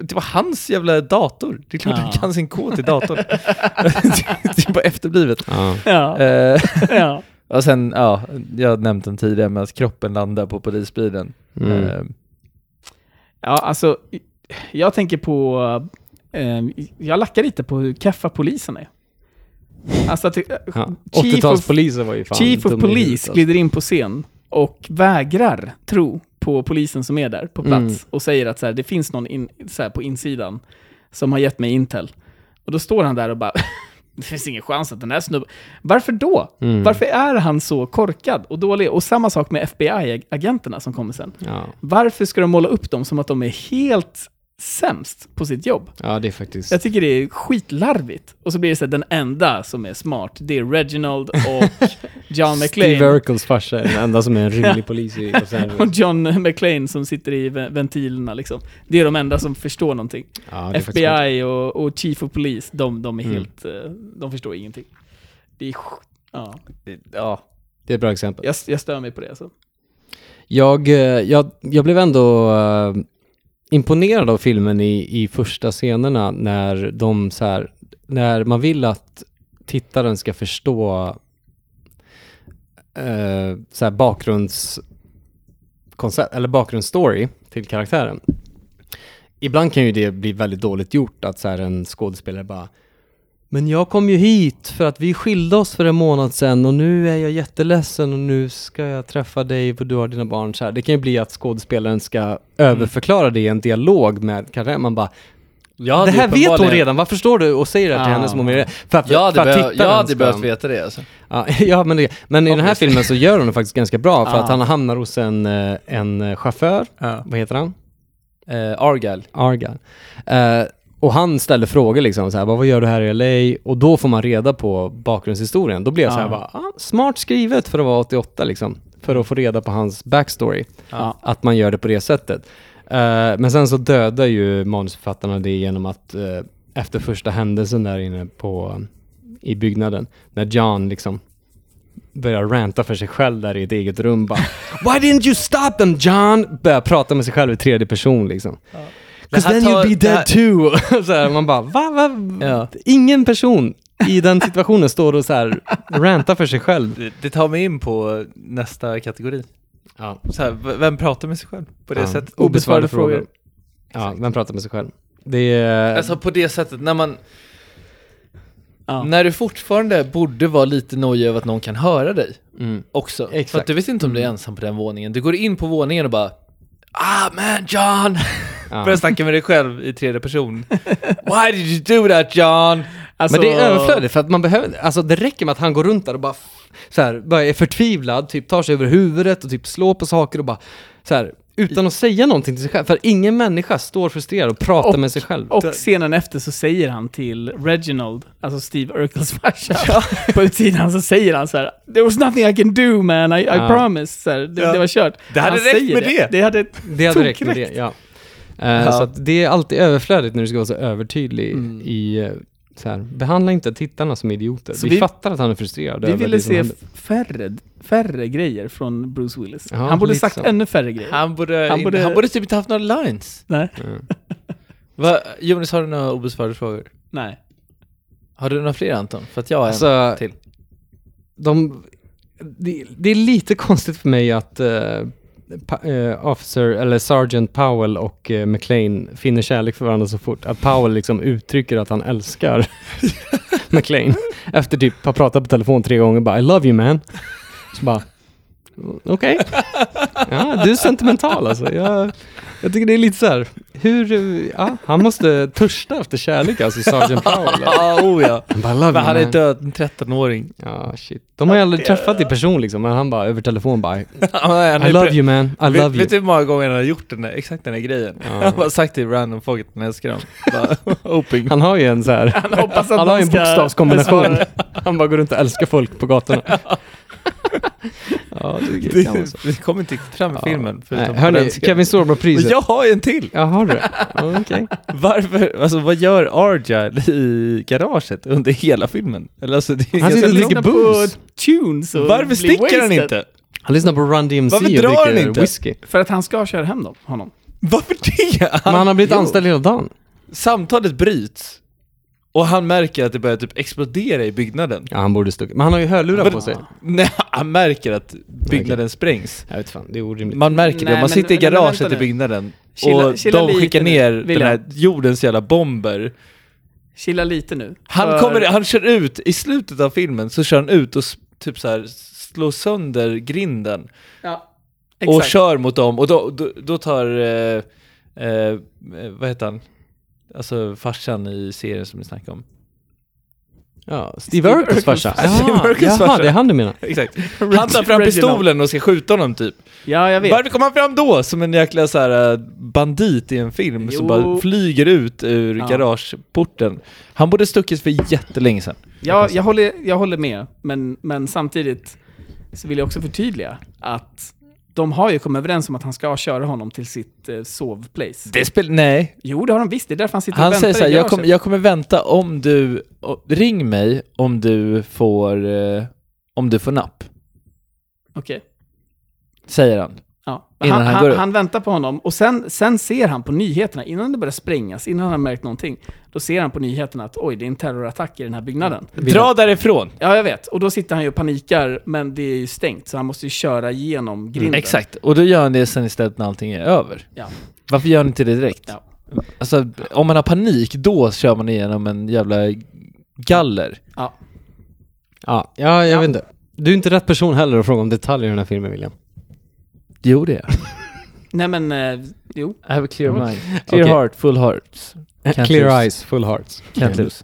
Speaker 6: Det var hans jävla dator. Det är klart
Speaker 7: Ja.
Speaker 6: han kan sin kod till [LAUGHS] datorn. det är bara efterblivet.
Speaker 1: Ja.
Speaker 6: [LAUGHS]
Speaker 7: Ja.
Speaker 6: Eh,
Speaker 7: ja.
Speaker 6: och sen, ja, jag har nämnt den tidigare med att kroppen landar på polisbilen.
Speaker 1: Mm.
Speaker 6: Eh,
Speaker 7: Ja, alltså, jag tänker på... Eh, jag lackar lite på hur keffa polisen är. Alltså, att,
Speaker 1: Ja.
Speaker 7: Chief of-
Speaker 1: 80-talspoliser var ju fan
Speaker 7: Chief of
Speaker 1: dum i huvudet, alltså.
Speaker 7: Police glider in på scen och vägrar tro på polisen som är där på plats
Speaker 1: Mm.
Speaker 7: och säger att så här, det finns någon in, så här, på insidan som har gett mig intel. Och då står han där och bara, [LAUGHS] det finns ingen chans att den här snubben... Varför då?
Speaker 1: Mm.
Speaker 7: Varför är han så korkad och dålig? Och samma sak med FBI-agenterna som kommer sen.
Speaker 1: Ja.
Speaker 7: Varför ska de måla upp dem som att de är helt sämst på sitt jobb?
Speaker 1: ja, det är faktiskt...
Speaker 7: Jag tycker det är skitlarvigt. Och så blir det så här, den enda som är smart, det är
Speaker 1: [LAUGHS]
Speaker 7: Reginald och John
Speaker 1: Steve
Speaker 7: McClane.
Speaker 1: Urkels farsa är den enda som är en
Speaker 7: [LAUGHS]
Speaker 1: rimlig polis i Los
Speaker 7: Och
Speaker 1: Angeles.
Speaker 7: John McClane som sitter i ve- ventilerna liksom. Det är de enda som förstår någonting.
Speaker 1: Ja, det är faktiskt Mm. sjukt.
Speaker 7: FBI och, och Chief of Police, de, de är helt... eh, De förstår ingenting. Det är sj- Ja,
Speaker 6: ja.
Speaker 1: Det är ett bra exempel.
Speaker 7: jag, jag stör mig på det alltså.
Speaker 1: Jag, eh, jag, jag blev ändå eh, imponerad av filmen i, i första scenerna när de så här, när man vill att tittaren ska förstå eh, så här bakgrundskoncept, eller bakgrundsstory till karaktären. Ibland kan ju det bli väldigt dåligt gjort att så här en skådespelare bara men jag kom ju hit för att vi skilde oss för en månad sedan och nu är jag jätteledsen och nu ska jag träffa dig och du har dina barn så här. Det kan ju bli att skådespelaren ska
Speaker 6: Mm.
Speaker 1: överförklara det i en dialog med karaktären. Man bara,
Speaker 6: Jag hade
Speaker 1: det här vet hon
Speaker 6: uppenbarligen-
Speaker 1: redan, varför står du och säger det här till
Speaker 7: Ah.
Speaker 1: henne som hon vill För att,
Speaker 6: Jag hade,
Speaker 1: för att
Speaker 6: behö- jag
Speaker 1: tittaren
Speaker 6: hade
Speaker 1: ska-
Speaker 6: behövt veta det alltså.
Speaker 1: Ja, [LAUGHS] ja men, det, men i den här
Speaker 6: Obviously.
Speaker 1: filmen så gör hon det faktiskt ganska bra för
Speaker 7: Ah.
Speaker 1: att han hamnar hos en, eh, en chaufför, vad heter han?
Speaker 6: Eh, Argyle.
Speaker 1: Argyle. Eh, och han ställer frågor liksom, så här, bara, vad gör du här i LA? Och då får man reda på bakgrundshistorien. Då blir jag så här,
Speaker 7: Ja.
Speaker 1: bara, ah, smart skrivet för att vara 88 liksom. För att få reda på hans backstory.
Speaker 7: Ja.
Speaker 1: Att man gör det på det sättet. Eh, men sen så dödar ju manusförfattarna det genom att eh, efter första händelsen där inne på, i byggnaden, när John liksom börjar ranta för sig själv där i ett eget rum
Speaker 6: [LAUGHS]
Speaker 1: bara Why didn't you stop them John? Börjar prata med sig själv i tredje person liksom. Cause
Speaker 6: Det här
Speaker 1: then you'll be
Speaker 6: tar- det
Speaker 1: dead
Speaker 6: här-
Speaker 1: too. [LAUGHS] så här, man bara, va, va?
Speaker 6: Ja.
Speaker 1: Ingen person i den situationen står och så här rantar för sig själv.
Speaker 6: Det, det tar mig in på nästa kategori.
Speaker 1: Ja.
Speaker 6: Så här, v- vem pratar med sig själv på det
Speaker 1: Ja.
Speaker 6: sättet?
Speaker 1: Obesvarade
Speaker 7: Obesvarade
Speaker 1: frågor.
Speaker 7: frågor.
Speaker 1: Ja, vem pratar med sig själv? Det är...
Speaker 6: Alltså på det sättet, när man...
Speaker 7: Ja.
Speaker 6: När du fortfarande borde vara lite nojig över att någon kan höra dig
Speaker 1: mm.
Speaker 6: också. För
Speaker 1: Exakt.
Speaker 6: att du vet inte om du är ensam på den våningen. Du går in på våningen och bara Ah man John! [LAUGHS] Börjar
Speaker 1: ja.
Speaker 6: snacka med dig själv i tredje person. Why did you do that John?
Speaker 7: Alltså,
Speaker 1: Men det är överflödigt för att man behöver, alltså det räcker med att han går runt där och bara, f- så här, bara är förtvivlad, typ tar sig över huvudet och typ slår på saker och bara så här, utan att säga någonting till sig själv. För ingen människa står frustrerad och pratar
Speaker 7: Och-
Speaker 1: med sig själv.
Speaker 7: Och scenen efter så säger han till Reginald, alltså Steve Urkels
Speaker 1: [LAUGHS]
Speaker 7: farsa, på utsidan så säger han så här: “There was nothing I can do man, I, I
Speaker 1: Ja.
Speaker 7: promise”. Så här, det,
Speaker 6: Ja.
Speaker 7: det var kört.
Speaker 6: Det hade
Speaker 7: Han
Speaker 6: räckt
Speaker 7: säger
Speaker 6: med det.
Speaker 7: Det hade
Speaker 1: Det hade räckt med det, ja. Eh,
Speaker 6: Ja.
Speaker 1: Så att det är alltid överflödigt när du ska vara så övertydlig
Speaker 7: Mm.
Speaker 1: i eh, så här, behandla inte tittarna som idioter.
Speaker 7: Så
Speaker 1: vi,
Speaker 7: vi-
Speaker 1: fattar att han är frustrerad
Speaker 7: Vi
Speaker 1: över
Speaker 7: ville
Speaker 1: det
Speaker 6: liksom
Speaker 1: som
Speaker 7: se
Speaker 1: händer.
Speaker 7: färre, färre grejer från Bruce Willis.
Speaker 1: Ja,
Speaker 7: han borde
Speaker 1: lite
Speaker 7: sagt
Speaker 6: liksom.
Speaker 1: så.
Speaker 7: ännu färre grejer.
Speaker 6: Han borde,
Speaker 7: Han
Speaker 6: han borde...
Speaker 7: borde-
Speaker 6: Han borde typ inte haft några lines. Mm.
Speaker 7: Nej.
Speaker 6: Va, Jonas, har du några obesvarade frågor?
Speaker 7: Nej.
Speaker 6: Har du några fler Anton? För att jag har en.
Speaker 1: Alltså,
Speaker 6: till.
Speaker 1: De, det, det är lite konstigt för mig att eh, pa, eh, Officer, eller Sergeant Powell och eh, McLean finner kärlek för varandra så fort. Att Powell liksom uttrycker att han älskar McLean. Efter typ ha pratat på telefon tre gånger bara I love you man. Så bara okej. Ja, du är sentimental alltså. Jag, jag tycker det är lite så här, hur, eh, ja, han måste törsta efter kärlek alltså, Sergeant Powell.
Speaker 6: Ja, oh ja.
Speaker 1: Han [LAUGHS] bara, "I love
Speaker 6: Men
Speaker 1: you,
Speaker 6: han
Speaker 1: man."
Speaker 6: är död,
Speaker 1: [LAUGHS]
Speaker 6: en 13-åring.
Speaker 1: Ja, shit. De har ju aldrig träffat i person liksom, men han bara över telefon bara I
Speaker 6: I
Speaker 1: love you man, I
Speaker 6: vet,
Speaker 1: love you.
Speaker 6: Vet du hur många gånger han har gjort den där, exakt den där grejen? Han har sagt till random folk att han älskar dem. Bara, [LAUGHS] hoping.
Speaker 1: Han har ju en så här,
Speaker 6: [LAUGHS]
Speaker 7: Han hoppas att
Speaker 1: han har ju en
Speaker 7: någon ska
Speaker 1: bokstavskombination.
Speaker 7: besvara det.
Speaker 1: Han bara går runt och älskar folk på gatorna. ja, det, det kan vara
Speaker 6: Det,
Speaker 1: så.
Speaker 6: Alltså, det kommer inte riktigt fram i
Speaker 1: Ja.
Speaker 6: filmen.
Speaker 1: Nej,
Speaker 6: förutom på
Speaker 1: hörni,
Speaker 6: den scenen.
Speaker 1: Kevin
Speaker 6: Men
Speaker 1: Sorbo-priset.
Speaker 6: jag har ju en till!
Speaker 1: Jaha
Speaker 6: [LAUGHS]
Speaker 1: du. Ja, Okej.
Speaker 6: Varför, alltså vad gör Argyle i garaget under hela filmen? Eller alltså, det är
Speaker 1: Han
Speaker 6: ganska
Speaker 1: sitter och
Speaker 6: långt.
Speaker 1: dricker
Speaker 7: lyssna på
Speaker 1: booze.
Speaker 7: Tunes och
Speaker 6: Varför
Speaker 7: bli
Speaker 6: sticker han
Speaker 7: wasted.
Speaker 6: inte?
Speaker 1: Han lyssnar på Run DMC
Speaker 6: Varför
Speaker 1: och
Speaker 6: drar han
Speaker 1: dricker
Speaker 6: inte?
Speaker 1: whisky.
Speaker 7: För att han ska köra hem dem, honom.
Speaker 6: Varför det?
Speaker 1: Men han har blivit anställd hela dagen.
Speaker 6: Samtalet bryts. Och han märker att det börjar typ explodera i byggnaden.
Speaker 1: Ja, han borde stuckit. Men han har ju hörlurar
Speaker 6: Men-
Speaker 1: på sig.
Speaker 6: Nej, han märker att byggnaden sprängs.
Speaker 1: Jag vet fan, det är orimligt.
Speaker 6: Man märker det,
Speaker 7: Nej,
Speaker 6: man
Speaker 7: men-
Speaker 6: sitter i
Speaker 7: men- men
Speaker 6: garaget
Speaker 7: vänta
Speaker 6: i
Speaker 7: nu.
Speaker 6: byggnaden
Speaker 7: Chilla-
Speaker 6: och
Speaker 7: chilla
Speaker 6: de
Speaker 7: lite
Speaker 6: skickar
Speaker 7: nu,
Speaker 6: ner den
Speaker 7: William.
Speaker 6: här jordens jävla bomber.
Speaker 7: Chilla lite nu.
Speaker 6: Han,
Speaker 7: För-
Speaker 6: kommer, han kör ut, i slutet av filmen så kör han ut och s- typ så här slår sönder grinden
Speaker 7: Ja,
Speaker 6: och
Speaker 7: exakt.
Speaker 6: kör mot dem och då, då, då tar, eh, eh, vad heter han, alltså farsan i serien som vi snackade om.
Speaker 1: Ja, Steve Urkels farsa.
Speaker 6: Steve
Speaker 1: Jaha,
Speaker 6: Urkels
Speaker 1: jaha,
Speaker 6: farsa.
Speaker 1: det är han du menar.
Speaker 6: Exakt. Han tar fram
Speaker 7: Reginald.
Speaker 6: pistolen och ska skjuta honom typ.
Speaker 7: Ja, jag vet.
Speaker 6: Varför kom han fram då? Som en jäkla så här, eh, bandit i en film som
Speaker 7: Jo.
Speaker 6: bara flyger ut ur
Speaker 7: Ja.
Speaker 6: garageporten. Han borde stuckit för jättelänge sedan.
Speaker 7: Jag, jag, håller, jag håller med, men, men samtidigt så vill jag också förtydliga att de har ju kommit överens om att han ska köra honom till sitt eh, sovplace.
Speaker 6: Det spel, nej.
Speaker 7: Jo, det har de visst. Det är därför han sitter
Speaker 6: Han
Speaker 7: och väntar
Speaker 6: säger så här,
Speaker 7: i
Speaker 6: jag,
Speaker 7: garaget.
Speaker 6: kom, jag kommer vänta om du, o- ring mig om du får, eh, om du får napp.
Speaker 7: Okej.
Speaker 6: Säger han.
Speaker 7: Ja. Men
Speaker 6: Innan
Speaker 7: han,
Speaker 6: han
Speaker 7: han,
Speaker 6: går
Speaker 7: han,
Speaker 6: upp.
Speaker 7: väntar på honom och sen, sen ser han på nyheterna, innan det börjar sprängas, innan han har märkt någonting, då ser han på nyheterna att oj, det är en terrorattack i den här byggnaden.
Speaker 6: Dra därifrån!
Speaker 7: Ja, jag vet. Och då sitter han ju och panikar, men det är ju stängt, så han måste ju köra igenom grinden.
Speaker 6: Mm, Exakt, och då gör han det sen istället när allting är över.
Speaker 7: Ja.
Speaker 6: Varför gör han inte det direkt?
Speaker 7: Ja.
Speaker 6: Alltså, om man har panik, då kör man igenom en jävla galler.
Speaker 7: Ja.
Speaker 8: Ja, ja jag vet inte. Du är inte rätt person heller att fråga om detaljer i den här filmen William.
Speaker 6: Jo, det är [LAUGHS] jag.
Speaker 7: Nej men, eh, jo.
Speaker 6: I have a clear mind. Clear
Speaker 8: Okej.
Speaker 6: heart, full heart. Can't
Speaker 8: Clear
Speaker 6: lose.
Speaker 8: eyes, full hearts.
Speaker 6: Can't lose.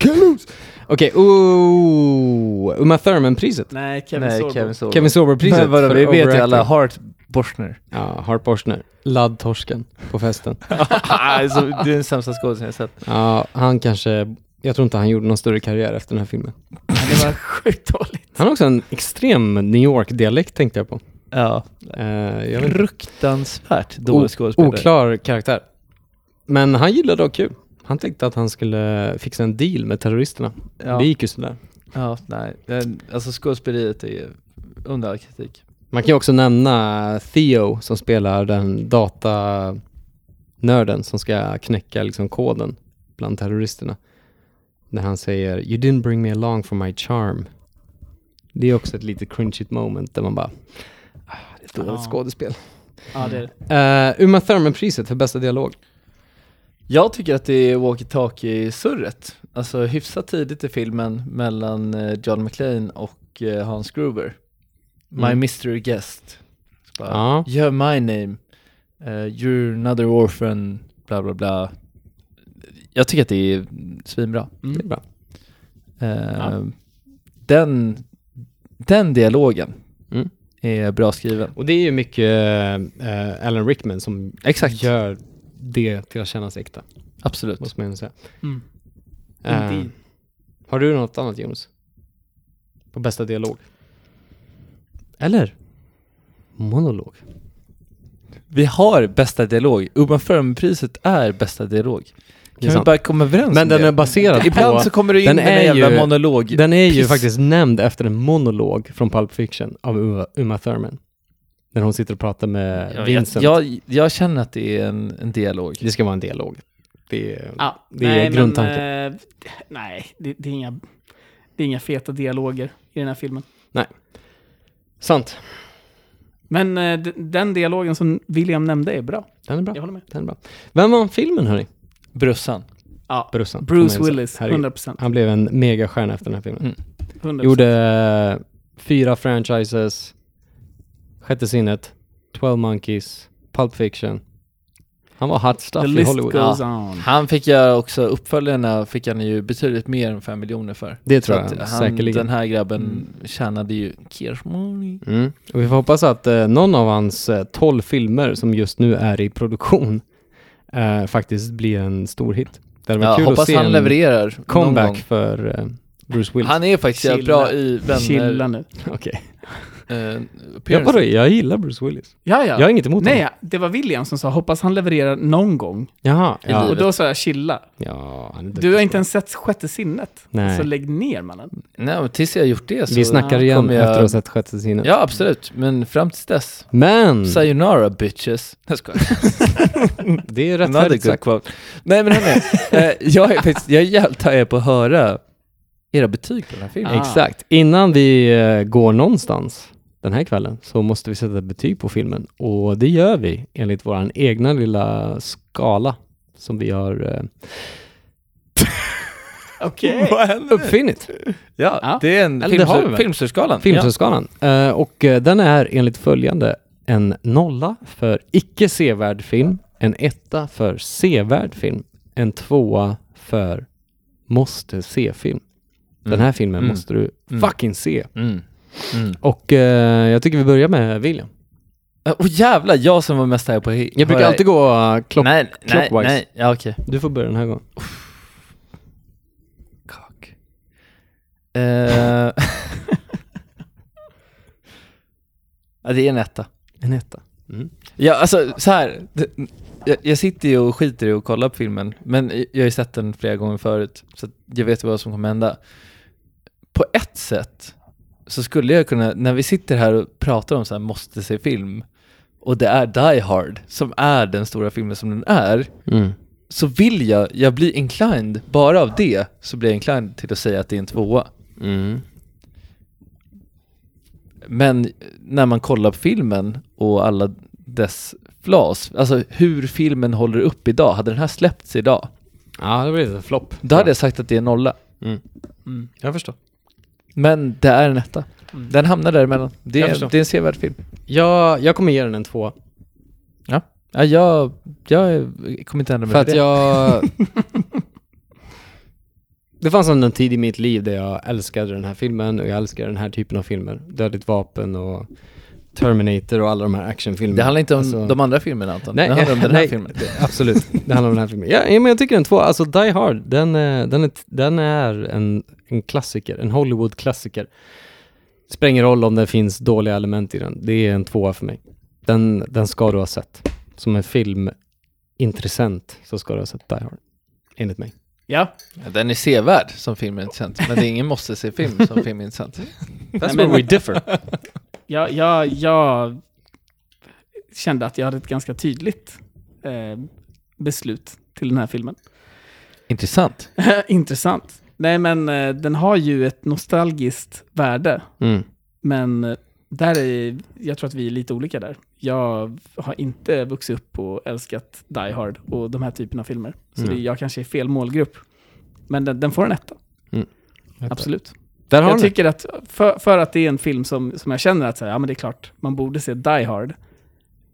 Speaker 8: Okej, ooh, Uma Thurman-priset.
Speaker 7: Nej, Kevin
Speaker 6: Nej,
Speaker 7: Sorbo.
Speaker 6: Kevin Sorbo.
Speaker 8: Kevin Sorbo-priset.
Speaker 6: Men vadå,
Speaker 8: för
Speaker 6: det vet ju
Speaker 8: overacting.
Speaker 6: alla. Heart Borstner. [LAUGHS]
Speaker 8: Ja, Hart Borsner. Laddtorsken
Speaker 1: [LAUGHS]
Speaker 8: på festen.
Speaker 6: alltså, det är den sämsta skådisen jag sett.
Speaker 8: Ja, han kanske... Jag tror inte han gjorde någon större karriär efter den här filmen.
Speaker 7: Det
Speaker 1: [LAUGHS]
Speaker 7: var sjukt dåligt.
Speaker 8: Han har också en extrem New York-dialekt tänkte jag på.
Speaker 6: Ja.
Speaker 8: Eh, jag vet inte.
Speaker 6: Fruktansvärt
Speaker 8: O-
Speaker 6: dålig skådespelare.
Speaker 8: oklar karaktär. Men han gillade att ha kul. Han tänkte att han skulle fixa en deal med terroristerna.
Speaker 6: Ja.
Speaker 8: Det gick ju sådär.
Speaker 6: Ja, nej. Den- Alltså skådespeleriet är under all kritik.
Speaker 8: Man kan ju också nämna Theo som spelar den datanörden som ska knäcka liksom koden bland terroristerna. När han säger “You didn't bring me along for my charm”. Det är också ett lite cringeigt moment där man bara "Ah, det är ett dåligt
Speaker 7: Ja.
Speaker 8: skådespel.
Speaker 7: Ja, det är det.
Speaker 8: Eh, Uma Thurman-priset för bästa dialog.
Speaker 6: Jag tycker att det är walkie-talkie-surret. Alltså hyfsat tidigt i filmen mellan eh, John McClane och eh, Hans Gruber. My
Speaker 8: Mm.
Speaker 6: mystery guest. Så Bara,
Speaker 8: Ja.
Speaker 6: You're my name. Eh, you're another orphan. Bla bla bla. Jag tycker att det är svinbra.
Speaker 8: Det är bra.
Speaker 6: Eh, den, den dialogen
Speaker 8: Mm.
Speaker 6: är bra skriven.
Speaker 8: Och det är ju mycket eh, Alan Rickman som
Speaker 6: Exakt.
Speaker 8: gör det till att kännas äkta,
Speaker 6: Absolut.
Speaker 8: måste man ju säga.
Speaker 7: Mm.
Speaker 8: Eh,
Speaker 7: Indeed.
Speaker 8: har du något annat Jonas? På bästa dialog? Eller? Monolog?
Speaker 6: Vi har bästa dialog. Uma Thurman-priset är bästa dialog.
Speaker 8: Det är
Speaker 6: Kan vi
Speaker 8: sant.
Speaker 6: bara komma överens om
Speaker 8: Men den
Speaker 6: det?
Speaker 8: är baserad
Speaker 6: Ibland
Speaker 8: på...
Speaker 6: så kommer du in
Speaker 8: den
Speaker 6: med
Speaker 8: är
Speaker 6: en jävla
Speaker 8: ju-
Speaker 6: monolog.
Speaker 8: Den är ju
Speaker 6: Piss.
Speaker 8: faktiskt nämnd efter en monolog från Pulp Fiction av Uma, Uma Thurman. När hon sitter och pratar med
Speaker 6: Ja,
Speaker 8: Vincent.
Speaker 6: Jag, jag, jag känner att det är en, en dialog.
Speaker 8: Det ska vara en dialog. Det är...
Speaker 6: Ah.
Speaker 7: Ja,
Speaker 8: Det är grundtanken.
Speaker 7: Men, eh, nej, det, det, är inga, det är inga feta dialoger i den här filmen.
Speaker 8: Sant.
Speaker 7: Men eh, d- den dialogen som William nämnde är bra.
Speaker 8: Den är bra.
Speaker 7: Jag håller med.
Speaker 8: Den är bra. Vem vann filmen hörni?
Speaker 6: Brussan.
Speaker 7: Ja.
Speaker 8: Brorsan.
Speaker 7: Bruce
Speaker 8: Som är-
Speaker 7: Willis,
Speaker 8: Herregud.
Speaker 7: 100%.
Speaker 8: Han blev en megastjärna efter den här filmen.
Speaker 6: Mm.
Speaker 7: 100%.
Speaker 8: Gjorde eh, fyra franchises, Sjätte sinnet, 12 Monkeys, Pulp Fiction. Han var hot
Speaker 7: The
Speaker 8: stuff i
Speaker 7: list
Speaker 8: Hollywood.
Speaker 7: goes
Speaker 8: Ja,
Speaker 7: on.
Speaker 6: Han fick göra också, uppföljarna fick han ju betydligt mer än 5 miljoner för.
Speaker 8: det tror jag
Speaker 6: Så att han,
Speaker 8: säkerligen.
Speaker 6: den här grabben tjänade ju cash money.
Speaker 8: Mm. Och vi får hoppas att eh, någon av hans eh, 12 filmer som just nu är i produktion eh, faktiskt blir en stor hit. Det hade varit
Speaker 6: Ja,
Speaker 8: kul att
Speaker 6: hoppas
Speaker 8: se
Speaker 6: han
Speaker 8: en
Speaker 6: levererar någon
Speaker 8: comeback
Speaker 6: gång.
Speaker 8: för eh, Bruce Willis.
Speaker 6: Han är faktiskt jävligt
Speaker 7: Chilla.
Speaker 6: bra i
Speaker 7: Chilla
Speaker 6: vänner.
Speaker 7: nu.
Speaker 8: [LAUGHS] Okej.
Speaker 6: Eh,
Speaker 8: Jag,
Speaker 6: appearance.
Speaker 8: bara, jag gillar Bruce Willis.
Speaker 7: Ja, ja.
Speaker 8: Jag har inget emot
Speaker 7: Nej,
Speaker 8: honom.
Speaker 7: ja, det var William som sa hoppas han levererar någon gång.
Speaker 8: Jaha.
Speaker 6: I
Speaker 8: Ja.
Speaker 7: Och
Speaker 6: livet.
Speaker 7: då sa jag chilla.
Speaker 8: Ja, han är
Speaker 7: Du
Speaker 8: duktig.
Speaker 7: har inte ens sett sjätte sinnet.
Speaker 8: Nej.
Speaker 7: Så lägg ner mannen.
Speaker 6: Nej, men tills jag gjort det så...
Speaker 8: Vi snackar igen
Speaker 6: kommer jag-
Speaker 8: efter att ha sett sjätte sinnet.
Speaker 6: Ja, absolut. Men fram tills dess.
Speaker 8: Men!
Speaker 6: Sayonara bitches. [LAUGHS] Jag skojar.
Speaker 8: Det är
Speaker 6: Another
Speaker 8: rättfärdigt
Speaker 6: good
Speaker 8: sagt.
Speaker 6: quote. Nej men
Speaker 8: [LAUGHS]
Speaker 6: hörni, eh, jag är faktiskt, jag är jävligt taggad på att höra era betyg på den här filmen.
Speaker 7: Ah.
Speaker 8: Exakt. Innan vi eh, går någonstans den här kvällen så måste vi sätta betyg på filmen och det gör vi enligt vår egna lilla skala som vi
Speaker 6: [LAUGHS]
Speaker 8: har eh,
Speaker 7: Okej.
Speaker 6: Vad händer?
Speaker 8: uppfinnit,
Speaker 6: Ja,
Speaker 7: Ja.
Speaker 6: det är en
Speaker 8: Eller det har vi
Speaker 6: filmsur-
Speaker 8: väl?
Speaker 6: filmsurskalan.
Speaker 8: Filmsundskalan. Eh, och eh, den är enligt följande en nolla för icke sevärd film, en etta för sevärd film, en tvåa för måste se-film. Den här filmen
Speaker 6: Mm.
Speaker 8: måste du fucking se.
Speaker 6: Ja. Mm.
Speaker 8: Och eh, jag tycker vi börjar med William.
Speaker 6: Eh, Och jävlar, jag som var mest här på...
Speaker 8: Jag brukar alltid gå uh, klock...
Speaker 6: Nej, nej,
Speaker 8: clockwise.
Speaker 6: nej. Ja, okej.
Speaker 8: Du får börja den här gången.
Speaker 6: Kak. Eh, [LAUGHS] ja, det är en etta.
Speaker 8: En etta.
Speaker 6: Ja, alltså så här. Det, jag, jag sitter ju och skiter i att kolla på filmen, men jag har ju sett den flera gånger förut, så att jag vet ju vad som kommer hända. På ett sätt så skulle jag kunna, när vi sitter här och pratar om så här måste se film, och det är Die Hard som är den stora filmen som den är, så vill jag, jag blir inclined, bara av det så blir jag inclined till att säga att det är en tvåa.
Speaker 1: Mm.
Speaker 6: Men när man kollar på filmen och alla dess flas, alltså hur filmen håller upp idag, hade den här släppts idag,
Speaker 1: Ja, det blir en flopp.
Speaker 6: då hade jag sagt att det är en nolla.
Speaker 1: Jag förstår.
Speaker 6: Men det är en etta. Den hamnar däremellan. Det
Speaker 1: Mm. Jag
Speaker 6: är,
Speaker 1: förstår.
Speaker 6: det är en sevärd film.
Speaker 1: Jag, jag kommer ge den en tvåa.
Speaker 6: Ja, jag, jag kommer inte ändra
Speaker 1: För
Speaker 6: mig för
Speaker 1: att
Speaker 6: det.
Speaker 1: jag... Det fanns en tid i mitt liv där jag älskade den här filmen och jag älskade den här typen av filmer. Dödligt vapen och Terminator och alla de här actionfilmerna.
Speaker 6: Det handlar inte om
Speaker 1: Alltså-
Speaker 6: de andra filmerna Anton,
Speaker 1: Nej,
Speaker 6: det handlar om den här
Speaker 1: nej,
Speaker 6: filmen.
Speaker 1: det- Absolut, det handlar om den här filmen. Ja, ja, men jag tycker den två, alltså Die Hard, den, eh, den är, den är en, en klassiker, en Hollywood-klassiker. Spelar ingen roll om det finns dåliga element i den, det är en tvåa för mig. Den, den ska du ha sett. Som en filmintressent så ska du ha sett Die Hard, enligt mig.
Speaker 7: Ja.
Speaker 6: Den är sevärd som filmintressent, men det är ingen måste-se-film som filmintressent.
Speaker 1: That's
Speaker 7: men-
Speaker 1: where we differ.
Speaker 7: Jag, jag, jag kände att jag hade ett ganska tydligt eh, beslut till den här filmen.
Speaker 6: Intressant.
Speaker 7: [LAUGHS] Intressant. Nej, men eh, den har ju ett nostalgiskt värde.
Speaker 1: Mm.
Speaker 7: Men eh, där är, jag tror att vi är lite olika där. Jag har inte vuxit upp och älskat Die Hard och de här typen av filmer. Så det,
Speaker 6: Mm.
Speaker 7: jag kanske är fel målgrupp. Men den, den får en etta.
Speaker 1: Mm.
Speaker 7: Absolut.
Speaker 1: Där har
Speaker 7: Jag
Speaker 1: du
Speaker 7: tycker att, för, för att det är en film som, som jag känner att så här, ja, men det är klart, man borde se Die Hard.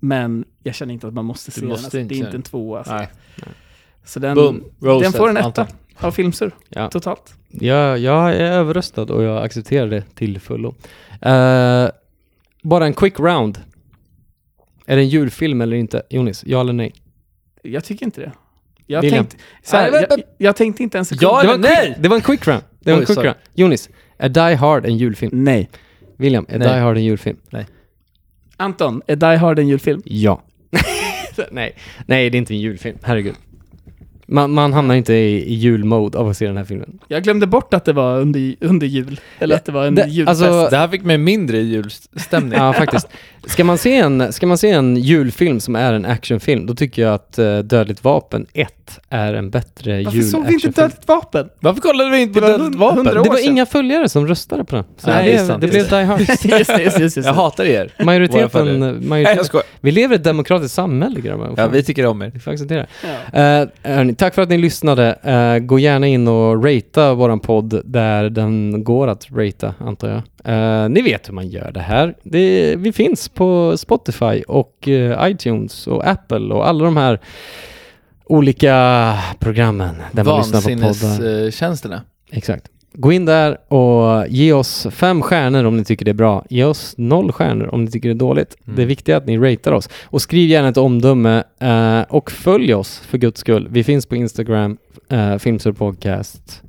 Speaker 7: Men jag känner inte att man måste
Speaker 6: måste
Speaker 7: se den. Alltså,
Speaker 6: inte
Speaker 7: det är
Speaker 6: se
Speaker 7: inte
Speaker 6: den.
Speaker 7: en tvåa. Alltså.
Speaker 6: Nej.
Speaker 7: Så den,
Speaker 6: Boom.
Speaker 7: Mm. den
Speaker 6: Roasted,
Speaker 7: får en
Speaker 6: Anton.
Speaker 7: etta av Filmsur
Speaker 1: Ja.
Speaker 7: totalt.
Speaker 1: Jag, jag är överröstad och jag accepterar det till fullo. Eh, bara en quick round. Är det en julfilm eller inte? Jonis, ja eller nej?
Speaker 7: Jag tycker inte det. Jag,
Speaker 1: William.
Speaker 7: tänkte, så här,
Speaker 1: Nej, men-
Speaker 7: jag, jag tänkte inte ens...
Speaker 6: Ja
Speaker 1: det var
Speaker 6: eller
Speaker 1: en quick-
Speaker 6: nej?
Speaker 1: Det var en quick round. Det var
Speaker 6: Oj,
Speaker 1: en quick
Speaker 6: sorry.
Speaker 1: round. Jonis, är Die Hard en julfilm?
Speaker 7: Nej.
Speaker 1: William, är
Speaker 6: Nej.
Speaker 1: Die Hard en julfilm?
Speaker 7: Anton, är Die Hard en julfilm?
Speaker 1: Ja. [LAUGHS] nej. nej, det är inte en julfilm. Herregud. Man, man hamnar inte i, i julmode av att se den här filmen.
Speaker 7: Jag glömde bort att det var under, under jul. Eller att det var en
Speaker 1: Det-
Speaker 7: julfest.
Speaker 1: alltså-
Speaker 6: Det här fick mig mindre i
Speaker 1: [LAUGHS]
Speaker 6: julstämning.
Speaker 1: Ja, faktiskt. Ska man, se en, ska man se en julfilm som är en actionfilm, då tycker jag att eh, Dödligt vapen 1 är en bättre
Speaker 7: Varför såg vi inte
Speaker 1: julactionfilm.
Speaker 7: Dödligt vapen?
Speaker 6: Varför kollade vi inte på
Speaker 7: Det var
Speaker 6: Dödligt
Speaker 7: hund-
Speaker 6: vapen?
Speaker 7: hundra
Speaker 1: Det
Speaker 7: år
Speaker 1: var
Speaker 7: sedan?
Speaker 8: [LAUGHS]
Speaker 1: inga följare som röstade på den. Så
Speaker 6: Nej,
Speaker 1: det,
Speaker 6: det är sant,
Speaker 1: det
Speaker 6: det
Speaker 1: blev
Speaker 6: är
Speaker 1: Die
Speaker 6: [LAUGHS]
Speaker 1: Hard.
Speaker 7: just det, just det, just det, just det.
Speaker 6: Jag hatar er. Våra
Speaker 1: Majoriteten,
Speaker 6: följare. Nej, jag
Speaker 1: majoriteten.
Speaker 6: skojar.
Speaker 1: Vi lever i ett demokratiskt samhälle grabbar.
Speaker 6: Ja, vi tycker om er.
Speaker 1: Vi får acceptera det.
Speaker 7: Ja.
Speaker 1: Eh, hörni, tack för att ni lyssnade. Eh, gå gärna in och ratea våran podd där den går att ratea, antar jag. Eh, ni vet hur man gör det här. Det, vi finns på Spotify och eh, iTunes och Apple och alla de här olika programmen där man lyssnar på poddar.
Speaker 6: Vansinnestjänsterna.
Speaker 1: Exakt. Gå in där och ge oss fem stjärnor om ni tycker det är bra. Ge oss noll stjärnor om ni tycker det är dåligt. Det viktiga är att ni ratear oss. Och skriv gärna ett omdöme eh, och följ oss för guds skull. Vi finns på Instagram, eh, Filmsur Podcast.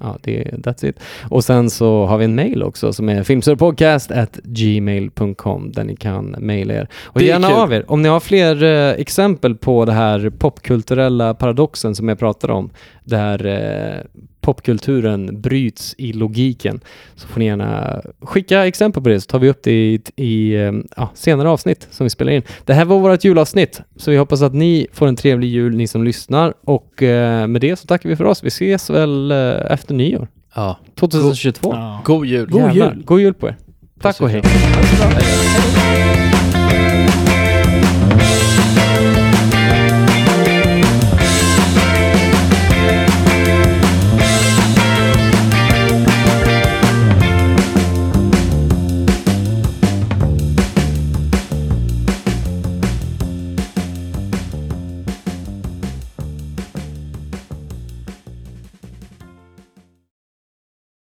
Speaker 1: Ja, det, that's it. Och sen så har vi en mail också som är filmsurpodcast@gmail.com där ni kan mejla er. Och
Speaker 6: Det är
Speaker 1: gärna
Speaker 6: kul.
Speaker 1: av er, om ni har fler eh, exempel på det här popkulturella paradoxen som jag pratade om, där eh, popkulturen bryts i logiken, så får ni gärna skicka exempel på det så tar vi upp det i, i eh, ja, senare avsnitt som vi spelar in. Det här var vårt julavsnitt, så vi hoppas att ni får en trevlig jul, ni som lyssnar. Och eh, med det så tackar vi för oss. Vi ses väl eh, efter nyår,
Speaker 6: Ja.
Speaker 1: 2022.
Speaker 7: Ja.
Speaker 6: God jul.
Speaker 1: Jävlar, God jul på er. Tack och hej.
Speaker 6: Hej.